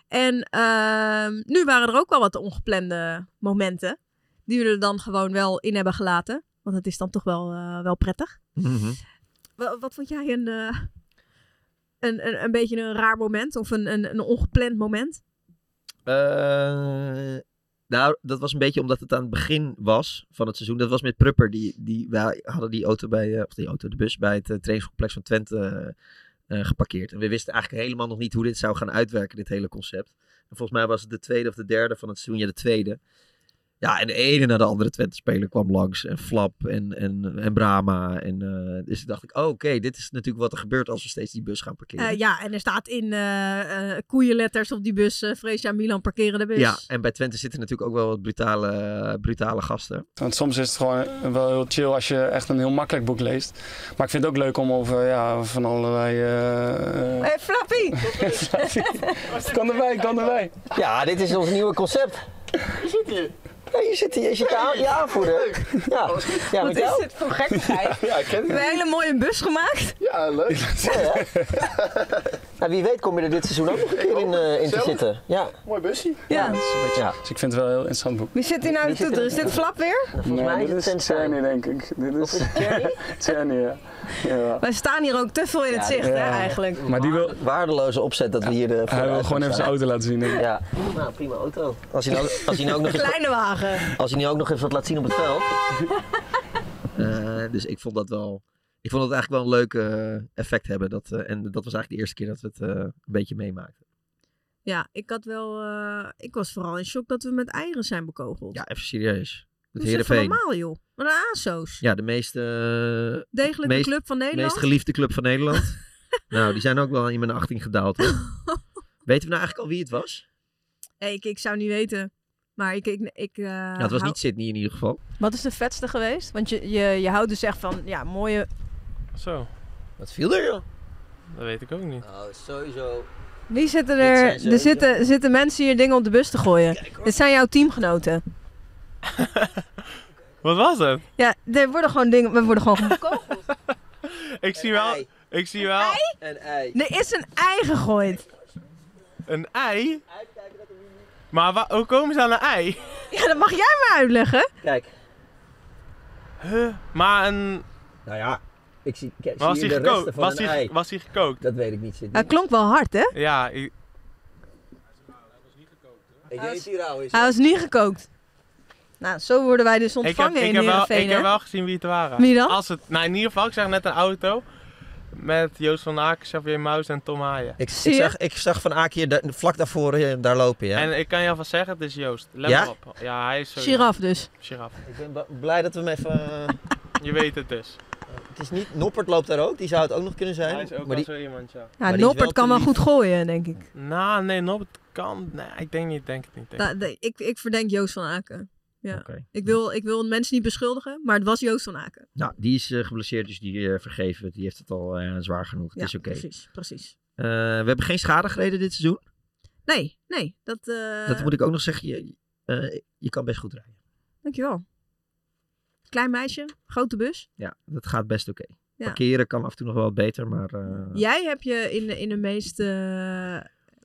Speaker 6: En ehm, nu waren er ook wel wat ongeplande momenten. Die we er dan gewoon wel in hebben gelaten. Want het is dan toch wel, eh, wel prettig.
Speaker 5: Mhm.
Speaker 6: Wa- wat vond jij een, eh, een, een, een beetje een raar moment? Of een, een, een ongepland moment?
Speaker 5: Eh, nou, dat was een beetje omdat het aan het begin was van het seizoen. Dat was met Prupper. Die, die, wij hadden die auto bij, eh, of die auto, de bus bij het eh, trainingscomplex van Twente eh, eh, geparkeerd. En we wisten eigenlijk helemaal nog niet hoe dit zou gaan uitwerken, dit hele concept. En volgens mij was het de tweede of de derde van het seizoen, ja de tweede. Ja, en de ene na de andere Twente-speler kwam langs. En Flap en, en, en Brama. En, eh, dus dacht ik, oh, oké, dit is natuurlijk wat er gebeurt als we steeds die bus gaan parkeren.
Speaker 6: Eh, ja, en er staat in eh, eh, koeienletters op die bus... eh Freesia Milan parkeren de bus.
Speaker 5: Ja, en bij Twente zitten natuurlijk ook wel wat brutale, brutale gasten.
Speaker 17: Want soms is het gewoon wel heel chill als je echt een heel makkelijk boek leest. Maar ik vind het ook leuk om over ja, van allerlei... eh, eh,
Speaker 6: Hey, Flappy!
Speaker 17: kan erbij, kan erbij.
Speaker 2: Ja, Ah, dit is ons nieuwe concept. Je zit hier. Ja, je zit hier. Je zit je, aan, je aanvoerder. Ja, ja
Speaker 6: Wat
Speaker 2: met
Speaker 6: is
Speaker 2: jou?
Speaker 6: dit voor gekkigheid?
Speaker 2: Ja, ik ken
Speaker 6: We
Speaker 2: het.
Speaker 6: hebben een hele mooie bus gemaakt.
Speaker 2: Ja, leuk. nou, wie weet kom je er dit seizoen ook nog een keer in, eh, in te
Speaker 17: Zelf?
Speaker 2: zitten. Ja.
Speaker 17: Mooi busje.
Speaker 6: Ja.
Speaker 17: Dus ik vind het wel een heel interessant boek.
Speaker 6: Wie zit hier nou te toeteren? Is dit Flap weer?
Speaker 17: Nee, dit is Tjerny, denk ik. Dit is Tjerny, ja. ja.
Speaker 6: Wij staan hier ook te veel in het
Speaker 2: Ja,
Speaker 6: zicht,
Speaker 2: ja.
Speaker 6: hè, eigenlijk.
Speaker 2: Maar die wil... Waardeloze opzet dat we hier... eh, De,
Speaker 17: Hij wil gewoon even zijn auto laten zien. denk ik.
Speaker 2: Ja. Nou, prima auto. Als hij nou, als hij nou ook nog eens-
Speaker 6: Kleine wagen.
Speaker 5: Als hij nu ook nog even wat laat zien op het veld. Eh, dus ik vond dat wel. Ik vond het eigenlijk wel een leuk eh, effect hebben. Dat, eh, en dat was eigenlijk de eerste keer dat we het eh, een beetje meemaakten.
Speaker 6: Ja, ik had wel... eh, ik was vooral in shock dat we met eieren zijn bekogeld.
Speaker 5: Ja, even serieus.
Speaker 6: Hoe
Speaker 5: Het
Speaker 6: is dat voor
Speaker 5: Heerenveen.
Speaker 6: normaal, joh? Wat een ASO's.
Speaker 5: Ja, de meest... eh,
Speaker 6: Degelijke
Speaker 5: meest-
Speaker 6: club van Nederland?
Speaker 5: meest geliefde club van Nederland. nou, die zijn ook wel in mijn achting gedaald. hoor. Weten we nou eigenlijk al wie het was?
Speaker 6: Hey, ik, ik zou niet weten. Maar ik... ik, ik eh,
Speaker 5: nou, het was
Speaker 6: hou-
Speaker 5: niet Sydney in ieder geval.
Speaker 6: Wat is de vetste geweest? Want je, je, je houdt dus echt van, ja, mooie...
Speaker 18: Zo.
Speaker 5: Wat viel er, joh?
Speaker 18: Dat weet ik ook niet.
Speaker 2: Oh, sowieso.
Speaker 6: Wie zitten er? Er zitten, zitten mensen hier dingen op de bus te gooien. Dit zijn jouw teamgenoten.
Speaker 18: Wat was het?
Speaker 6: Ja, er worden gewoon dingen... We worden gewoon...
Speaker 18: Ik zie wel... Ik zie wel...
Speaker 2: Een ei.
Speaker 6: er is een ei gegooid.
Speaker 18: Een ei? Maar wa- hoe komen ze aan een ei?
Speaker 6: Ja, dat mag jij maar uitleggen.
Speaker 18: Kijk. Huh? Maar een...
Speaker 5: Nou ja, ik zie...
Speaker 18: Maar was hij gekookt? Was die- was hij gekookt?
Speaker 5: Dat weet ik niet,
Speaker 6: Hij klonk wel hard, hè?
Speaker 18: Ja, ik-
Speaker 2: Ik weet hier al is.
Speaker 6: Hij was niet gekookt. Nou, zo worden wij dus
Speaker 18: ik heb,
Speaker 6: ontvangen
Speaker 18: ik,
Speaker 6: in
Speaker 18: heb wel,
Speaker 6: Heerenveen,
Speaker 18: ik heb
Speaker 6: hè?
Speaker 18: wel gezien wie het waren.
Speaker 6: Wie dan?
Speaker 18: Als het, nou, in ieder geval, ik zag net een auto. Met Joost van Aken, Xavier Mous en Tom Haaien.
Speaker 5: Ik, ik, zag, ik zag van Aak hier da- vlak daarvoor eh, daar lopen, ja.
Speaker 18: En ik kan je alvast zeggen, het is Joost. Let
Speaker 5: Ja?
Speaker 18: op. Ja, hij is zo.
Speaker 5: Giraf dus.
Speaker 18: Giraf.
Speaker 5: Ik ben ba- blij dat we hem even... eh,
Speaker 18: Je weet het dus.
Speaker 5: het is niet... Noppert loopt daar ook, die zou het ook nog kunnen zijn.
Speaker 18: Hij is ook
Speaker 5: maar
Speaker 18: wel
Speaker 5: die,
Speaker 18: zo iemand, ja.
Speaker 6: Ja, Noppert kan wel goed gooien, denk ik.
Speaker 18: Nou, nee, Noppert kan. Nee, ik denk niet, denk het niet. Denk
Speaker 6: Da-
Speaker 18: het
Speaker 6: da- Nou, ik, ik verdenk Joost van Aken. Ja.
Speaker 5: Oké.
Speaker 6: Ik, wil, ik wil mensen niet beschuldigen, maar het was Joost van Aken.
Speaker 5: Nou, die is eh, geblesseerd, dus die eh, vergeven. we. Die heeft het al eh, zwaar genoeg.
Speaker 6: Ja,
Speaker 5: het is oké.
Speaker 6: precies, precies.
Speaker 5: Eh, we hebben geen schade gereden dit seizoen.
Speaker 6: Nee, nee, dat... eh
Speaker 5: dat moet ik ook nog zeggen. Je, eh, je kan best goed rijden.
Speaker 6: Dankjewel. Klein meisje, grote bus.
Speaker 5: Ja, dat gaat best oké.
Speaker 6: Ja.
Speaker 5: Parkeren kan af en toe nog wel wat beter, maar... eh,
Speaker 6: Jij heb je in, de- in de meeste...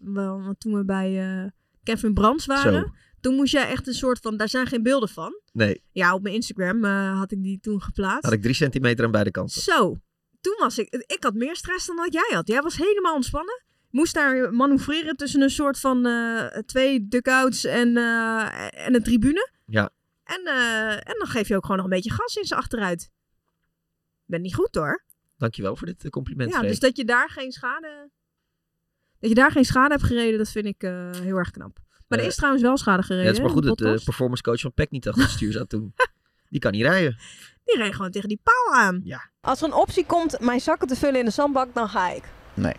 Speaker 6: wel, want toen we bij eh, Kevin Brands waren,
Speaker 5: Zo.
Speaker 6: toen moest jij echt een soort van... Daar zijn geen beelden van.
Speaker 5: Nee,
Speaker 6: Ja, op mijn Instagram eh, had ik die toen geplaatst.
Speaker 5: had ik drie centimeter aan beide kanten.
Speaker 6: Zo, toen was ik... Ik had meer stress dan wat jij had. Jij was helemaal ontspannen. Moest daar manoeuvreren tussen een soort van eh, twee dugouts en, eh, en een tribune.
Speaker 5: Ja,
Speaker 6: En, eh, en dan geef je ook gewoon nog een beetje gas in ze achteruit. Ben niet goed hoor.
Speaker 5: dankjewel voor dit eh, compliment,
Speaker 6: Ja,
Speaker 5: Freek.
Speaker 6: dus dat je daar geen schade. Dat je daar geen schade hebt gereden, dat vind ik eh, heel erg knap. Maar er
Speaker 5: Eh,
Speaker 6: is trouwens wel schade
Speaker 5: Ja,
Speaker 6: gereden.
Speaker 5: het is maar
Speaker 6: hè,
Speaker 5: goed
Speaker 6: die
Speaker 5: dat de
Speaker 6: Bottas.
Speaker 5: performance coach van PEC niet achter het stuur zat toen. Die kan niet rijden.
Speaker 6: Die reed gewoon tegen die paal aan. Als er een optie komt mijn zakken te vullen in de zandbak, dan ga ik.
Speaker 5: Nee.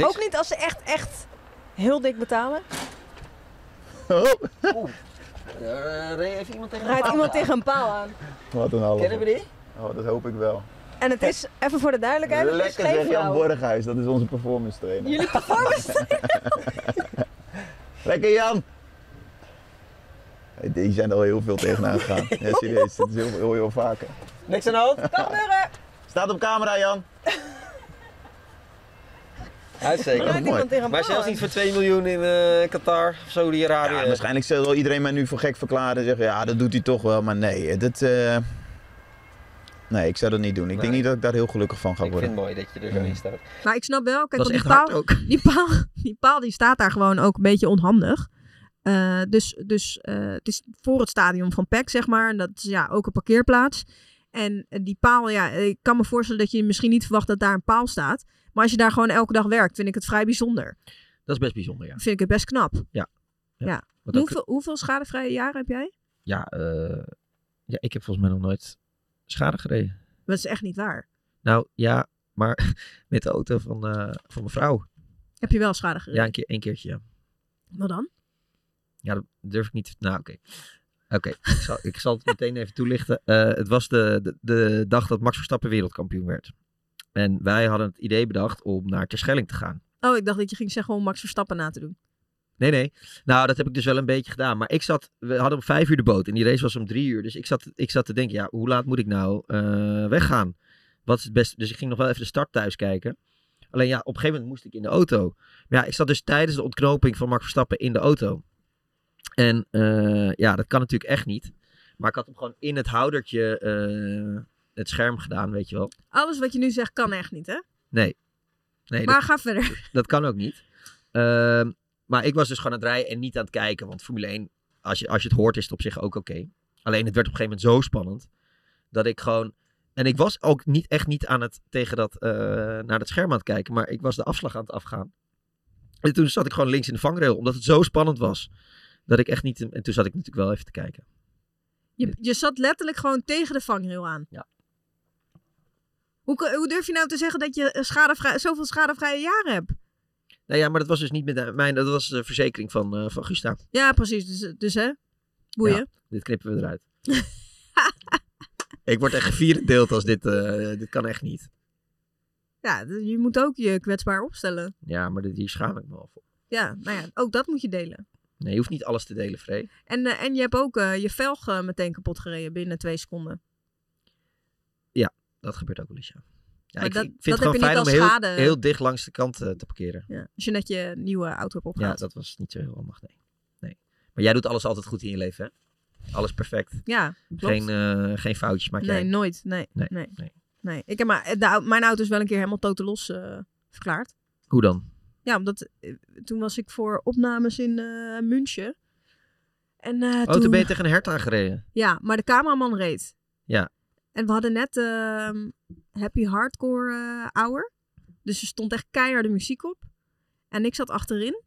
Speaker 6: Ook niet als ze echt, echt heel dik betalen.
Speaker 2: Oh. Er reed even iemand tegen
Speaker 6: Rijdt
Speaker 2: een
Speaker 6: iemand
Speaker 2: paal.
Speaker 6: tegen een paal aan.
Speaker 19: Wat een halve.
Speaker 2: Kennen we die?
Speaker 19: Oh, dat hoop ik wel.
Speaker 6: En het is, even voor de duidelijkheid, het is
Speaker 19: Lekker
Speaker 6: geen
Speaker 19: zeg Jan
Speaker 6: vrouw.
Speaker 19: Borghuis, dat is onze performance trainer.
Speaker 6: Jullie performance.
Speaker 19: Lekker Jan! Hey, Die zijn er al heel veel tegenaan gegaan. Ja, serieus, dat is heel, heel, heel vaker.
Speaker 2: Niks aan de hand?
Speaker 19: Kan gebeuren! Staat op camera Jan!
Speaker 6: Rijdt
Speaker 19: Mooi.
Speaker 6: iemand tegen een
Speaker 19: Maar
Speaker 6: paal
Speaker 19: zelfs
Speaker 6: aan.
Speaker 19: niet
Speaker 5: Voor 2 miljoen in eh, Qatar of Saudi-Arabië.
Speaker 19: Ja, waarschijnlijk zal iedereen mij nu voor gek verklaren en zeggen, ja, dat doet hij toch wel. Maar nee, dat, eh, nee ik zou dat niet doen. Ik denk niet dat ik daar heel gelukkig van ga
Speaker 5: Ik
Speaker 19: worden.
Speaker 5: vind het mooi dat je er zo in staat.
Speaker 6: Maar ik snap wel, kijk,
Speaker 19: Dat
Speaker 6: want
Speaker 19: is
Speaker 6: die
Speaker 19: echt
Speaker 6: paal, die, paal, die paal die staat daar gewoon ook een beetje onhandig. Eh, dus dus eh, het is voor het stadion van PEC, zeg maar. En dat is ja, ook een parkeerplaats. En eh, die paal, ja, ik kan me voorstellen dat je misschien niet verwacht dat daar een paal staat. Maar als je daar gewoon elke dag werkt, vind ik het vrij bijzonder.
Speaker 5: Dat is best bijzonder, ja.
Speaker 6: Vind ik het best knap.
Speaker 5: Ja.
Speaker 6: Ja.
Speaker 5: Wat ook-
Speaker 6: Hoeveel, hoeveel schadevrije jaren heb jij?
Speaker 5: Ja, eh, ja, ik heb volgens mij nog nooit schade gereden.
Speaker 6: Dat is echt niet waar.
Speaker 5: Nou ja, maar met de auto van, eh, van mijn vrouw.
Speaker 6: Heb je wel schade gereden?
Speaker 5: Ja, een, keer, een keertje. Ja.
Speaker 6: Wat dan?
Speaker 5: Ja, dat durf ik niet. te- Nou, oké. Oké, ik, zal, ik zal het meteen even toelichten. Eh, het was de, de, de dag dat Max Verstappen wereldkampioen werd. En wij hadden het idee bedacht om naar Terschelling te gaan.
Speaker 6: Oh, ik dacht dat je ging zeggen om Max Verstappen na te doen.
Speaker 5: Nee, nee. Nou, dat heb ik dus wel een beetje gedaan. Maar ik zat, we hadden om vijf uur de boot en die race was om drie uur. Dus ik zat, ik zat te denken, ja, hoe laat moet ik nou eh, weggaan? Wat is het beste? Dus ik ging nog wel even de start thuis kijken. Alleen ja, op een gegeven moment moest ik in de auto. Maar ja, ik zat dus tijdens de ontknoping van Max Verstappen in de auto. En eh, ja, dat kan natuurlijk echt niet. Maar ik had hem gewoon in het houdertje eh, het scherm gedaan, weet je wel.
Speaker 6: Alles wat je nu zegt kan echt niet, hè?
Speaker 5: Nee. nee
Speaker 6: Maar
Speaker 5: dat-
Speaker 6: ga verder.
Speaker 5: Dat kan ook niet. Ehm, maar ik was dus gewoon aan het rijden en niet aan het kijken. Want Formule 1, als je, als je het hoort, is het op zich ook oké. Alleen het werd op een gegeven moment zo spannend. Dat ik gewoon. En ik was ook niet, echt niet aan het tegen dat, eh, naar dat scherm aan het kijken. Maar ik was de afslag aan het afgaan. En toen zat ik gewoon links in de vangrail. Omdat het zo spannend was. Dat ik echt niet. En toen zat ik natuurlijk wel even te kijken.
Speaker 6: Je, je zat letterlijk gewoon tegen de vangrail aan.
Speaker 5: Ja.
Speaker 6: Hoe, kun- hoe durf je nou te zeggen dat je eh, schadevrij, zoveel schadevrije jaren hebt?
Speaker 5: Nou ja, maar dat was dus niet met mijn. Dat was de verzekering van, eh, van Gusta.
Speaker 6: Ja, precies. Dus, dus hè? Boeien.
Speaker 5: Ja, dit knippen we eruit. ik word echt gevierendeeld als dit. eh, dit kan echt niet.
Speaker 6: Ja, d- je moet ook je kwetsbaar opstellen.
Speaker 5: Ja, maar dit, hier schaam ik me al voor.
Speaker 6: Ja, nou ja, ook dat moet je delen.
Speaker 5: Nee, je hoeft niet alles te delen, Free.
Speaker 6: En, eh, en je hebt ook eh, je velg eh, meteen kapot gereden binnen twee seconden.
Speaker 5: Ja, dat gebeurt ook wel eens, ja. ja
Speaker 6: Maar
Speaker 5: ik
Speaker 6: dat-
Speaker 5: vind- ik vind
Speaker 6: dat
Speaker 5: het
Speaker 6: heb je
Speaker 5: gewoon fijn
Speaker 6: niet
Speaker 5: om
Speaker 6: als
Speaker 5: heel,
Speaker 6: schade.
Speaker 5: heel dicht langs de kant eh, te parkeren.
Speaker 6: Ja, als je net je nieuwe auto hebt
Speaker 5: Ja,
Speaker 6: opgehaald.
Speaker 5: dat was niet zo heel handig, nee. nee. Maar jij doet alles altijd goed in je leven, hè? Alles perfect.
Speaker 6: Ja, klopt.
Speaker 5: Geen, eh, geen foutjes maak jij.
Speaker 6: Nee, nooit. Nee,
Speaker 5: Nee,
Speaker 6: nee, nee. Ik heb maar, de au- mijn auto is wel een keer helemaal totaal los eh, verklaard.
Speaker 5: Hoe dan?
Speaker 6: Ja, omdat eh, toen was ik voor opnames in eh, München. En, eh,
Speaker 5: oh, toen ben je tegen een hert aangereden.
Speaker 6: Ja, maar de cameraman reed.
Speaker 5: Ja.
Speaker 6: En we hadden net ehm, Happy Hardcore eh Hour. Dus er stond echt keiharde muziek op. En ik zat achterin.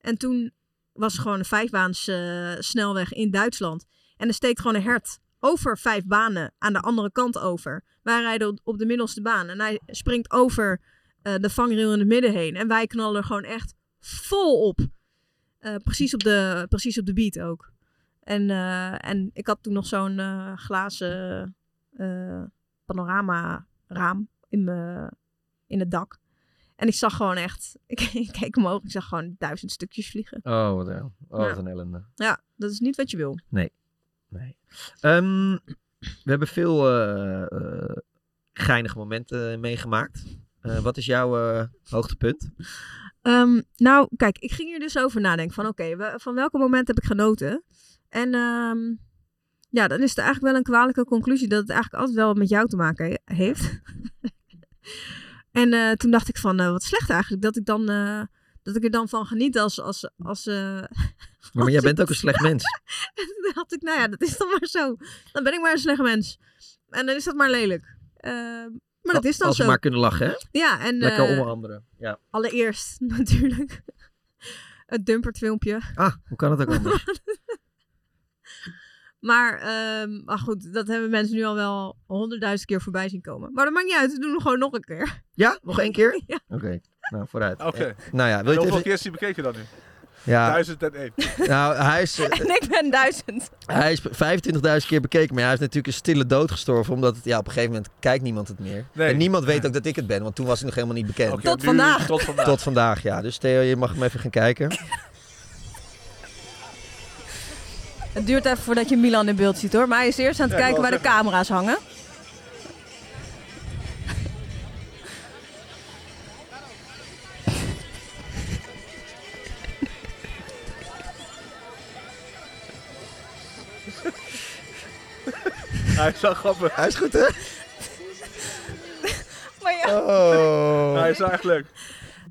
Speaker 6: En toen was er gewoon een vijfbaans eh, snelweg in Duitsland. En er steekt gewoon een hert over vijf banen aan de andere kant over. Wij rijden op- op de middelste baan. En hij springt over eh, de vangrail in het midden heen. En wij knallen er gewoon echt vol op. Eh, precies, op de, precies op de beat ook. En, eh, en ik had toen nog zo'n eh, glazen eh panorama-raam in, mijn- in het dak. En ik zag gewoon echt, ik, ik keek omhoog, ik zag gewoon duizend stukjes vliegen.
Speaker 5: Oh, wat, een- oh,
Speaker 6: Ja.
Speaker 5: wat een ellende.
Speaker 6: Ja, dat is niet wat je wil.
Speaker 5: Nee. nee. Ehm, we hebben veel eh, eh, geinige momenten meegemaakt. Eh, wat is jouw eh, hoogtepunt?
Speaker 6: Ehm, nou, kijk, ik ging hier dus over nadenken van oké, we- van welke moment heb ik genoten? En ehm, ja, dan is het eigenlijk wel een kwalijke conclusie dat het eigenlijk altijd wel met jou te maken he- heeft. en eh, toen dacht ik van eh, wat slecht eigenlijk dat ik dan eh, dat ik er dan van geniet als als als. eh,
Speaker 5: Ja, maar jij bent ook een slecht mens.
Speaker 6: toen dacht ik, nou ja, dat is dan maar zo. Dan ben ik maar een slecht mens. En dan is dat maar lelijk. Ehm, maar dat is dan
Speaker 5: Als
Speaker 6: zo.
Speaker 5: we maar kunnen lachen, hè?
Speaker 6: Ja, en...
Speaker 5: Lekker
Speaker 6: eh,
Speaker 5: om anderen. Ja.
Speaker 6: Allereerst natuurlijk het dumpertfilmpje.
Speaker 5: Ah, hoe kan het ook anders?
Speaker 6: maar, ehm, maar goed, dat hebben mensen nu al wel honderdduizend keer voorbij zien komen. Maar dat maakt niet uit, we doen hem gewoon nog een keer.
Speaker 5: Ja, nog één keer?
Speaker 6: Ja.
Speaker 5: Oké, nou vooruit.
Speaker 20: Oké.
Speaker 5: Eh, nou ja, wil je het
Speaker 20: Hoeveel
Speaker 5: even-
Speaker 20: keer is die bekeken dan nu?
Speaker 5: Ja.
Speaker 20: 1001.
Speaker 5: Nou, hij is, eh,
Speaker 6: en ik ben duizend.
Speaker 5: hij is 25.000 keer bekeken, maar hij is natuurlijk een stille dood gestorven. Omdat het, ja, op een gegeven moment kijkt niemand het meer.
Speaker 20: Nee.
Speaker 5: En niemand weet ook dat ik het ben, want toen was ik nog helemaal niet bekend.
Speaker 20: Oké, Tot nu- vandaag. tot vandaag.
Speaker 5: Tot vandaag, ja. Dus Theo, je mag hem even gaan kijken.
Speaker 6: Het duurt even voordat je Milan in beeld ziet hoor. Maar hij is eerst aan het
Speaker 21: Ja, ik
Speaker 6: kijken waar
Speaker 21: wou
Speaker 6: de camera's hangen.
Speaker 20: Hij is wel grappig.
Speaker 5: Hij is goed, hè?
Speaker 6: Maar ja.
Speaker 5: Oh.
Speaker 20: Hij is wel echt leuk.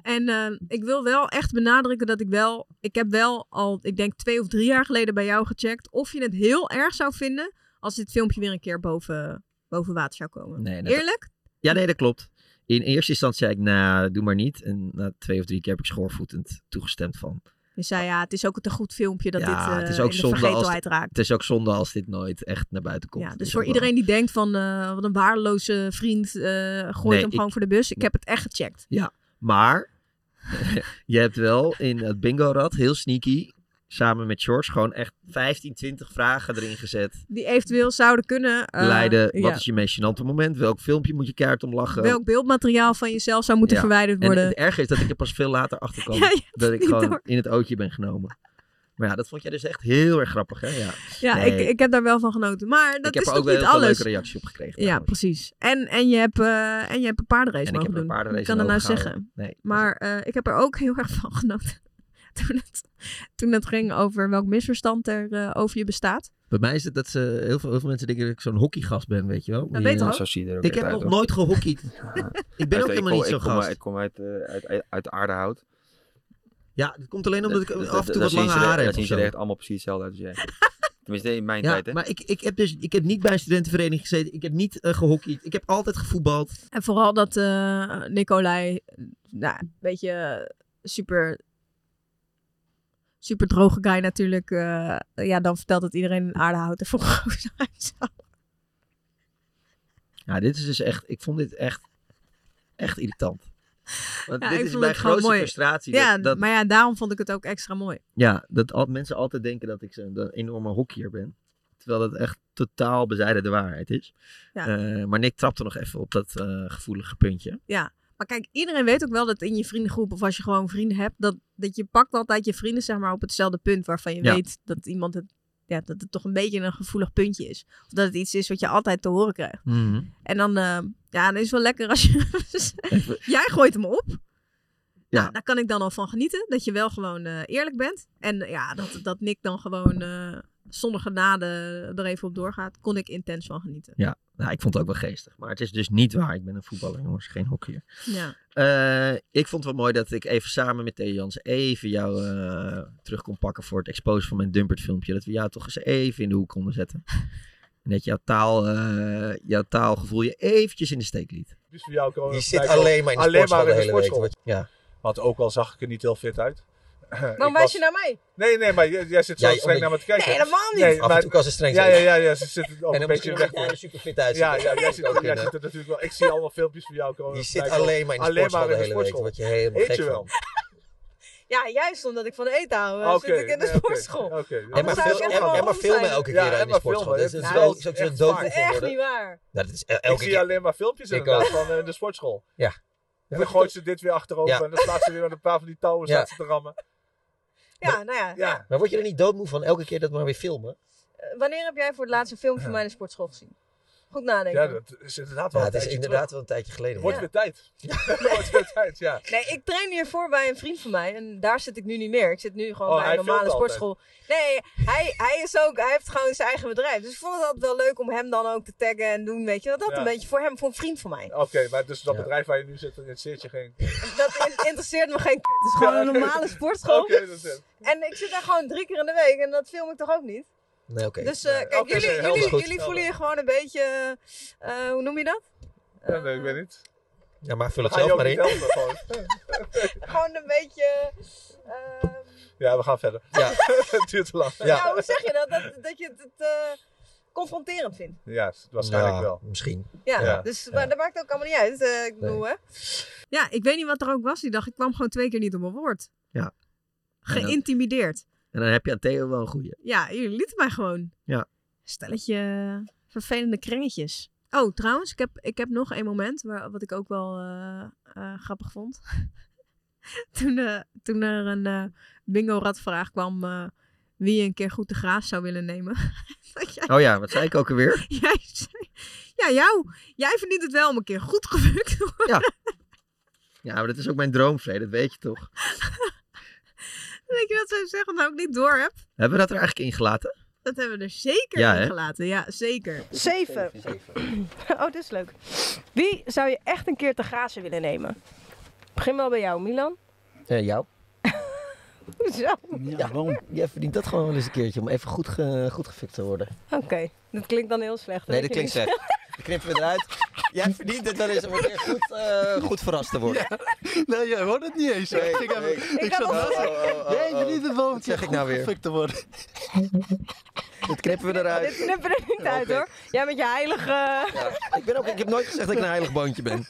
Speaker 6: En eh, ik wil wel echt benadrukken dat ik wel. Ik heb wel al, ik denk twee of drie jaar geleden bij jou gecheckt. of je het heel erg zou vinden. als dit filmpje weer een keer boven, boven water zou komen.
Speaker 5: Nee, dat-
Speaker 6: Eerlijk?
Speaker 5: Ja, nee, dat klopt. In eerste instantie zei ik, nou, doe maar niet. En na twee of drie keer heb ik schoorvoetend toegestemd van,
Speaker 6: Je zei ja, het is ook een goed filmpje dat dit
Speaker 5: ja,
Speaker 6: eh,
Speaker 5: het is ook
Speaker 6: in de
Speaker 5: zonde als,
Speaker 6: vergetelheid raakt.
Speaker 5: het is ook zonde als dit nooit echt naar buiten komt.
Speaker 6: Ja,
Speaker 5: Het
Speaker 6: dus
Speaker 5: is
Speaker 6: voor
Speaker 5: ook wel-
Speaker 6: iedereen die denkt van eh, wat een waardeloze vriend eh, gooit
Speaker 5: Nee,
Speaker 6: hem
Speaker 5: ik-
Speaker 6: gewoon voor de bus. Ik heb het echt gecheckt.
Speaker 5: Ja, maar je hebt wel in het bingo-rad heel sneaky samen met George gewoon echt 15, 20 vragen erin gezet.
Speaker 6: Die eventueel zouden kunnen eh,
Speaker 5: Leiden, wat
Speaker 6: ja.
Speaker 5: is je meest gênante moment? Welk filmpje moet je keihard om lachen?
Speaker 6: welk beeldmateriaal van jezelf zou moeten
Speaker 5: Ja.
Speaker 6: verwijderd worden.
Speaker 5: En het erge is dat ik er pas veel later achter kwam.
Speaker 6: Ja, je hebt
Speaker 5: dat
Speaker 6: het
Speaker 5: ik
Speaker 6: niet
Speaker 5: gewoon
Speaker 6: door.
Speaker 5: in het ootje ben genomen. Maar ja, dat vond jij dus echt heel erg grappig, hè? Ja,
Speaker 6: Ja,
Speaker 5: Nee,
Speaker 6: ik, ik heb daar wel van genoten. Maar dat
Speaker 5: ik heb
Speaker 6: is
Speaker 5: er
Speaker 6: nog
Speaker 5: ook wel
Speaker 6: niet
Speaker 5: heel veel
Speaker 6: alles.
Speaker 5: leuke reacties op gekregen.
Speaker 6: Ja, precies. En, en, je hebt, eh, en je hebt een paardenrace
Speaker 5: En ik
Speaker 6: mogen
Speaker 5: heb een
Speaker 6: doen.
Speaker 5: paardenrace
Speaker 6: ik kan dat nou
Speaker 5: mogen
Speaker 6: zeggen.
Speaker 5: houden. Nee, dat
Speaker 6: maar eh, ik heb er ook heel erg van genoten. toen, het, toen het ging over welk misverstand er eh, over je bestaat.
Speaker 5: Bij mij is het dat ze heel veel, heel veel mensen denken dat ik zo'n hockeygast ben, weet je wel. Die,
Speaker 6: weet ik
Speaker 5: eh,
Speaker 6: ook.
Speaker 15: Zo zie je er ook
Speaker 5: ik
Speaker 15: echt
Speaker 5: heb
Speaker 15: uit,
Speaker 5: nog
Speaker 15: hoor.
Speaker 5: nooit gehockeyd. ik ben ook
Speaker 16: Luister,
Speaker 5: helemaal
Speaker 16: kom-
Speaker 5: niet zo'n
Speaker 16: ik kom-
Speaker 5: gast.
Speaker 16: Ik kom uit, eh, uit, uit, uit aardehout.
Speaker 5: Ja, dat komt alleen omdat ik
Speaker 16: Dat- dat-
Speaker 5: af en toe
Speaker 16: dat
Speaker 5: wat
Speaker 16: zien
Speaker 5: lange
Speaker 16: ze er-
Speaker 5: haren heb.
Speaker 16: Dat zien
Speaker 5: of
Speaker 16: ze er
Speaker 5: zo.
Speaker 16: echt allemaal precies hetzelfde uit als jij. Tenminste, in mijn
Speaker 5: Ja,
Speaker 16: tijd, hè.
Speaker 5: maar ik, ik heb dus ik heb niet bij een studentenvereniging gezeten. Ik heb niet eh, gehockeyd. Ik heb altijd gevoetbald.
Speaker 6: En vooral dat eh, Nicolai eh, nou, een beetje eh, super, super droge guy natuurlijk. eh, ja, dan vertelt dat iedereen een aardehout voor gozer hij zou.
Speaker 5: Ja, dit is dus echt. Ik vond dit echt, echt irritant. Want
Speaker 6: Ja, ik
Speaker 5: dit is
Speaker 6: vond
Speaker 5: mijn
Speaker 6: het gewoon
Speaker 5: grootste
Speaker 6: mooi.
Speaker 5: frustratie.
Speaker 6: Ja,
Speaker 5: dat, dat,
Speaker 6: maar ja, daarom vond ik het ook extra mooi.
Speaker 5: ja, dat al, mensen altijd denken dat ik zo'n een enorme hockeyer ben. Terwijl dat echt totaal bezijden de waarheid is.
Speaker 6: Ja.
Speaker 5: Eh, maar Nick trapte nog even op dat eh, gevoelige puntje.
Speaker 6: Ja, maar kijk, iedereen weet ook wel dat in je vriendengroep of als je gewoon vrienden hebt, dat, dat je pakt altijd je vrienden zeg maar op hetzelfde punt waarvan je
Speaker 5: Ja.
Speaker 6: weet dat iemand het, ja, dat het toch een beetje een gevoelig puntje is. Of dat het iets is wat je altijd te horen krijgt.
Speaker 5: Mhm.
Speaker 6: En dan, eh, ja, dan is het wel lekker als je, jij gooit hem op.
Speaker 5: Ja.
Speaker 6: Nou, daar kan ik dan al van genieten, dat je wel gewoon eh, eerlijk bent. En eh, ja, dat, dat Nick dan gewoon eh, zonder genade er even op doorgaat, kon ik intens van genieten.
Speaker 5: Ja, nou, ik vond het ook wel geestig. Maar het is dus niet waar. Ik ben een voetballer, jongens, geen hockeyer.
Speaker 6: Ja.
Speaker 5: Eh, ik vond het wel mooi dat ik even samen met Theo Jans even jou eh, terug kon pakken voor het expose van mijn Dumpert filmpje. Dat we jou toch eens even in de hoek konden zetten. En dat jouw, taal, eh, jouw taalgevoel je eventjes in de steek liet.
Speaker 21: Dus voor jou komen
Speaker 5: Je
Speaker 21: we
Speaker 5: zit
Speaker 21: blijkbaar
Speaker 5: alleen maar in de sportschool de hele week, Ja.
Speaker 21: Want ook al zag ik er niet heel fit uit.
Speaker 4: Waarom wijs je naar mij?
Speaker 21: Nee, nee, maar jij, jij zit zo
Speaker 4: Ja,
Speaker 21: streng
Speaker 4: omdat-
Speaker 21: naar me te kijken.
Speaker 4: Nee, helemaal niet. Af en toe
Speaker 21: kan
Speaker 4: kan ze streng
Speaker 21: ja,
Speaker 4: zijn.
Speaker 21: Ja, ja, ja, ze zitten ook
Speaker 4: dan
Speaker 21: een
Speaker 4: misschien
Speaker 21: beetje
Speaker 4: omdat
Speaker 21: weg.
Speaker 4: jij er superfit uitziet.
Speaker 21: Ja, ja,
Speaker 4: Dat
Speaker 21: jij
Speaker 4: zou
Speaker 21: zit,
Speaker 4: ook
Speaker 21: jij
Speaker 4: kunnen.
Speaker 21: zit er natuurlijk wel. Ik zie allemaal filmpjes van jou komen.
Speaker 4: Je zit
Speaker 21: kijken.
Speaker 4: alleen maar in de sportschool de hele week, wat je helemaal
Speaker 21: Heet
Speaker 4: gek
Speaker 21: je wel.
Speaker 4: Ja, juist omdat ik van eten hou,
Speaker 21: Oké,
Speaker 4: eh, zit ik in de
Speaker 21: nee, oké,
Speaker 4: sportschool.
Speaker 21: oké.
Speaker 4: Anders
Speaker 21: Emma
Speaker 4: zou ik
Speaker 21: film-
Speaker 4: echt
Speaker 21: Emma-
Speaker 4: wel
Speaker 21: Emma
Speaker 4: rond
Speaker 21: filmen
Speaker 4: zijn.
Speaker 21: elke keer Ja, aan die Emma sportschool.
Speaker 22: Dus
Speaker 21: filmen, Dat is- dat is wel-
Speaker 4: is
Speaker 21: dat is
Speaker 4: echt
Speaker 21: een dooddoel
Speaker 4: waar.
Speaker 21: voor
Speaker 4: Echt
Speaker 21: worden.
Speaker 4: niet waar.
Speaker 22: Nou,
Speaker 21: Dat is ik elke zie keer- alleen maar filmpjes Ik inderdaad ook. van eh, de sportschool. Ja. En dan gooit ze dit weer achterover en dan slaat ze weer aan een paar van die touwen
Speaker 22: Ja.
Speaker 21: staat ze te rammen.
Speaker 4: Ja, nou ja. ja.
Speaker 22: Maar word je er niet doodmoe van elke keer dat maar weer filmen?
Speaker 4: Eh, Wanneer heb jij voor het laatst een filmpje van mij in de sportschool gezien? Goed nadenken.
Speaker 21: Ja, dat is inderdaad wel
Speaker 22: Ja,
Speaker 21: een
Speaker 22: het is
Speaker 21: tijdje
Speaker 22: inderdaad
Speaker 21: terug.
Speaker 22: wel een tijdje geleden.
Speaker 21: Wordt
Speaker 22: ja.
Speaker 21: weer tijd. Wordt weer tijd, ja.
Speaker 4: Nee, ik train hiervoor bij een vriend van mij. En daar zit ik nu niet meer. Ik zit nu gewoon
Speaker 21: Oh,
Speaker 4: bij
Speaker 21: hij
Speaker 4: een normale
Speaker 21: filmt altijd.
Speaker 4: sportschool. Nee, hij, hij, is ook, hij heeft gewoon zijn eigen bedrijf. Dus ik vond het altijd wel leuk om hem dan ook te taggen en doen. Weet je, dat dat
Speaker 21: Ja.
Speaker 4: een beetje voor hem, voor een vriend van mij.
Speaker 21: Oké, maar dus dat bedrijf waar je nu zit, dat interesseert je geen...
Speaker 4: Dat in- interesseert me geen k. Het is gewoon een normale sportschool.
Speaker 21: Oké, dat is het.
Speaker 4: En ik zit daar gewoon drie keer in de week. En dat film ik toch ook niet?
Speaker 22: Nee, oké.
Speaker 4: Dus eh, kijk,
Speaker 21: oké,
Speaker 4: jullie,
Speaker 21: helder.
Speaker 4: jullie,
Speaker 21: Goed.
Speaker 4: jullie voelen je gewoon een beetje... eh, hoe noem je dat?
Speaker 21: Ja, nee, ik weet niet.
Speaker 22: Ja, maar vul
Speaker 21: We
Speaker 22: het
Speaker 21: gaan je
Speaker 22: zelf
Speaker 21: ook
Speaker 22: maar
Speaker 21: niet
Speaker 22: in.
Speaker 21: helpen, gewoon.
Speaker 4: Gewoon een beetje... eh,
Speaker 21: Ja, we gaan verder.
Speaker 22: Ja.
Speaker 21: het duurt te lang.
Speaker 4: ja. hoe zeg je dat? Dat, dat je het, het, eh, confronterend vindt.
Speaker 21: Ja, waarschijnlijk
Speaker 22: Ja,
Speaker 21: wel.
Speaker 22: Misschien.
Speaker 4: Ja, dus maar dat maakt ook allemaal niet uit. eh, ik bedoel, hè?
Speaker 6: Ja, ik weet niet wat er ook was die dag. Ik kwam gewoon twee keer niet op mijn woord.
Speaker 5: Ja. En dan,
Speaker 6: Geïntimideerd.
Speaker 5: en dan heb je aan Theo wel een goeie.
Speaker 6: Ja, jullie lieten mij gewoon.
Speaker 5: Ja.
Speaker 6: Stelletje vervelende kringetjes. Oh, trouwens, ik heb, ik heb nog één moment waar, wat ik ook wel eh, eh, grappig vond. toen, eh, toen er een eh bingo-radvraag kwam eh, wie een keer goed de graas zou willen nemen. Dat jij-
Speaker 5: Oh ja, wat zei ik ook alweer?
Speaker 6: Jij zei- ja, jou. Jij verdient het wel om een keer goed gebukt te worden.
Speaker 5: Ja, maar dat is ook mijn droomvrede, dat weet je toch?
Speaker 6: Weet je dat ze zeggen, nou ik niet door heb?
Speaker 5: Hebben we dat er eigenlijk ingelaten?
Speaker 6: Dat hebben we er zeker
Speaker 5: Ja,
Speaker 6: in
Speaker 5: hè?
Speaker 6: gelaten. Ja, zeker.
Speaker 4: Zeven. Oh, dit is leuk. Wie zou je echt een keer te grazen willen nemen? Begin wel bij jou, Milan.
Speaker 22: Eh, jou?
Speaker 4: Hoezo?
Speaker 22: Ja, waarom? Jij verdient dat gewoon wel eens een keertje om even goed, ge, goed gefikt te worden.
Speaker 4: Oké, dat klinkt dan heel slecht.
Speaker 22: Nee,
Speaker 4: weet
Speaker 22: dat
Speaker 4: je
Speaker 22: klinkt
Speaker 4: niet.
Speaker 22: slecht. Dat knippen we eruit. Jij verdient het wel eens om een keer goed, eh, goed verrast te worden.
Speaker 14: Nee, jij hoort het niet eens. hè.
Speaker 22: Nee,
Speaker 14: ik, heb,
Speaker 22: nee.
Speaker 14: ik,
Speaker 22: Ik
Speaker 14: zat
Speaker 22: heb
Speaker 14: naast-
Speaker 22: al- oh, oh, oh,
Speaker 14: Jij verdient het wel om
Speaker 22: zeg ik nou weer?
Speaker 14: gefikt te worden.
Speaker 22: Dat knippen we
Speaker 6: Dit
Speaker 22: eruit.
Speaker 6: knippen er niet uit
Speaker 22: Oké.
Speaker 6: hoor. Jij met je heilige...
Speaker 22: Ik, ben ook, ik heb nooit gezegd dat ik een heilig boontje ben.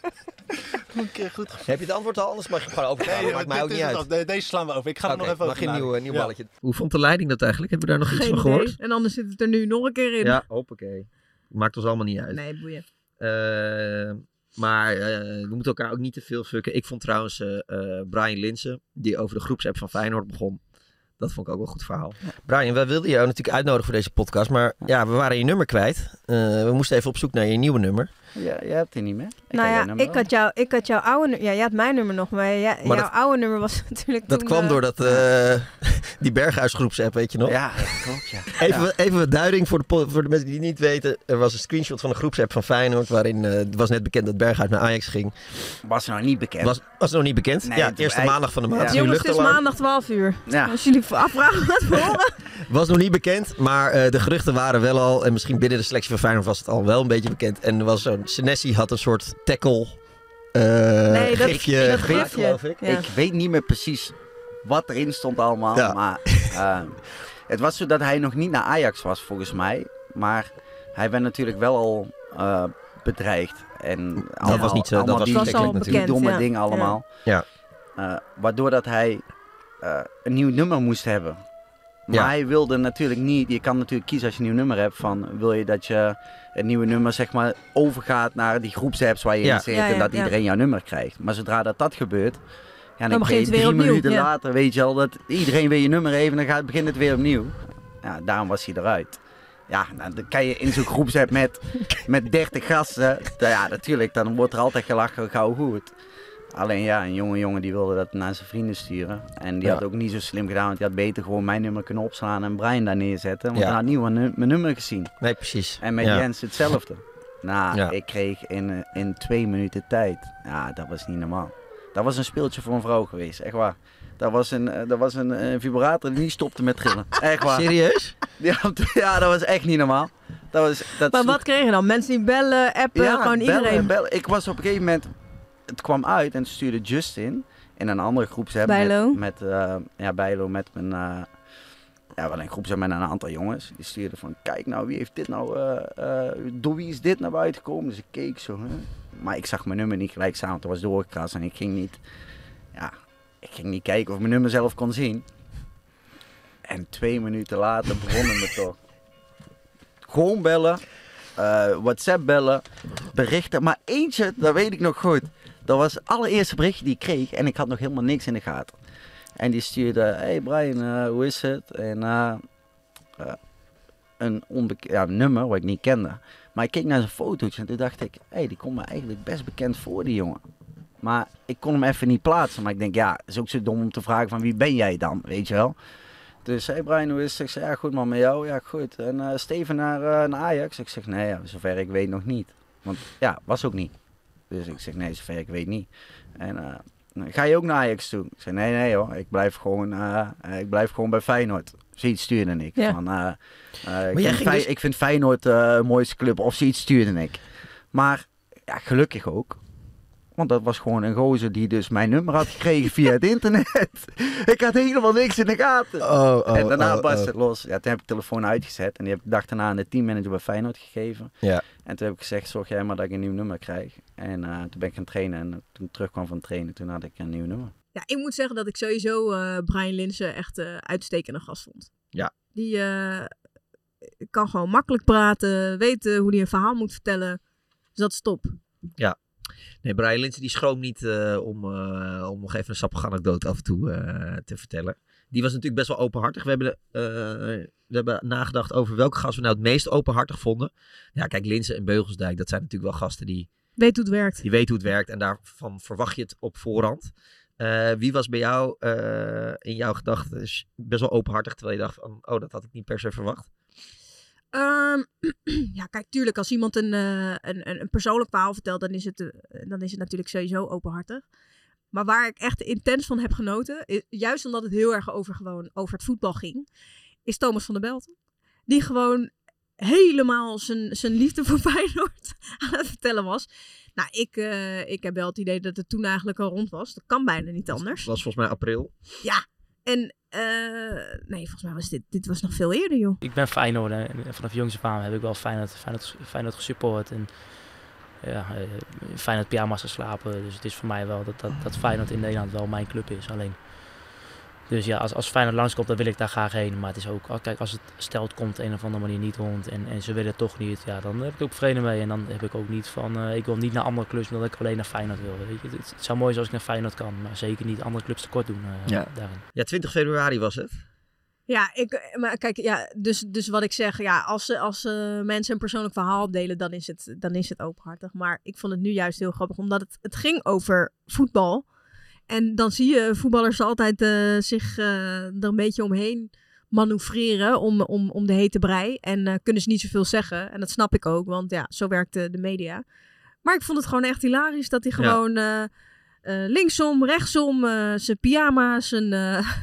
Speaker 14: Een keer goed
Speaker 22: Heb je het antwoord al? Anders mag je gewoon overgaan.
Speaker 14: Nee,
Speaker 22: dat
Speaker 14: maar
Speaker 22: maakt mij ook
Speaker 14: dit
Speaker 22: niet
Speaker 14: is het
Speaker 22: uit.
Speaker 14: al. De- deze slaan we over. Ik ga
Speaker 22: Oké,
Speaker 14: er nog even
Speaker 22: mag
Speaker 14: over
Speaker 22: je een nieuw, eh, nieuw
Speaker 14: nadenken.
Speaker 22: balletje.
Speaker 5: Hoe vond de leiding dat eigenlijk? Hebben we daar nog iets
Speaker 6: Geen
Speaker 5: van gehoord?
Speaker 6: idee. En anders zit het er nu nog een keer in.
Speaker 5: Ja, hoppakee. Maakt ons allemaal niet uit.
Speaker 6: Nee, boeien.
Speaker 5: Eh, maar eh, we moeten elkaar ook niet te veel fucken. Ik vond trouwens eh, eh, Brian Linsen, die over de groepsapp van Feyenoord begon. Dat vond ik ook wel een goed verhaal.
Speaker 22: Brian, wij wilden jou natuurlijk uitnodigen voor deze podcast. Maar ja, we waren je nummer kwijt. Eh, we moesten even op zoek naar je nieuwe nummer.
Speaker 23: Ja, jij hebt die niet meer.
Speaker 6: nou
Speaker 23: had jouw
Speaker 6: ja,
Speaker 23: nummer
Speaker 6: ik
Speaker 23: wel.
Speaker 6: had, jou, ik had jouw oude nummer. Ja, jij had mijn nummer nog, maar, jij-
Speaker 22: Maar
Speaker 6: jouw
Speaker 22: dat-
Speaker 6: oude nummer was natuurlijk.
Speaker 22: Dat
Speaker 6: toen,
Speaker 22: kwam
Speaker 6: eh,
Speaker 22: door dat, eh, die Berghuisgroepsapp, weet je nog?
Speaker 23: Ja, klopt, ja.
Speaker 22: Even, even wat duiding voor de, po- voor de mensen die het niet weten. Er was een screenshot van een groepsapp van Feyenoord... waarin eh, het was net bekend dat Berghuis naar Ajax ging.
Speaker 23: Was nog niet bekend.
Speaker 22: Was, was nog niet bekend?
Speaker 23: Nee,
Speaker 22: ja,
Speaker 23: het-
Speaker 22: eerste
Speaker 23: hij-
Speaker 22: maandag van de maand.
Speaker 23: Ja.
Speaker 22: Nu
Speaker 6: Jongens, het is
Speaker 22: luchtalarm.
Speaker 6: maandag 12 uur.
Speaker 23: Ja.
Speaker 6: Als jullie afvragen wat we horen.
Speaker 22: Was nog niet bekend, maar eh, de geruchten waren wel al... en misschien binnen de selectie van Feyenoord was het al wel een beetje bekend. En er was zo'n... Senesi had een soort tackle... eh
Speaker 6: Nee, dat-
Speaker 22: gifje
Speaker 6: dat
Speaker 22: gemaakt,
Speaker 6: gifje.
Speaker 22: geloof ik.
Speaker 6: Ja.
Speaker 23: Ik weet niet meer precies wat erin stond allemaal.
Speaker 22: Ja.
Speaker 23: Maar eh, het was zo dat hij nog niet naar Ajax was, volgens mij. Maar hij werd natuurlijk wel al eh, bedreigd. En allemaal-
Speaker 22: was niet zo- dat
Speaker 23: allemaal
Speaker 22: was
Speaker 23: die,
Speaker 22: niet Dat was al
Speaker 23: die
Speaker 22: bekend,
Speaker 23: domme
Speaker 22: ja.
Speaker 23: dingen allemaal.
Speaker 22: Ja.
Speaker 23: Eh, waardoor dat hij eh, een nieuw nummer moest hebben. Maar
Speaker 22: Ja.
Speaker 23: hij wilde natuurlijk niet... Je kan natuurlijk kiezen als je een nieuw nummer hebt van... Wil je dat je het nieuwe nummer zeg maar overgaat naar die groepsapps waar je
Speaker 22: Ja.
Speaker 23: in zit...
Speaker 22: Ja, ja,
Speaker 23: en dat
Speaker 22: ja.
Speaker 23: iedereen jouw nummer krijgt. Maar zodra dat dat gebeurt... Ja,
Speaker 6: Dan
Speaker 23: dan
Speaker 6: begint
Speaker 23: begint
Speaker 6: het weer
Speaker 23: drie
Speaker 6: opnieuw,
Speaker 23: minuten
Speaker 6: ja.
Speaker 23: later weet je al dat iedereen weer je nummer heeft... en dan gaat, begint het weer opnieuw. Ja, daarom was hij eruit. Ja, nou, dan kan je in zo'n groepsapp met, met 30 gasten... nou Ja, natuurlijk, dan wordt er altijd gelachen, gauw goed. Alleen ja, een jonge jongen die wilde dat naar zijn vrienden sturen. En die
Speaker 22: Ja.
Speaker 23: had ook niet zo slim gedaan, want die had beter gewoon mijn nummer kunnen opslaan en Brian daar neerzetten. Want
Speaker 22: Ja.
Speaker 23: dan had niemand nu- mijn nummer gezien.
Speaker 22: Nee, precies.
Speaker 23: En met
Speaker 22: Ja.
Speaker 23: Jens hetzelfde. Nou,
Speaker 22: Ja.
Speaker 23: ik kreeg in, eh, in twee minuten tijd. Ja, dat was niet normaal. Dat was een speeltje voor een vrouw geweest, echt waar. Dat was een, eh, dat was een eh, vibrator die niet stopte met trillen. Echt waar.
Speaker 22: Serieus?
Speaker 23: Ja, ja, dat was echt niet normaal. Dat was, dat
Speaker 6: Maar
Speaker 23: sloeg-
Speaker 6: wat kregen dan? Mensen die bellen, appen, gewoon
Speaker 23: bellen,
Speaker 6: iedereen.
Speaker 23: bellen. Ik was op een gegeven moment, het kwam uit en stuurde Justin in een andere groepsapp
Speaker 6: Bijlo?
Speaker 23: met, met eh, ja Bijlo met mijn eh, ja wel een groepsapp met een aantal jongens. Die stuurde van kijk nou wie heeft dit nou eh, eh, door wie is dit naar buiten gekomen? Dus ik keek zo, hè. maar ik zag mijn nummer niet gelijk staan, want het was doorgekrast en ik ging niet, ja, ik ging niet kijken of mijn nummer zelf kon zien. En twee minuten later begonnen we toch. Gewoon bellen. eh, WhatsApp bellen. Berichten. Maar eentje, dat weet ik nog goed. Dat was het allereerste berichtje die ik kreeg. En ik had nog helemaal niks in de gaten. En die stuurde... Hey Brian, eh, hoe is het? En eh, eh, een onbekend ja, een nummer wat ik niet kende. Maar ik keek naar zijn foto's en toen dacht ik... Hé, hey, die komt me eigenlijk best bekend voor, die jongen. Maar ik kon hem even niet plaatsen. Maar ik denk, ja, is ook zo dom om te vragen van wie ben jij dan? Weet je wel? Dus hey Brian, hoe is het? Ik zeg, ja goed man, met jou? Ja goed. En eh, Steven naar, eh, naar Ajax? Ik zeg, nee, ja, zover ik weet nog niet. Want ja, was ook niet. Dus ik zeg, nee, zover ik weet niet. En eh, ga je ook naar Ajax toe? Ik zeg, nee, nee hoor, ik blijf gewoon, eh, eh, ik blijf gewoon bij Feyenoord. Zoiets stuurde ik.
Speaker 22: Ja.
Speaker 23: Van, eh, eh,
Speaker 22: jij
Speaker 23: ik, vind
Speaker 22: ging
Speaker 23: Fey-
Speaker 22: dus-
Speaker 23: ik vind Feyenoord eh, een mooiste club, of zoiets stuurde ik. Maar ja, gelukkig ook. Want dat was gewoon een gozer die dus mijn nummer had gekregen via het internet. ik had helemaal niks in de gaten.
Speaker 22: oh,
Speaker 23: en daarna
Speaker 22: oh,
Speaker 23: barst
Speaker 22: oh.
Speaker 23: het los. Ja, toen heb ik de telefoon uitgezet. En die heb ik de dag daarna aan de teammanager bij Feyenoord gegeven.
Speaker 22: Ja.
Speaker 23: En toen heb ik gezegd, zorg jij maar dat ik een nieuw nummer krijg. En eh, toen ben ik gaan trainen. En toen ik terugkwam van trainen, toen had ik een nieuw nummer.
Speaker 6: Ja, ik moet zeggen dat ik sowieso eh, Brian Linsen echt eh uitstekende gast vond.
Speaker 23: Ja.
Speaker 6: Die eh, kan gewoon makkelijk praten, weten hoe hij een verhaal moet vertellen. Dus dat is top.
Speaker 5: Ja. Nee, Brian Linsen die schroomt niet eh, om, eh, om nog even een sappige anekdote af en toe eh, te vertellen. Die was natuurlijk best wel openhartig. We hebben, eh, we hebben nagedacht over welke gast we nou het meest openhartig vonden. Ja, kijk, Linsen en Beugelsdijk, dat zijn natuurlijk wel gasten die,
Speaker 6: Weet hoe het werkt.
Speaker 5: die weten hoe het werkt. En daarvan verwacht je het op voorhand. Eh, wie was bij jou eh, in jouw gedachten dus best wel openhartig, terwijl je dacht van, oh, dat had ik niet per se verwacht?
Speaker 6: Ehm, ja, kijk, tuurlijk, als iemand een, eh, een, een, een persoonlijk verhaal vertelt, dan is, het, eh, dan is het natuurlijk sowieso openhartig. Maar waar ik echt intens van heb genoten, i- juist omdat het heel erg over, gewoon over het voetbal ging, is Thomas van der Belt. Die gewoon helemaal zijn, zijn liefde voor Feyenoord aan het vertellen was. Nou, ik, eh, ik heb wel het idee dat het toen eigenlijk al rond was. Dat kan bijna niet anders.
Speaker 5: Dat was volgens mij april.
Speaker 6: Ja, en eh, nee, volgens mij was dit, dit was nog veel eerder, joh.
Speaker 3: Ik ben Feyenoord hè, en eh, vanaf jongs af aan heb ik wel Feyenoord, Feyenoord, Feyenoord gesupport. En ja, eh, in Feyenoord pyjama's geslapen. Dus het is voor mij wel dat, dat, dat Feyenoord in Nederland wel mijn club is. Alleen. Dus ja, als, als Feyenoord langskomt, dan wil ik daar graag heen. Maar het is ook, ah, kijk, als het stelt komt een of andere manier niet rond en, en ze willen het toch niet, ja, dan heb ik ook vrede mee. En dan heb ik ook niet van, eh, ik wil niet naar andere clubs omdat ik alleen naar Feyenoord wil. Weet je? Het, het zou mooi zijn als ik naar Feyenoord kan, maar zeker niet andere clubs tekort doen eh,
Speaker 5: Ja.
Speaker 3: daarin.
Speaker 5: Ja, 20 februari was het.
Speaker 6: Ja, ik, eh, maar kijk, ja, dus, dus wat ik zeg, ja, als, ze- als eh, mensen een persoonlijk verhaal opdelen, dan is, het, dan is het openhartig. Maar ik vond het nu juist heel grappig, omdat het, het ging over voetbal. En dan zie je voetballers altijd eh, zich eh, er een beetje omheen manoeuvreren om, om, om de hete brei. En eh, kunnen ze niet zoveel zeggen. En dat snap ik ook, want ja, zo werkt eh, de media. Maar ik vond het gewoon echt hilarisch dat hij
Speaker 24: Ja.
Speaker 6: gewoon eh, eh, linksom, rechtsom, eh, zijn pyjama, zijn, eh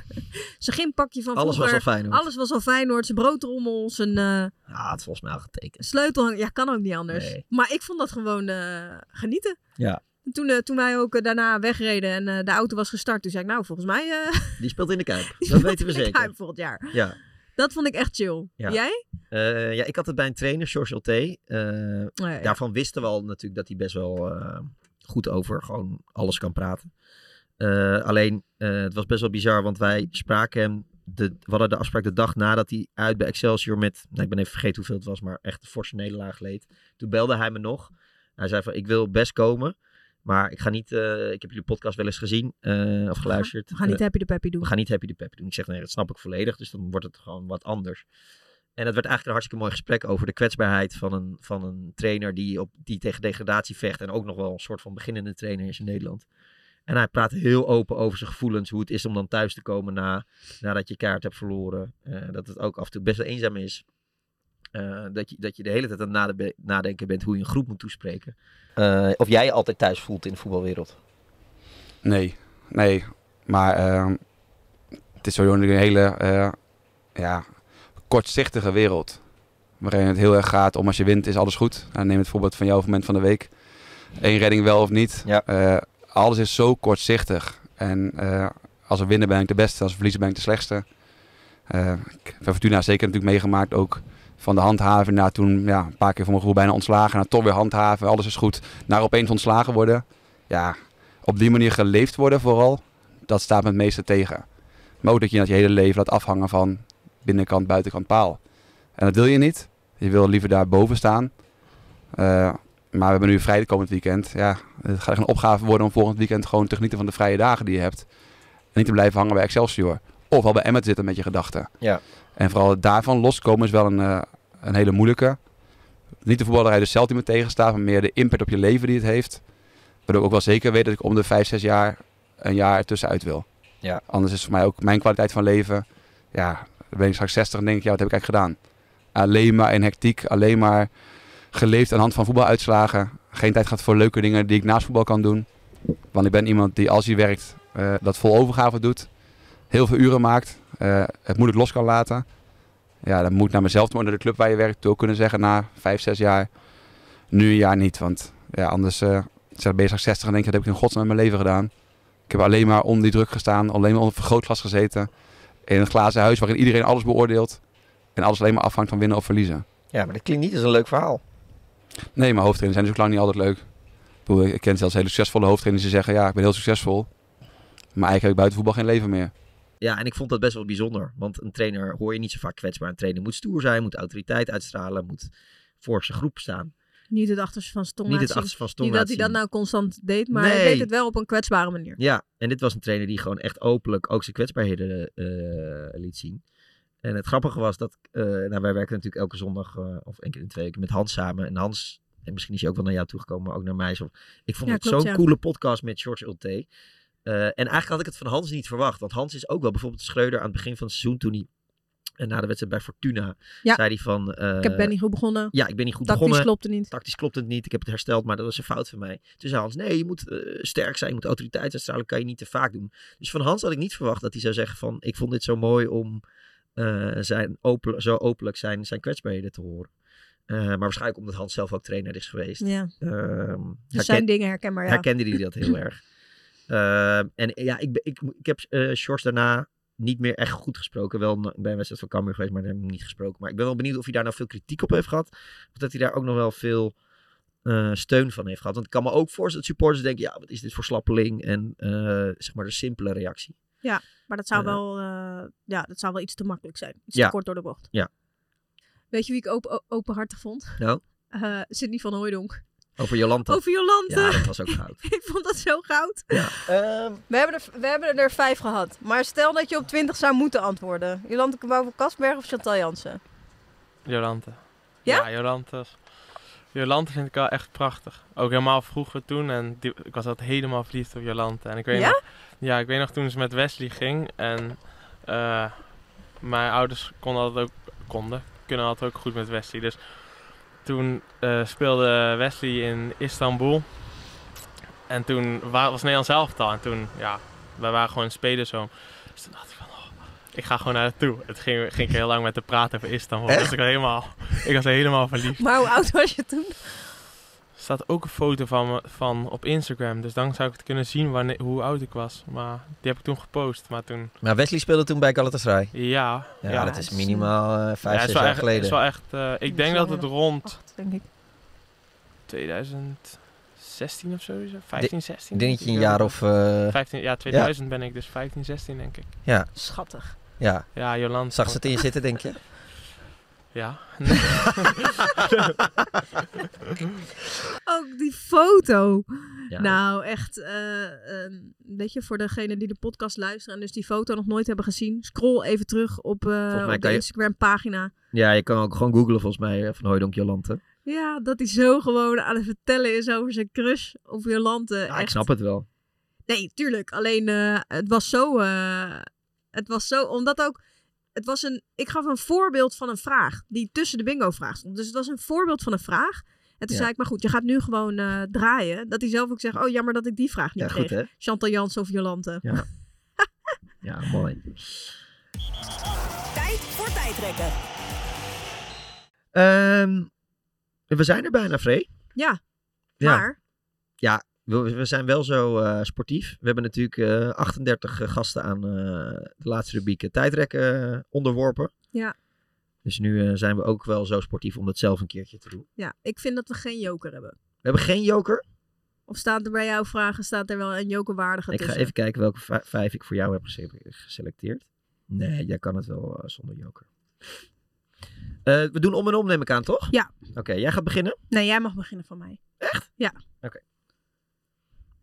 Speaker 6: zijn gympakje van
Speaker 5: Alles was
Speaker 6: vroeger.
Speaker 5: al Feyenoord.
Speaker 6: Alles was al Feyenoord. Zijn broodrommel, zijn eh
Speaker 5: Ja, het is volgens mij al getekend.
Speaker 6: sleutelhang. Ja, kan ook niet anders.
Speaker 5: Nee.
Speaker 6: Maar ik vond dat gewoon eh, genieten.
Speaker 5: Ja.
Speaker 6: En Toen, eh, toen wij ook eh, daarna wegreden en eh, de auto was gestart, toen zei ik, nou, volgens mij eh,
Speaker 5: Die speelt in de Kuip. Dat weten we
Speaker 6: ik
Speaker 5: zeker.
Speaker 6: ga volgend jaar.
Speaker 5: Ja.
Speaker 6: Dat vond ik echt chill.
Speaker 5: Ja.
Speaker 6: Jij?
Speaker 5: Eh, ja, ik had het bij een trainer, George LT.
Speaker 6: Oh, ja.
Speaker 5: Daarvan wisten we al natuurlijk dat hij best wel eh, goed over gewoon alles kan praten. Eh, alleen, eh, het was best wel bizar, want wij spraken hem... De, we hadden de afspraak de dag nadat hij uit bij Excelsior met... Nou, ik ben even vergeten hoeveel het was, maar echt een forse nederlaag leed. Toen belde hij me nog. Hij zei van, ik wil best komen, maar ik ga niet... eh, ik heb jullie podcast wel eens gezien eh, of geluisterd.
Speaker 6: We gaan niet
Speaker 5: Eh,
Speaker 6: Happy de Peppy doen.
Speaker 5: we gaan niet Happy de Peppy doen. Ik zeg, nee, dat snap ik volledig. Dus dan wordt het gewoon wat anders. En dat werd eigenlijk een hartstikke mooi gesprek over de kwetsbaarheid van een, van een trainer die, op, die tegen degradatie vecht. En ook nog wel een soort van beginnende trainer is in Nederland. En hij praat heel open over zijn gevoelens. Hoe het is om dan thuis te komen na, nadat je kaart hebt verloren. Eh, dat het ook af en toe best wel eenzaam is. Eh, dat, je, dat je de hele tijd aan het nade- nadenken bent hoe je een groep moet toespreken. Eh, of jij je altijd thuis voelt in de voetbalwereld.
Speaker 16: Nee, nee. Maar ehm, het is sowieso een hele eh, ja, kortzichtige wereld. Waarin het heel erg gaat om als je wint is alles goed. Nou, neem het voorbeeld van jouw moment van de week. Eén redding wel of niet. Eh, alles is zo kortzichtig. En eh, als we winnen ben ik de beste, als we verliezen ben ik de slechtste. Eh, ik heb bij Fortuna zeker natuurlijk meegemaakt ook van de handhaven naar toen ja, een paar keer voor mijn gevoel bijna ontslagen. Naar toch weer handhaven, alles is goed. Naar opeens ontslagen worden. Ja, op die manier geleefd worden vooral, dat staat me het meeste tegen. Maar ook dat je dat je hele leven laat afhangen van binnenkant, buitenkant paal. En dat wil je niet. Je wil liever daar boven staan. Eh, maar we hebben nu vrijdag komend weekend. Ja, het gaat echt een opgave worden om volgend weekend gewoon te genieten van de vrije dagen die je hebt. En niet te blijven hangen bij Excelsior. Of al bij Emmet zitten met je gedachten.
Speaker 5: Ja.
Speaker 16: En vooral daarvan loskomen is wel een, eh, een hele moeilijke. Niet de voetballerij dus zelf die me tegenstaat, maar meer de impact op je leven die het heeft. Waardoor ik ook wel zeker weet dat ik om de 5, 6 jaar een jaar tussenuit wil.
Speaker 5: Ja.
Speaker 16: Anders is voor mij ook mijn kwaliteit van leven. Ja, dan ben ik straks 60 en denk ik, ja, wat heb ik eigenlijk gedaan? Alleen maar in hectiek, alleen maar geleefd aan de hand van voetbaluitslagen. Geen tijd gehad voor leuke dingen die ik naast voetbal kan doen. Want ik ben iemand die als hij werkt, eh, dat vol overgave doet. Heel veel uren maakt. eh, het moeilijk los kan laten. Ja, dat moet naar mezelf, maar naar de club waar je werkt ook kunnen zeggen na vijf, zes jaar. Nu een jaar niet, want ja, anders eh zijn bezig 60 en denk je, dat heb ik in godsnaam met mijn leven gedaan. Ik heb alleen maar onder die druk gestaan, alleen maar onder het vergrootglas gezeten. In een glazen huis waarin iedereen alles beoordeelt. En alles alleen maar afhangt van winnen of verliezen.
Speaker 5: Ja, maar dat klinkt niet als een leuk verhaal.
Speaker 16: Nee, maar hoofdtrainers zijn dus ook lang niet altijd leuk. Ik, bedoel, ik ken zelfs hele succesvolle hoofdtrainers die zeggen... ja, ik ben heel succesvol, maar eigenlijk heb ik buiten voetbal geen leven meer.
Speaker 5: Ja, en ik vond dat best wel bijzonder. Want een trainer hoor je niet zo vaak kwetsbaar. Een trainer moet stoer zijn, moet autoriteit uitstralen, moet voor zijn groep staan.
Speaker 6: Niet het achterste van zijn tong
Speaker 5: Niet het
Speaker 6: laten zien.
Speaker 5: achterste van zijn tong
Speaker 6: Niet dat hij
Speaker 5: laten
Speaker 6: dat
Speaker 5: zien.
Speaker 6: nou constant deed, maar hij
Speaker 5: Nee.
Speaker 6: deed het wel op een kwetsbare manier.
Speaker 5: Ja, en dit was een trainer die gewoon echt openlijk ook zijn kwetsbaarheden eh, liet zien. En het grappige was dat, eh, nou wij werken natuurlijk elke zondag eh, of één keer in twee weken met Hans samen. En Hans, en misschien is hij ook wel naar jou toegekomen, maar ook naar mij. Zo. Ik vond
Speaker 7: Ja,
Speaker 5: het
Speaker 7: klopt,
Speaker 5: zo'n
Speaker 7: ja.
Speaker 5: coole podcast met George Ulte. Eh, en eigenlijk had ik het van Hans niet verwacht. Want Hans is ook wel bijvoorbeeld Schreuder aan het begin van het seizoen toen hij... En na de wedstrijd bij Fortuna
Speaker 6: Ja.
Speaker 5: zei hij van... eh,
Speaker 6: Ik heb- ben niet goed begonnen.
Speaker 5: Ja, ik ben niet goed
Speaker 6: Tactisch
Speaker 5: begonnen.
Speaker 6: klopte niet.
Speaker 5: Tactisch klopte het niet. Ik heb het hersteld, maar dat was een fout van mij. Toen zei Hans, nee, je moet eh, sterk zijn. Je moet autoriteit uitstralen. kan je niet te vaak doen. Dus van Hans had ik niet verwacht dat hij zou zeggen van... Ik vond dit zo mooi om eh, zijn open, zo openlijk zijn, zijn kwetsbaarheden te horen. Eh, maar waarschijnlijk omdat Hans zelf ook trainer is geweest.
Speaker 6: Ja.
Speaker 5: Ehm,
Speaker 6: Dus zijn
Speaker 5: herken-
Speaker 6: dingen herkenbaar, ja.
Speaker 5: Herkende hij dat heel erg. Ehm, en ja, ik, ben- ik, ik heb eh Sjors daarna niet meer echt goed gesproken. Wel na- bij een wedstrijd van Cambuur geweest, maar daar heb ik hem niet gesproken. Maar ik ben wel benieuwd of hij daar nou veel kritiek op heeft gehad. Of dat hij daar ook nog wel veel eh, steun van heeft gehad. Want ik kan me ook voorstellen dat supporters denken... ja, wat is dit voor slappeling? En eh, zeg maar de simpele reactie.
Speaker 6: Ja, maar dat zou,
Speaker 5: Eh.
Speaker 6: wel, eh, ja, dat zou wel iets te makkelijk zijn. Iets
Speaker 5: Ja.
Speaker 6: te kort door de bocht.
Speaker 5: Ja,
Speaker 6: Weet je wie ik op- o- openhartig vond?
Speaker 5: nou,
Speaker 6: Eh Sidney van Hooijdonk.
Speaker 5: over Jolanta.
Speaker 6: Over Jolante.
Speaker 5: Ja, dat was ook goud.
Speaker 6: ik vond dat zo goud.
Speaker 2: We, hebben er, we hebben er vijf gehad. Maar stel dat je op twintig zou moeten antwoorden. Jolante Kabouw van Kasberg of Chantal Jansen?
Speaker 18: Jolante.
Speaker 2: Ja?
Speaker 18: Jolante. is- Jolante vind ik wel echt prachtig. Ook helemaal vroeger toen. En die- ik was altijd helemaal verliefd op Jolante. En ik weet
Speaker 2: Ja?
Speaker 18: Nog, ja, ik weet nog toen ze met Wesley ging. En eh, mijn ouders konden altijd ook, konden, kunnen altijd ook goed met Wesley. Dus toen eh, speelde Wesley in Istanbul. En toen wa- was Nederland zelf al. En toen, ja, wij waren gewoon spelers zo. Dus toen dacht ik van, oh, ik ga gewoon naar haar toe. Het ging, ging ik heel lang met haar praten over Istanbul. Dus ik was helemaal, ik was helemaal verliefd.
Speaker 2: Maar hoe oud was je toen?
Speaker 18: Er staat ook een foto van me van op Instagram. Dus dan zou ik het kunnen zien wanneer, hoe oud ik was. Maar die heb ik toen gepost. Maar toen,
Speaker 5: Maar Wesley speelde toen bij Galatasaray.
Speaker 18: ja.
Speaker 5: Ja, dat is minimaal eh, vijf,
Speaker 18: Ja, het
Speaker 5: zes
Speaker 18: is
Speaker 5: jaar
Speaker 18: wel echt-
Speaker 5: geleden.
Speaker 18: het is wel echt, eh, ik denk dat het rond
Speaker 2: denk ik.
Speaker 18: 2016 of zo is. het. 15,
Speaker 5: Ik
Speaker 18: 16.
Speaker 5: denk dat je een
Speaker 18: Ja.
Speaker 5: jaar of, eh,
Speaker 18: 15, ja, 2000 ben ik, dus 15, 16 denk ik.
Speaker 5: Ja.
Speaker 2: Schattig.
Speaker 5: Ja.
Speaker 18: Ja, Jolanda.
Speaker 5: Zag ze het in je zitten, denk je?
Speaker 18: Ja.
Speaker 6: Ook die foto.
Speaker 5: Ja.
Speaker 6: nou, echt. eh, ehm, weet je, voor degenen die de podcast luisteren en dus die foto nog nooit hebben gezien, scroll even terug op, eh,
Speaker 5: mij
Speaker 6: op de
Speaker 5: kan je-
Speaker 6: Instagram-pagina.
Speaker 5: Ja, je kan ook gewoon googlen volgens mij eh, van Hooijdonk Jolante.
Speaker 6: Ja, dat hij zo gewoon aan het vertellen is over zijn crush op Jolante.
Speaker 5: Ja, ik
Speaker 6: echt.
Speaker 5: snap het wel.
Speaker 6: Nee, tuurlijk. Alleen eh, het was zo. eh, het was zo. Omdat ook. Het was een. Ik gaf een voorbeeld van een vraag. Die tussen de bingo vraag stond. Dus het was een voorbeeld van een vraag. En toen
Speaker 5: Ja.
Speaker 6: zei ik, maar goed, je gaat nu gewoon eh, draaien. Dat hij zelf ook zegt, oh jammer dat ik die vraag niet
Speaker 5: Ja, goed,
Speaker 6: kreeg.
Speaker 5: hè?
Speaker 6: Chantal Jansen of Jolante.
Speaker 5: Ja. Ja, mooi.
Speaker 2: Tijd voor tijdrekken.
Speaker 5: Ehm, we zijn er bijna, Free.
Speaker 6: Ja,
Speaker 5: Ja.
Speaker 6: maar
Speaker 5: Ja, we, we zijn wel zo eh, sportief. We hebben natuurlijk eh, 38 gasten aan eh, de laatste rubriek eh, tijdrekken eh, onderworpen.
Speaker 6: ja,
Speaker 5: Dus nu eh, zijn we ook wel zo sportief om dat zelf een keertje te doen.
Speaker 6: ja, ik vind dat we geen joker hebben.
Speaker 5: We hebben geen joker.
Speaker 6: Of staat er bij jouw vragen staat er wel een jokerwaardige
Speaker 5: Ik ga
Speaker 6: tussen?
Speaker 5: even kijken welke vij- vijf ik voor jou heb gese- geselecteerd. Nee, jij kan het wel eh, zonder joker. Eh, we doen om en om, neem ik aan, toch?
Speaker 6: Ja.
Speaker 5: Oké, jij gaat beginnen.
Speaker 6: Nee, jij mag beginnen van mij. Echt? Ja.
Speaker 5: Oké,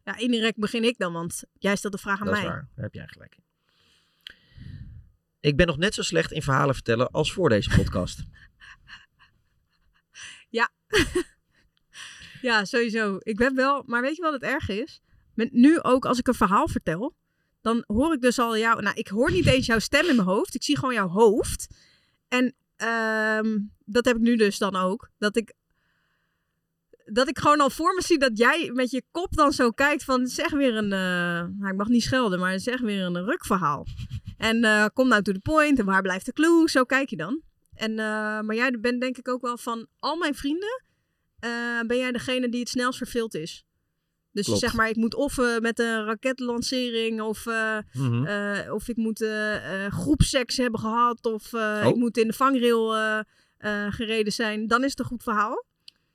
Speaker 6: Ja, indirect begin ik dan, want jij stelt de vraag aan
Speaker 5: dat
Speaker 6: mij.
Speaker 5: is waar. Daar heb jij gelijk in. Ik ben nog net zo slecht in verhalen vertellen als voor deze podcast.
Speaker 6: Ja. ja, sowieso. Ik ben wel, maar weet je wat het erg is? Met, nu ook als ik een verhaal vertel, dan hoor ik dus al jou. Nou, ik hoor niet eens jouw stem in mijn hoofd. Ik zie gewoon jouw hoofd. En ehm, dat heb ik nu dus dan ook. Dat ik, dat ik gewoon al voor me zie dat jij met je kop dan zo kijkt van zeg weer een, eh, nou, ik mag niet schelden, maar zeg weer een rukverhaal. En eh, kom nou to the point en waar blijft de clue? Zo kijk je dan. En, eh, maar jij bent denk ik ook wel van al mijn vrienden, eh, ben jij degene die het snelst verveeld is. Dus
Speaker 2: Klopt.
Speaker 6: zeg maar, ik moet of eh, met een raketlancering, of, eh,
Speaker 2: Mhm.
Speaker 6: eh, of ik moet eh eh, groepseks hebben gehad, of eh,
Speaker 5: Oh.
Speaker 6: ik moet in de vangrail eh, eh, gereden zijn. Dan is het een goed verhaal.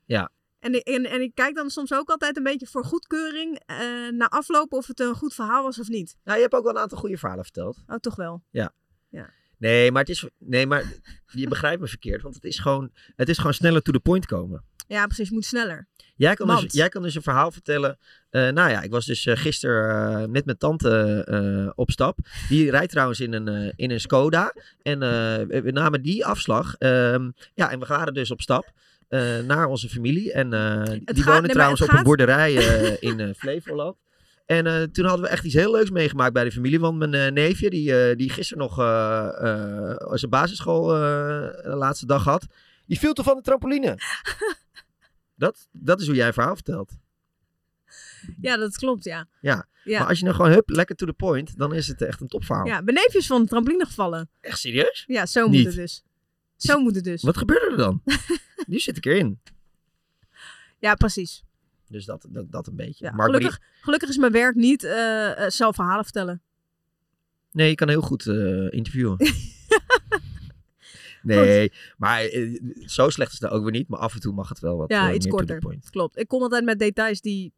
Speaker 5: Ja.
Speaker 6: En, ik- en, en ik kijk dan soms ook altijd een beetje voor goedkeuring eh na afloop of het een goed verhaal was of niet.
Speaker 5: Nou, je hebt ook wel een aantal goede verhalen verteld.
Speaker 6: Oh, toch wel.
Speaker 5: Ja.
Speaker 6: Ja.
Speaker 5: Nee, maar, het is, nee, maar je begrijpt me verkeerd. Want het is, gewoon, het is gewoon sneller to the point komen.
Speaker 6: Ja, precies. Je moet sneller.
Speaker 5: Jij kan, dus,
Speaker 6: Want-
Speaker 5: jij kan dus een verhaal vertellen. Eh, nou ja, ik was dus eh, gisteren eh, met mijn tante eh, op stap. Die rijdt trouwens in een, eh, in een Skoda. En eh, we- we namen die afslag. Ehm, ja, en we waren dus op stap eh, naar onze familie. En eh, die
Speaker 6: gaat- nee,
Speaker 5: wonen
Speaker 6: maar
Speaker 5: trouwens
Speaker 6: het
Speaker 5: op een
Speaker 6: gaat-
Speaker 5: boerderij eh, in eh, Flevoland. En eh, toen hadden we echt iets heel leuks meegemaakt bij de familie. Want mijn eh, neefje, die, eh, die gisteren nog eh, eh, zijn basisschool eh, de laatste dag had, die viel toch van de trampoline. dat, dat is hoe jij een verhaal vertelt.
Speaker 6: Ja, dat klopt, ja.
Speaker 5: Ja.
Speaker 6: Ja.
Speaker 5: Maar als je nou gewoon hup, lekker to the point, dan is het echt een topverhaal.
Speaker 6: Ja, beneefjes van de trampoline gevallen.
Speaker 5: Echt serieus?
Speaker 6: Ja, zo
Speaker 5: Niet.
Speaker 6: moet het dus. Zo moet het dus.
Speaker 5: Wat gebeurde er dan? nu zit ik erin.
Speaker 6: Ja, precies.
Speaker 5: Dus dat, dat, dat een beetje.
Speaker 6: Ja,
Speaker 5: Mark
Speaker 6: gelukkig,
Speaker 5: Marie-
Speaker 6: gelukkig is mijn werk niet eh, eh, zelf verhalen vertellen.
Speaker 5: Nee, je kan heel goed eh, interviewen. nee, maar eh, zo slecht is het nou ook weer niet. Maar af en toe mag het wel wat
Speaker 6: ja,
Speaker 5: eh,
Speaker 6: iets
Speaker 5: meer to the
Speaker 6: korter.
Speaker 5: point.
Speaker 6: Klopt. Ik kom altijd met details die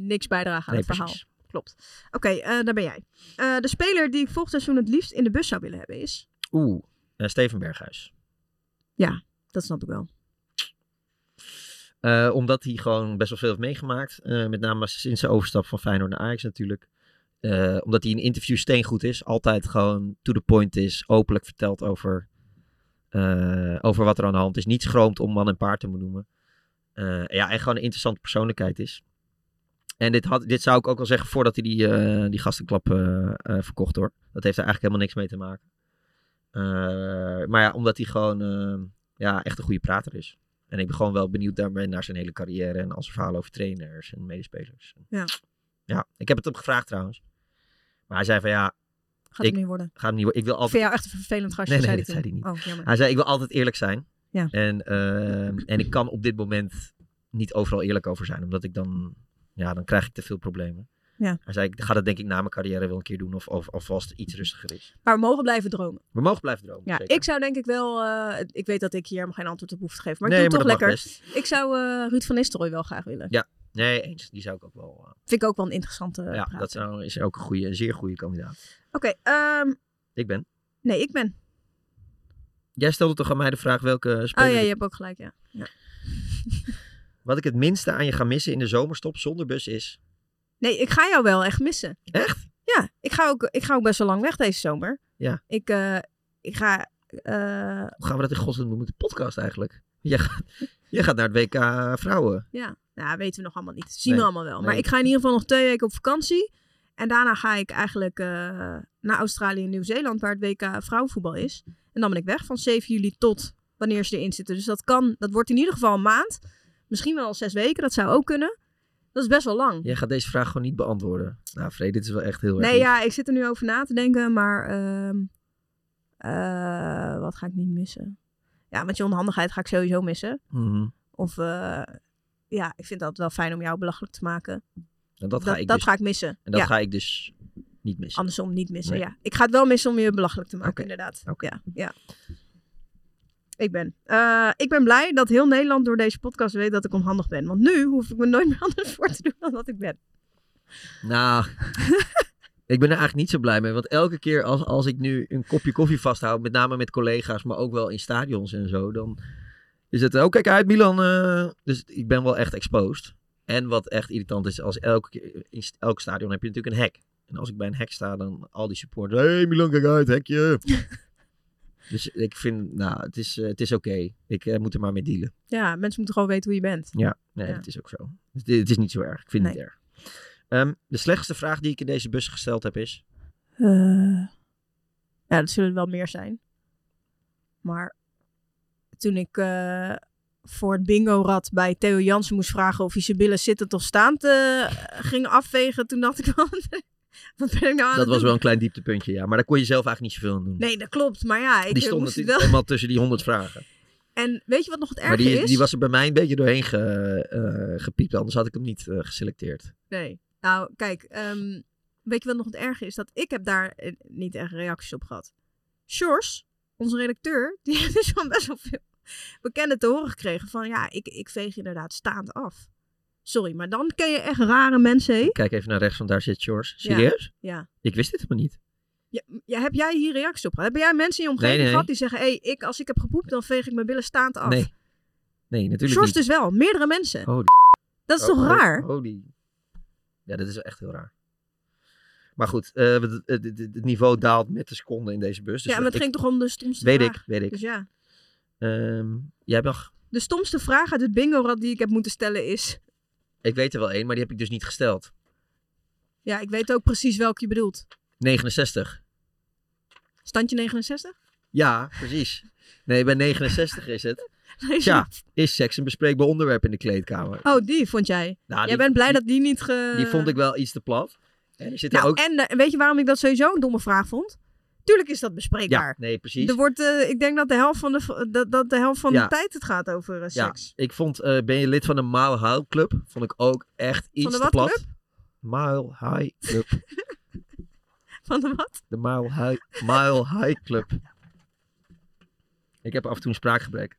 Speaker 6: niks bijdragen aan
Speaker 5: Nee,
Speaker 6: het verhaal.
Speaker 5: precies.
Speaker 6: Klopt. Oké, eh, daar ben jij. Eh, de speler die ik volgend seizoen het liefst in de bus zou willen hebben is...
Speaker 5: Oeh, eh, Steven Berghuis.
Speaker 6: Ja, dat snap ik wel.
Speaker 5: Eh, omdat hij gewoon best wel veel heeft meegemaakt. Eh, met name sinds zijn overstap van Feyenoord naar Ajax natuurlijk. Eh, omdat hij in interviews steengoed is. Altijd gewoon to the point is. Openlijk vertelt over, eh, over wat er aan de hand is. Niet schroomt om man en paard te benoemen. Eh, ja, en gewoon een interessante persoonlijkheid is. En dit, had, dit zou ik ook al zeggen voordat hij die, eh, die gastenklap eh, eh, verkocht hoor. Dat heeft er eigenlijk helemaal niks mee te maken. Eh, maar ja, omdat hij gewoon eh, ja, echt een goede prater is. En ik ben gewoon wel benieuwd daarmee naar zijn hele carrière en al zijn verhaal over trainers en medespelers.
Speaker 6: Ja.
Speaker 5: Ja, ik heb het hem gevraagd trouwens. Maar hij zei van ja...
Speaker 6: hem
Speaker 5: ik,
Speaker 6: niet worden.
Speaker 5: Gaat hem niet worden. Ik wil
Speaker 6: Ik vind
Speaker 5: altijd...
Speaker 6: jou echt een vervelend gastje,
Speaker 5: Nee,
Speaker 6: zei
Speaker 5: nee, dat
Speaker 6: hij
Speaker 5: zei hij
Speaker 6: toen.
Speaker 5: niet.
Speaker 6: Oh, jammer.
Speaker 5: hij zei ik wil altijd eerlijk zijn.
Speaker 6: Ja.
Speaker 5: En, eh, en ik kan op dit moment niet overal eerlijk over zijn. Omdat ik dan... Ja, dan krijg ik te veel problemen.
Speaker 6: Ja.
Speaker 5: Hij zei ik ga dat denk ik na mijn carrière wel een keer doen. Of, of, of als het iets rustiger is.
Speaker 6: Maar we mogen blijven dromen.
Speaker 5: We mogen blijven dromen.
Speaker 6: Ja,
Speaker 5: zeker.
Speaker 6: ik zou denk ik wel... eh, ik weet dat ik hier helemaal geen antwoord op hoef te geven, maar
Speaker 5: Nee,
Speaker 6: ik doe
Speaker 5: maar
Speaker 6: het toch
Speaker 5: dat mag
Speaker 6: lekker. Ik zou eh, Ruud van Nistelrooy wel graag willen.
Speaker 5: Ja, nee, eens. Die zou ik ook wel... eh,
Speaker 6: Vind ik ook wel een interessante eh,
Speaker 5: ja,
Speaker 6: praat.
Speaker 5: dat zou- is ook een goede, zeer goede kandidaat.
Speaker 6: Oké, ehm,
Speaker 5: Ik ben...
Speaker 6: nee, ik ben. Oh
Speaker 5: Jij stelde toch aan mij de vraag welke
Speaker 6: Oh
Speaker 5: speler...
Speaker 6: ja, je hebt ook gelijk, ja. ja.
Speaker 5: Wat ik het minste aan je ga missen in de zomerstop zonder bus is...
Speaker 6: Nee, ik ga jou wel echt missen.
Speaker 5: Echt?
Speaker 6: Ja, ik ga ook, ik ga ook best wel lang weg deze zomer.
Speaker 5: Ja.
Speaker 6: Ik, eh, ik ga... eh,
Speaker 5: Hoe gaan we dat in godsnaam doen met de podcast eigenlijk? Jij gaat, jij gaat naar het WK vrouwen.
Speaker 6: ja, nou, weten we nog allemaal niet. Zien
Speaker 5: Nee,
Speaker 6: we allemaal wel. Maar
Speaker 5: nee.
Speaker 6: ik ga in ieder geval nog twee weken op vakantie. En daarna ga ik eigenlijk eh, naar Australië en Nieuw-Zeeland, waar het WK vrouwenvoetbal is. En dan ben ik weg van 7 juli tot wanneer ze erin zitten. Dus dat kan, dat wordt in ieder geval een maand. Misschien wel zes weken, dat zou ook kunnen. Dat is best wel lang.
Speaker 5: Jij gaat deze vraag gewoon niet beantwoorden. Nou, Vrede, dit is wel echt heel erg...
Speaker 6: Nee,
Speaker 5: lief.
Speaker 6: ja, ik zit er nu over na te denken, maar ehm, eh, wat ga ik niet missen? Ja, met je onhandigheid ga ik sowieso missen.
Speaker 5: Mhm.
Speaker 6: Of eh, ja, ik vind dat wel fijn om jou belachelijk te maken.
Speaker 5: En dat, ga ik
Speaker 6: dat
Speaker 5: dus-
Speaker 6: ga ik missen.
Speaker 5: En dat
Speaker 6: ja.
Speaker 5: ga ik dus niet missen.
Speaker 6: Andersom niet missen,
Speaker 5: Nee.
Speaker 6: ja. Ik ga het wel missen om je belachelijk te maken, inderdaad. Ja, ja. Ik ben. eh, ik ben blij dat heel Nederland door deze podcast weet dat ik onhandig ben. Want nu hoef ik me nooit meer anders voor te doen dan dat ik ben.
Speaker 5: Nou, ik ben er eigenlijk niet zo blij mee. Want elke keer als, als ik nu een kopje koffie vasthoud, met name met collega's, maar ook wel in stadions en zo, dan is het, oh kijk uit Milan. eh." Dus ik ben wel echt exposed. En wat echt irritant is, als elke keer, in st- elk stadion heb je natuurlijk een hek. En als ik bij een hek sta, dan al die supporters, hey Milan, kijk uit, hekje. dus ik vind, nou, het is, eh, het is oké. Ik eh, moet er maar mee dealen.
Speaker 6: Ja, mensen moeten gewoon weten hoe je bent.
Speaker 5: Ja, nee,
Speaker 6: Ja.
Speaker 5: dat is ook zo. Het, het is niet zo erg. Ik vind het
Speaker 6: Nee.
Speaker 5: niet erg. Ehm, de slechtste vraag die ik in deze bus gesteld heb is...
Speaker 6: Eh, ja, dat zullen er wel meer zijn. Maar toen ik eh, voor het bingo-rad bij Theo Jansen moest vragen of hij zijn billen zittend of staand eh, ging afvegen, toen dacht ik wel, wat ben ik nou aan
Speaker 5: dat
Speaker 6: het
Speaker 5: was
Speaker 6: doen?
Speaker 5: wel een klein dieptepuntje, ja. Maar daar kon je zelf eigenlijk niet zoveel aan doen.
Speaker 6: Nee, dat klopt. Maar ja, ik
Speaker 5: die
Speaker 6: eh,
Speaker 5: stond
Speaker 6: moest het
Speaker 5: natuurlijk
Speaker 6: wel...
Speaker 5: helemaal tussen die honderd vragen.
Speaker 6: En weet je wat nog het erge
Speaker 5: Maar die,
Speaker 6: is?
Speaker 5: die was er bij mij een beetje doorheen ge, eh, gepiept, anders had ik hem niet eh, geselecteerd.
Speaker 6: Nee. Nou, kijk, ehm, weet je wat nog het erge is? Dat ik heb daar eh, niet echt reacties op gehad. Sjors, onze redacteur, die heeft dus van best wel veel bekenden te horen gekregen van ja, ik, ik veeg inderdaad staand af. Sorry, maar dan ken je echt rare mensen. hé?
Speaker 5: Kijk even naar rechts, want daar zit George.
Speaker 6: Ja,
Speaker 5: Serieus?
Speaker 6: ja.
Speaker 5: Ik wist dit helemaal niet.
Speaker 6: Ja, ja, heb jij hier reacties op gehad? Heb jij mensen in je omgeving
Speaker 5: Nee, nee.
Speaker 6: gehad die zeggen, hé, ik, als ik heb gepoept, dan veeg ik mijn billen staand af?
Speaker 5: Nee. Nee, natuurlijk
Speaker 6: Sjors
Speaker 5: niet.
Speaker 6: dus wel, meerdere mensen.
Speaker 5: Oh,
Speaker 6: Dat is toch
Speaker 5: oh,
Speaker 6: raar?
Speaker 5: Holy. Ja, dat is echt heel raar. Maar goed, eh, het, het- het- het niveau daalt met de seconde in deze bus. dus
Speaker 6: ja, maar het
Speaker 5: ik-
Speaker 6: ging toch om de stomste
Speaker 5: Weet
Speaker 6: vraag.
Speaker 5: ik, weet ik.
Speaker 6: Dus ja.
Speaker 5: Ehm, jij mag.
Speaker 6: De stomste vraag uit het bingo-rad die ik heb moeten stellen is...
Speaker 5: Ik weet er wel één, maar die heb ik dus niet gesteld.
Speaker 6: Ja, ik weet ook precies welke je bedoelt.
Speaker 5: 69.
Speaker 6: Standje 69?
Speaker 5: Ja, precies. Nee, bij 69 is het.
Speaker 6: Nee,
Speaker 5: Tja, is seks een bespreekbaar onderwerp in de kleedkamer?
Speaker 6: Oh, die vond jij.
Speaker 5: Nou,
Speaker 6: jij
Speaker 5: die-
Speaker 6: bent blij dat die niet ge...
Speaker 5: Die vond ik wel iets te plat. En er zitten
Speaker 6: Oh, eh. Nou,
Speaker 5: ook...
Speaker 6: en eh, weet je waarom ik dat sowieso een domme vraag vond? Tuurlijk is dat bespreekbaar.
Speaker 5: Ja, nee, precies.
Speaker 6: Er wordt, eh, ik denk dat de helft van de, v- dat, dat de, helft van
Speaker 5: Ja.
Speaker 6: de tijd het gaat over eh, seks.
Speaker 5: Ja, ik vond, eh, ben je lid van de Mile High Club? Vond ik ook echt iets
Speaker 6: de
Speaker 5: te
Speaker 6: wat
Speaker 5: plat.
Speaker 6: club?
Speaker 5: Mile High Club.
Speaker 6: Van de wat?
Speaker 5: De Mile High, Mile High Club. Ik heb af en toe een spraakgebrek.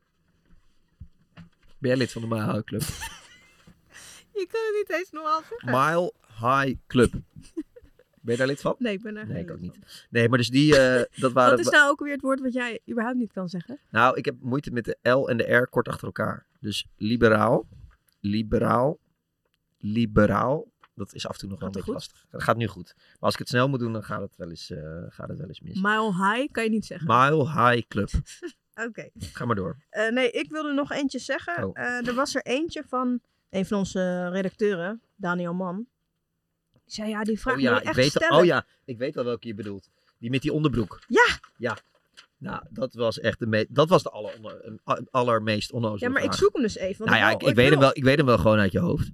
Speaker 5: Ben jij lid van de Mile High Club?
Speaker 6: Je kan het niet eens normaal zeggen.
Speaker 5: Mile High Club. Ben je daar lid van?
Speaker 6: Nee, ik ben daar
Speaker 5: Nee,
Speaker 6: geen
Speaker 5: ik
Speaker 6: lid
Speaker 5: ook niet. Nee, maar dus die, eh, dat waren...
Speaker 6: Wat is nou ook weer het woord wat jij überhaupt niet kan zeggen?
Speaker 5: Nou, ik heb moeite met de L en de R kort achter elkaar. Dus liberaal, liberaal, liberaal. Dat is af en toe nog wel een
Speaker 6: Gaat
Speaker 5: beetje
Speaker 6: het
Speaker 5: lastig. Dat gaat nu goed. Maar als ik het snel moet doen, dan gaat het wel eens, eh, gaat het wel eens mis.
Speaker 6: Mile high kan je niet zeggen.
Speaker 5: Mile High Club.
Speaker 6: Oké.
Speaker 5: Ga maar door.
Speaker 6: Eh, nee, ik wilde nog eentje zeggen.
Speaker 5: Oh.
Speaker 6: Eh, er was er eentje van een van onze redacteuren, Daniel Man. Die zei, ja, die vraag
Speaker 5: oh,
Speaker 6: moet
Speaker 5: ja,
Speaker 6: je echt
Speaker 5: ik weet,
Speaker 6: stellen.
Speaker 5: oh ja, ik weet wel welke je bedoelt. Die met die onderbroek.
Speaker 6: Ja.
Speaker 5: Ja. Nou, dat was echt de, me- dat was de aller onder- a- allermeest onnozele
Speaker 6: Ja, maar ik
Speaker 5: vraag.
Speaker 6: zoek hem dus even. want
Speaker 5: Nou ja,
Speaker 6: wil-
Speaker 5: ik, ik weet hem
Speaker 6: wil-
Speaker 5: wel, ik weet hem wel gewoon uit je hoofd.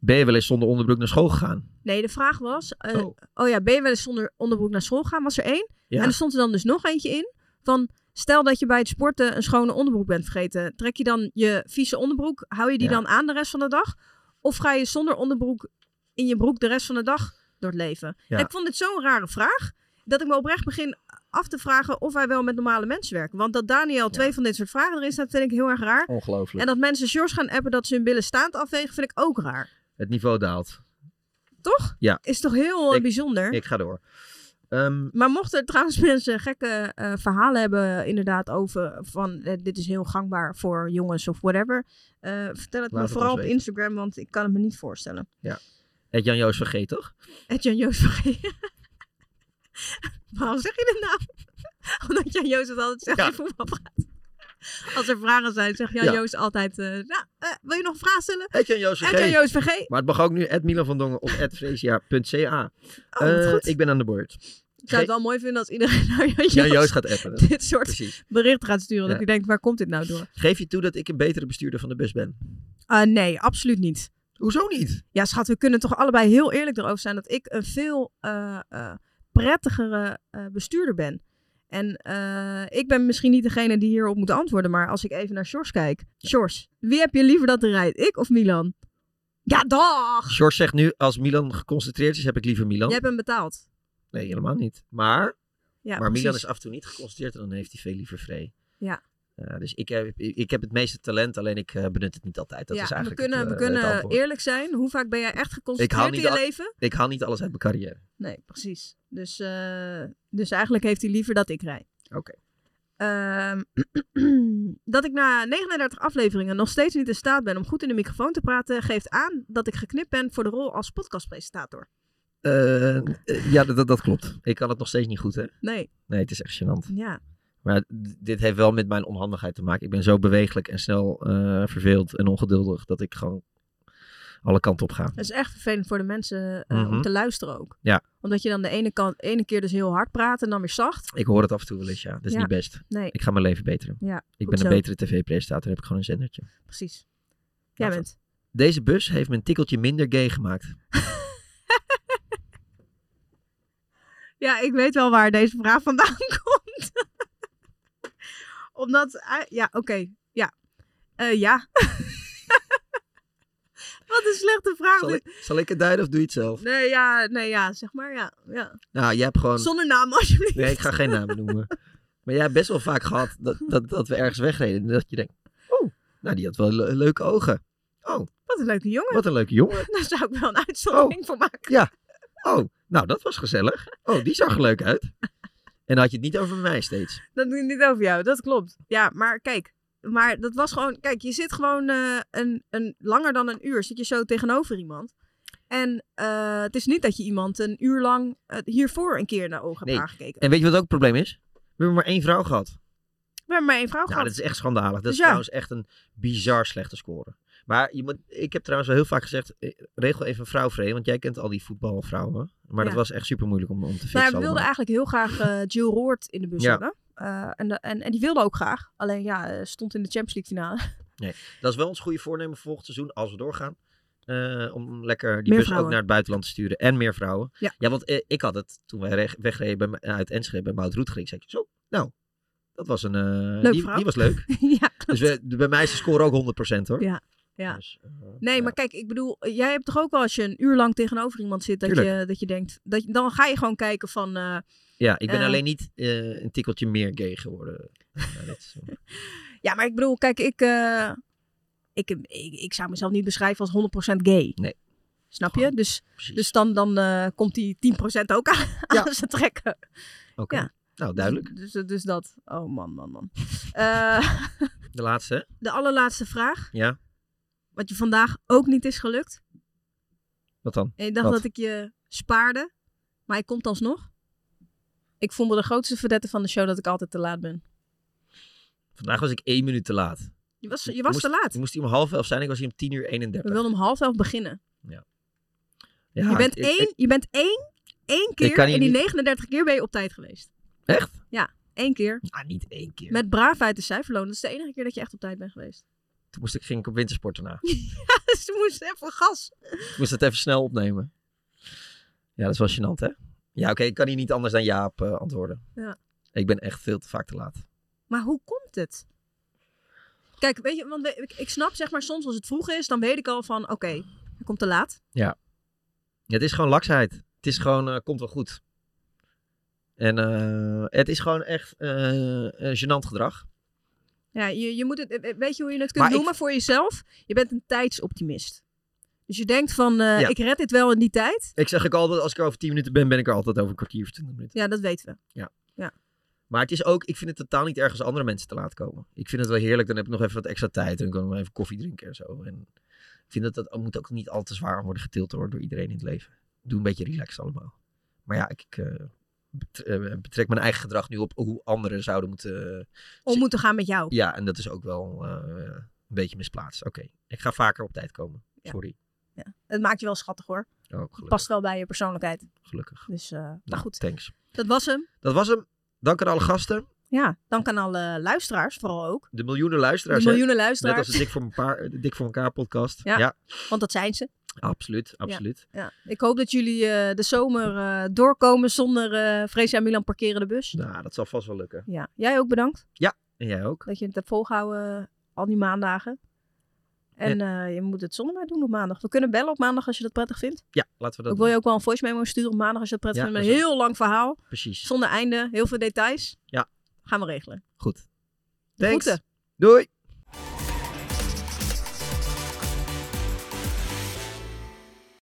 Speaker 5: Ben je wel eens zonder onderbroek naar school gegaan?
Speaker 6: Nee, de vraag was, eh,
Speaker 5: Oh.
Speaker 6: oh. ja, ben je wel eens zonder onderbroek naar school gegaan? Was er één.
Speaker 5: Ja.
Speaker 6: En er stond er dan dus nog eentje in van... Stel dat je bij het sporten een schone onderbroek bent vergeten. Trek je dan je vieze onderbroek, hou je die
Speaker 5: Ja.
Speaker 6: dan aan de rest van de dag? Of ga je zonder onderbroek in je broek de rest van de dag door het leven?
Speaker 5: Ja.
Speaker 6: En ik vond dit zo'n rare vraag, dat ik me oprecht begin af te vragen of wij wel met normale mensen werken. Want dat Daniel twee van dit soort vragen erin staat, vind ik heel erg raar.
Speaker 5: Ongelooflijk.
Speaker 6: En dat mensen shorts gaan appen dat ze hun billen staand afwegen, vind ik ook raar.
Speaker 5: Het niveau daalt.
Speaker 6: Toch?
Speaker 5: Ja.
Speaker 6: Is toch heel eh, bijzonder?
Speaker 5: Ik ga door. Ehm,
Speaker 6: Maar mochten er trouwens mensen gekke eh, verhalen hebben, inderdaad, over van eh, dit is heel gangbaar voor jongens of whatever, eh, vertel het
Speaker 5: Laat
Speaker 6: me
Speaker 5: het
Speaker 6: vooral
Speaker 5: ons
Speaker 6: op
Speaker 5: weten.
Speaker 6: Instagram, want ik kan het me niet voorstellen.
Speaker 5: ja. Het Jan Joost vergeet toch?
Speaker 6: Het Jan Joost vergeten. Waarom zeg je dit nou? Omdat Jan Joost het altijd zegt in voetbal praat. Als er vragen zijn, zegt Jan
Speaker 5: Ja.
Speaker 6: Joost altijd, eh, nou, eh, wil je nog een vraag stellen?
Speaker 5: Het Jan Joost
Speaker 6: Het Jan Joost vergeet.
Speaker 5: Maar het mag ook nu at Milan van Dongen of at freesia.ca.
Speaker 6: Oh, wat goed.
Speaker 5: Eh, Ik ben aan de beurt.
Speaker 6: Ik zou het wel mooi vinden als iedereen naar Jan Joost,
Speaker 5: Jan Joost gaat appen.
Speaker 6: dit soort
Speaker 5: Precies.
Speaker 6: bericht gaat sturen.
Speaker 5: Ja.
Speaker 6: Dat ik denk, waar komt dit nou door?
Speaker 5: Geef je toe dat ik een betere bestuurder van de bus ben?
Speaker 6: Eh, nee, absoluut niet.
Speaker 5: Hoezo niet?
Speaker 6: Ja, schat, we kunnen toch allebei heel eerlijk erover zijn dat ik een veel eh, eh, prettigere eh, bestuurder ben. En eh, ik ben misschien niet degene die hierop moet antwoorden, maar als ik even naar Sjors kijk. Sjors, wie heb je liever dat er rijdt? Ik of Milan? Ja, dag!
Speaker 5: George zegt nu, als Milan geconcentreerd is, heb ik liever Milan.
Speaker 6: Jij hebt hem betaald.
Speaker 5: Nee, helemaal niet. Maar,
Speaker 6: Ja,
Speaker 5: maar Milan
Speaker 6: precies.
Speaker 5: is af en toe niet geconcentreerd en dan heeft hij veel liever Free.
Speaker 6: Ja.
Speaker 5: Eh, dus ik heb, ik ik heb het meeste talent, alleen ik eh, benut het niet altijd. Dat
Speaker 6: ja,
Speaker 5: is
Speaker 6: we
Speaker 5: eigenlijk
Speaker 6: kunnen,
Speaker 5: het,
Speaker 6: we
Speaker 5: eh, het
Speaker 6: kunnen
Speaker 5: antwoord.
Speaker 6: eerlijk zijn. Hoe vaak ben jij echt
Speaker 5: ik haal
Speaker 6: geconcentreerd in
Speaker 5: niet
Speaker 6: je
Speaker 5: al-
Speaker 6: leven?
Speaker 5: Ik haal niet alles uit mijn carrière.
Speaker 6: Nee, precies. Dus, eh, dus eigenlijk heeft hij liever dat ik rijd.
Speaker 5: Oké.
Speaker 6: Ehm, dat ik na 39 afleveringen nog steeds niet in staat ben om goed in de microfoon te praten, geeft aan dat ik geknipt ben voor de rol als podcastpresentator.
Speaker 5: Eh, eh, ja, dat, dat, dat klopt. Ik kan het nog steeds niet goed, hè?
Speaker 6: Nee.
Speaker 5: Nee, het is echt gênant.
Speaker 6: Ja.
Speaker 5: Maar d- dit heeft wel met mijn onhandigheid te maken. Ik ben zo beweeglijk en snel eh, verveeld en ongeduldig dat ik gewoon alle kanten op ga.
Speaker 6: Dat is echt vervelend voor de mensen eh,
Speaker 5: Mhm.
Speaker 6: om te luisteren ook.
Speaker 5: Ja.
Speaker 6: Omdat je dan de ene, kant, ene keer dus heel hard praat en dan weer zacht.
Speaker 5: Ik hoor het af en toe wel eens, ja. Dat is
Speaker 6: Ja.
Speaker 5: niet best.
Speaker 6: Nee.
Speaker 5: Ik ga mijn leven beteren.
Speaker 6: Ja,
Speaker 5: ik
Speaker 6: goed
Speaker 5: ben een
Speaker 6: zo.
Speaker 5: betere tv-presentator, heb ik gewoon een zendertje.
Speaker 6: Precies. Jij bent.
Speaker 5: Deze bus heeft me een tikkeltje minder gay gemaakt.
Speaker 6: Ja, ik weet wel waar deze vraag vandaan komt. Omdat, eh, ja, oké, ja. Eh, ja. Wat een slechte vraag.
Speaker 5: Zal
Speaker 6: dit.
Speaker 5: ik, zal ik het duiden of doe je het zelf?
Speaker 6: Nee, ja, nee, ja, zeg maar, ja. ja.
Speaker 5: Nou, jij hebt gewoon...
Speaker 6: Zonder naam, alsjeblieft.
Speaker 5: Nee, ik ga geen namen noemen. Maar jij hebt best wel vaak gehad dat, dat, dat we ergens wegreden. En dat je denkt, oh, nou die had wel le- leuke ogen. Oh.
Speaker 6: Wat een leuke jongen.
Speaker 5: Wat een leuke jongen.
Speaker 6: Daar zou ik wel een uitzondering voor maken.
Speaker 5: Ja. Oh, nou dat was gezellig. Oh, die zag er leuk uit. En dan had je het niet over mij steeds.
Speaker 6: Dat doe ik niet over jou, dat klopt. Ja, maar kijk. Maar dat was gewoon... Kijk, je zit gewoon eh, een, een, langer dan een uur zit je zo tegenover iemand. En eh, het is niet dat je iemand een uur lang eh, hiervoor een keer naar ogen
Speaker 5: Nee.
Speaker 6: hebt aangekeken.
Speaker 5: En weet je wat ook het probleem is? We hebben maar één vrouw gehad.
Speaker 6: We hebben maar één vrouw
Speaker 5: Nou,
Speaker 6: gehad.
Speaker 5: dat is echt schandalig. Dat
Speaker 6: Dus
Speaker 5: is
Speaker 6: ja.
Speaker 5: trouwens echt een bizar slechte score. Maar je moet, ik heb trouwens wel heel vaak gezegd, eh, regel even een vrouw vrij, want jij kent al die voetbalvrouwen. Maar dat
Speaker 6: Ja.
Speaker 5: was echt super moeilijk om, om te fixen.
Speaker 6: Nou, ja, we wilden
Speaker 5: allemaal.
Speaker 6: eigenlijk heel graag eh, Jill Roord in de bus
Speaker 5: Ja.
Speaker 6: hebben. Eh, en, de- en, en die wilde ook graag. Alleen ja, eh, stond in de Champions League finale.
Speaker 5: Nee, dat is wel ons goede voornemen voor volgend seizoen, als we doorgaan. eh, om lekker die
Speaker 7: Meer
Speaker 5: bus
Speaker 7: vrouwen.
Speaker 5: ook naar het buitenland te sturen. En meer vrouwen.
Speaker 7: Ja.
Speaker 5: want eh, ik had het toen wij reg- wegreden bij, m- uit Enschede bij Mout Roetgering. Zei ik, zo, nou, dat was een... eh,
Speaker 6: Leuk
Speaker 5: die,
Speaker 6: verhaal.
Speaker 5: die was leuk.
Speaker 6: ja,
Speaker 5: dus we, de- bij mij is de score ook 100% hoor. Dus, eh,
Speaker 6: Ja, ja. nee, maar kijk, ik bedoel, eh, jij hebt toch ook wel als je een uur lang tegenover iemand zit, dat,
Speaker 5: Tuurlijk.
Speaker 6: je, dat je denkt, dat, je- dan ga je gewoon kijken van... eh,
Speaker 5: Ja, ik ben
Speaker 6: eh,
Speaker 5: alleen niet eh, een tikkeltje meer gay geworden. Ja, dit is- eh,
Speaker 6: Ja, maar ik bedoel, kijk, ik, eh, ik, ik, ik zou mezelf niet beschrijven als 100% gay.
Speaker 5: Nee.
Speaker 6: Snap je? Dus, dus dan, dan eh, komt die 10% ook aan, aan ze trekken.
Speaker 5: Oké, nou duidelijk.
Speaker 6: Dus, dus, dus dat. Oh man, man, man. Eh,
Speaker 5: De laatste, hè?
Speaker 6: de allerlaatste vraag,
Speaker 5: Ja,
Speaker 6: wat je vandaag ook niet is gelukt.
Speaker 5: wat dan?
Speaker 6: En ik dacht
Speaker 5: Wat?
Speaker 6: dat ik je spaarde, maar ik komt alsnog. Ik vond me de grootste verdette van de show dat ik altijd te laat ben.
Speaker 5: Vandaag was ik één minuut te laat.
Speaker 6: Je was, je
Speaker 5: Ik
Speaker 6: was
Speaker 5: moest-
Speaker 6: te laat.
Speaker 5: Ik moest hier om half elf zijn, ik was hier om tien uur 31.
Speaker 6: We wilden om half elf beginnen.
Speaker 5: Ja,
Speaker 6: je, bent
Speaker 5: ik-
Speaker 6: één,
Speaker 5: ik-
Speaker 6: je bent één, één keer
Speaker 5: kan hier
Speaker 6: en die
Speaker 5: niet-
Speaker 6: 39 keer ben je op tijd geweest.
Speaker 5: Echt?
Speaker 6: Ja, één keer.
Speaker 5: Ah, niet één keer.
Speaker 6: Met braafheid de cijferloon. Dat is de enige keer dat je echt op tijd bent geweest. dus
Speaker 5: Toen moest ik, ging ik op wintersport daarna.
Speaker 6: Ze moest even gas.
Speaker 5: ik moest dat even snel opnemen. Ja, dat is wel gênant, hè? Ja, oké, ik kan hier niet anders dan Jaap eh, antwoorden.
Speaker 6: Ja.
Speaker 5: Ik ben echt veel te vaak te laat.
Speaker 6: Maar hoe komt het? Kijk, weet je, want we- ik, ik snap zeg maar soms als het vroeg is, dan weet ik al van oké, hij komt te laat.
Speaker 5: Ja. Ja, Het is gewoon laksheid. Het is gewoon, eh, komt wel goed. En eh, het is gewoon echt eh eh, gênant gedrag.
Speaker 6: Ja, je, je moet het, eh, eh, weet je hoe je het kunt
Speaker 5: Maar ik-
Speaker 6: noemen voor jezelf? Je bent een tijdsoptimist. Dus je denkt van eh,
Speaker 5: Ja.
Speaker 6: ik red dit wel in die tijd.
Speaker 5: Ik zeg ook altijd, als ik er over 10 minuten ben, ben ik er altijd over een kwartier of 20 minuten.
Speaker 6: Ja, dat weten we.
Speaker 5: Ja.
Speaker 6: Ja.
Speaker 5: Maar het is ook, ik vind het totaal niet erg als andere mensen te laat komen. Ik vind het wel heerlijk, dan heb ik nog even wat extra tijd en dan kan ik nog even koffie drinken en zo. En ik vind dat dat moet ook niet al te zwaar worden getild hoor, door iedereen in het leven. Doe een beetje relaxed allemaal. Maar ja, ik, ik, eh, bet- eh, betrek mijn eigen gedrag nu op hoe anderen zouden moeten...
Speaker 6: Om moeten gaan met jou.
Speaker 5: Ja, en dat is ook wel eh, een beetje misplaatst. Oké, ik ga vaker op tijd komen. Sorry.
Speaker 6: Ja. Het maakt je wel schattig hoor.
Speaker 5: Oh, gelukkig.
Speaker 6: Past wel bij je persoonlijkheid.
Speaker 5: Gelukkig.
Speaker 6: Dus, eh, maar
Speaker 5: Nou,
Speaker 6: goed.
Speaker 5: Thanks.
Speaker 6: Dat was hem.
Speaker 5: Dat was hem. Dank aan alle gasten.
Speaker 6: Ja, dank aan alle luisteraars vooral ook.
Speaker 5: De miljoenen luisteraars.
Speaker 6: De
Speaker 5: hè?
Speaker 6: miljoenen luisteraars.
Speaker 5: Net als de Dik voor elkaar, de Dik voor elkaar podcast.
Speaker 6: Ja,
Speaker 5: Ja,
Speaker 6: want dat zijn ze.
Speaker 5: absoluut. absoluut.
Speaker 6: Ja, ja. Ik hoop dat jullie eh, de zomer eh, doorkomen zonder eh Freesia en Milan parkeren de bus.
Speaker 5: Nou, dat zal vast wel lukken.
Speaker 6: Ja, jij ook bedankt
Speaker 5: Ja, en jij ook.
Speaker 6: dat je het hebt volgehouden al die maandagen. En eh, je moet het zonder mij doen op maandag. We kunnen bellen op maandag als je dat prettig vindt.
Speaker 5: Ja, laten we dat
Speaker 6: ik wil je
Speaker 5: doen.
Speaker 6: ook wel een voice memo sturen op maandag als je dat prettig
Speaker 5: Ja,
Speaker 6: vindt. Met
Speaker 5: dat
Speaker 6: een
Speaker 5: is-
Speaker 6: heel lang verhaal.
Speaker 5: Precies.
Speaker 6: Zonder einde, heel veel details.
Speaker 5: Ja,
Speaker 6: Gaan we regelen.
Speaker 5: goed. Thanks.
Speaker 6: Groeten.
Speaker 5: Doei.